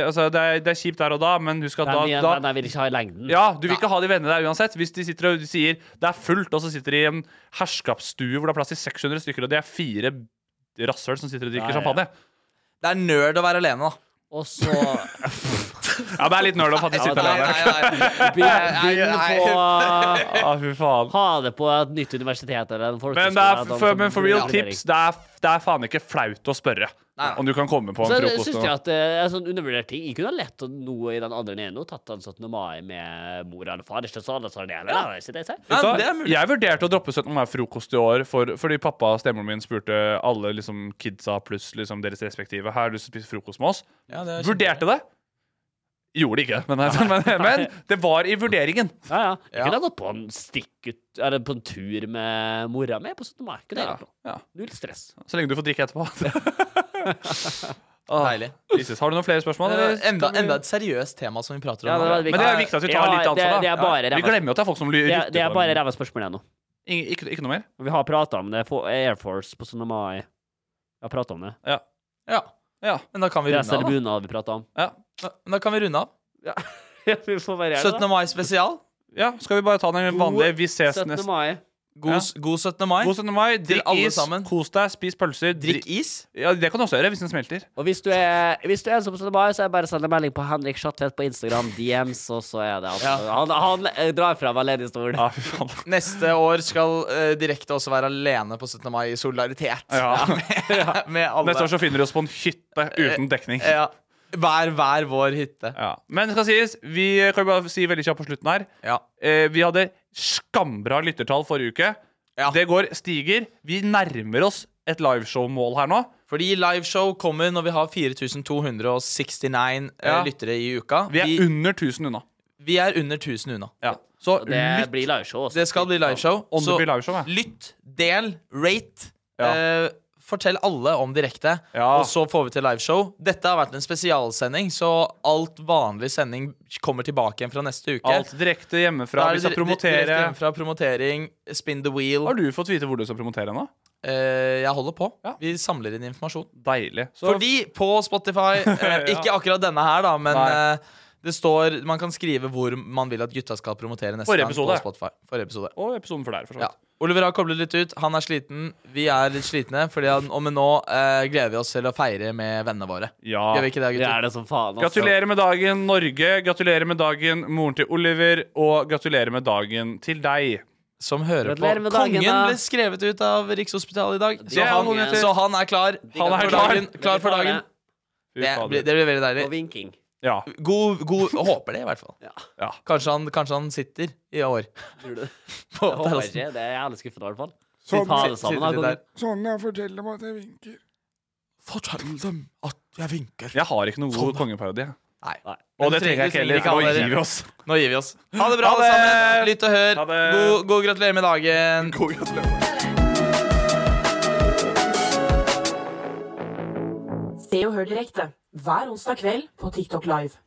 S4: altså det er, det er kjipt der og da, men husk at
S5: Den,
S4: da,
S5: den
S4: da
S5: jeg vil ikke ha i lengden.
S4: ja, Du vil ikke ha de vennene der uansett. Hvis de sitter og sier det er fullt, og så sitter de i en herskapsstue hvor det er plass til 600 stykker, og det er fire rasshøl som sitter og drikker
S5: Ja, ja, ja.
S4: champagne.
S3: Det er nerd å være alene, da.
S5: Og så
S4: Ja, det er litt nerd å faktisk sitte
S3: Nei,
S4: alene.
S3: nei, nei.
S5: begynn begynn
S3: nei.
S5: på
S4: Ah, fy faen.
S5: Ha det på et nytt universitet eller en folkeskole.
S4: Men, det er,
S5: eller noe
S4: for,
S5: sånt.
S4: men for real
S5: Ja.
S4: tips, det er, det er faen ikke flaut å spørre
S3: Nei, nei.
S4: om du kan komme på en
S5: Så
S4: frokost.
S5: syns
S4: og-
S5: jeg at det er en sånn undervurdert ting. Jeg kunne ha lett å noe i den alderen jeg er nå, tatt den 17. mai med mor eller far. Det er ikke så alle som har det heller. da. Det er ikke det jeg sier.
S3: Nei,
S4: Vet du
S3: men det er
S4: hva?
S3: mulig.
S4: Jeg vurderte å droppe 17. mai-frokost i år for, fordi pappa og stemoren min spurte alle liksom, kidsa pluss liksom, deres respektive Har du lyst til å spise frokost med oss.
S3: Ja, det er
S4: vurderte det. Gjorde det ikke, men, men, men det var i vurderingen.
S5: Ja, ja. Jeg
S3: Ja.
S5: kunne ha gått på en stikk ut Eller på en tur med mora mi på 17. mai. Kunne jeg
S4: Ja,
S5: gjort noe.
S4: ja.
S5: Null stress.
S4: Så lenge du får drikke etterpå.
S3: kjempe- deilig.
S4: Jesus, har du noen flere spørsmål?
S3: Eh,
S4: eller skal
S3: Enda,
S4: vi-
S3: enda et seriøst tema som vi prater om.
S5: Ja, det var
S3: nå.
S4: Men det er viktig at vi tar
S5: Ja,
S4: litt ansvar.
S5: det-
S4: da.
S5: det er bare
S4: Ja. Vi
S5: ræva-
S4: glemmer jo at det er folk som lytter.
S5: Det, er- det er bare ræva spørsmål igjen nå.
S4: Ingen- Ikke, ikke noe mer?
S5: Vi har prata om det. Få- Air Force på 17. mai. Vi har prata om det.
S4: Ja.
S3: Ja,
S4: ja.
S3: men da kan vi runde
S5: Dress
S3: av. Da.
S5: eller bunad vi prata om.
S4: ja.
S3: Da, da kan vi runde av.
S5: vi får variere,
S3: 17. mai spesial.
S4: Ja, Skal vi bare ta den vanlige 'vi ses
S5: 17.
S4: neste
S5: mai.
S3: God, s- god 17. mai.
S4: God 17. mai.
S3: Til
S4: Drikk
S3: alle
S4: is,
S3: sammen.
S4: kos deg, spis pølser.
S3: Drikk is.
S4: Ja, Det kan du også gjøre hvis den smelter.
S5: Og hvis du er, hvis du er en som 17. mai, så er det bare å sende melding på Henrik Schatvedt på Instagram, DMs, og så er det altså, han, han eh, drar fra meg ledig stol.
S4: Ja, fy faen.
S3: Neste år skal eh, direkte også være alene på 17. mai i solidaritet.
S4: Ja.
S3: med, med alle. Eh,
S4: Neste år så finner du oss på en hytte uten dekning.
S3: ja. Hver hver vår hytte.
S4: Ja. Men det skal sies, vi kan jo bare si veldig kjapt på slutten her
S3: Ja.
S4: eh, Vi hadde skambra lyttertall forrige uke.
S3: Ja.
S4: Det går stiger. Vi nærmer oss et liveshow-mål her nå.
S3: Fordi liveshow kommer når vi har 4269 eh,
S4: Ja.
S3: lyttere i uka.
S4: Vi er
S3: vi,
S4: under 1000 unna.
S3: vi er under 1000 unna.
S4: Ja. Så
S5: Det
S4: lytt.
S5: blir altså. liveshow også.
S3: Det skal bli liveshow.
S4: Om det
S3: Så
S4: blir liveshow, ja.
S3: lytt, del, rate.
S4: Ja.
S3: eh, fortell alle om direkte,
S4: Ja.
S3: og så får vi til liveshow. Dette har vært en spesialsending, så alt vanlig sending kommer tilbake igjen fra neste uke.
S4: Alt direkte hjemmefra.
S3: Da er
S4: Vi
S3: det
S4: skal
S3: dir- direkte
S4: promotere.
S3: inn Fra promotering, spin the wheel.
S4: Har du fått vite hvor du skal promotere nå?
S3: Eh, jeg holder på.
S4: Ja.
S3: Vi samler inn informasjon.
S4: Deilig. Så
S3: Fordi på Spotify eh, Ikke akkurat denne her, da, men
S4: Nei.
S3: eh, det står Man kan skrive hvor man vil at gutta skal promotere neste
S4: Forrige
S3: gang
S4: episode.
S3: på Spotify. Forrige episode.
S4: Og episoden for der, for så
S3: Ja.
S4: vidt.
S3: Oliver har koblet litt ut. Han er sliten. Vi er litt slitne. Fordi han, og men nå eh, gleder vi oss til å feire med vennene våre.
S4: Ja.
S3: Gjør vi ikke det,
S5: Vi
S3: gutter?
S5: er det som faen. altså.
S4: Gratulerer med dagen, Norge. Gratulerer med dagen, moren til Oliver. Og gratulerer med dagen til deg.
S3: Som hører på.
S5: Gratulerer med dagen,
S3: Kongen
S5: da.
S3: ble skrevet ut av Rikshospitalet i dag.
S5: Det
S3: Så
S4: er
S3: han,
S4: kongen.
S3: så han er klar.
S4: Han er
S3: for
S4: klar.
S3: dagen. Klar for dagen.
S4: Fy
S3: Det
S4: fader.
S3: blir, det blir veldig deilig.
S5: Og vinking.
S4: Ja.
S3: God, god Håper det, i hvert fall.
S5: Ja.
S4: Ja.
S3: Kanskje, han, kanskje han sitter i år
S5: Tror du det?
S3: på
S5: Jeg håper
S3: terrassen.
S4: Sånn
S5: ikke. Det er jævlig skuffende, i hvert fall.
S7: Sånn,
S5: Vi tar det sammen, da,
S3: sitter de
S5: kongen.
S7: Sonja, fortell dem at jeg vinker.
S3: Fortell dem at jeg vinker.
S4: Jeg har ikke noe god kongeparodi. jeg.
S3: Nei.
S5: Nei.
S4: Og
S3: Men
S4: det Sånn, trenger jeg ikke heller.
S3: ha
S4: for Nå
S3: dere.
S4: gir vi oss.
S3: Nå gir vi oss. Ha det bra,
S4: Ha
S3: alle
S4: det!
S3: sammen. Lytt og hør.
S4: Ha det.
S3: God, god gratulerer med dagen.
S4: God gratulerer.
S6: Se og hør direkte hver onsdag kveld på TikTok Live.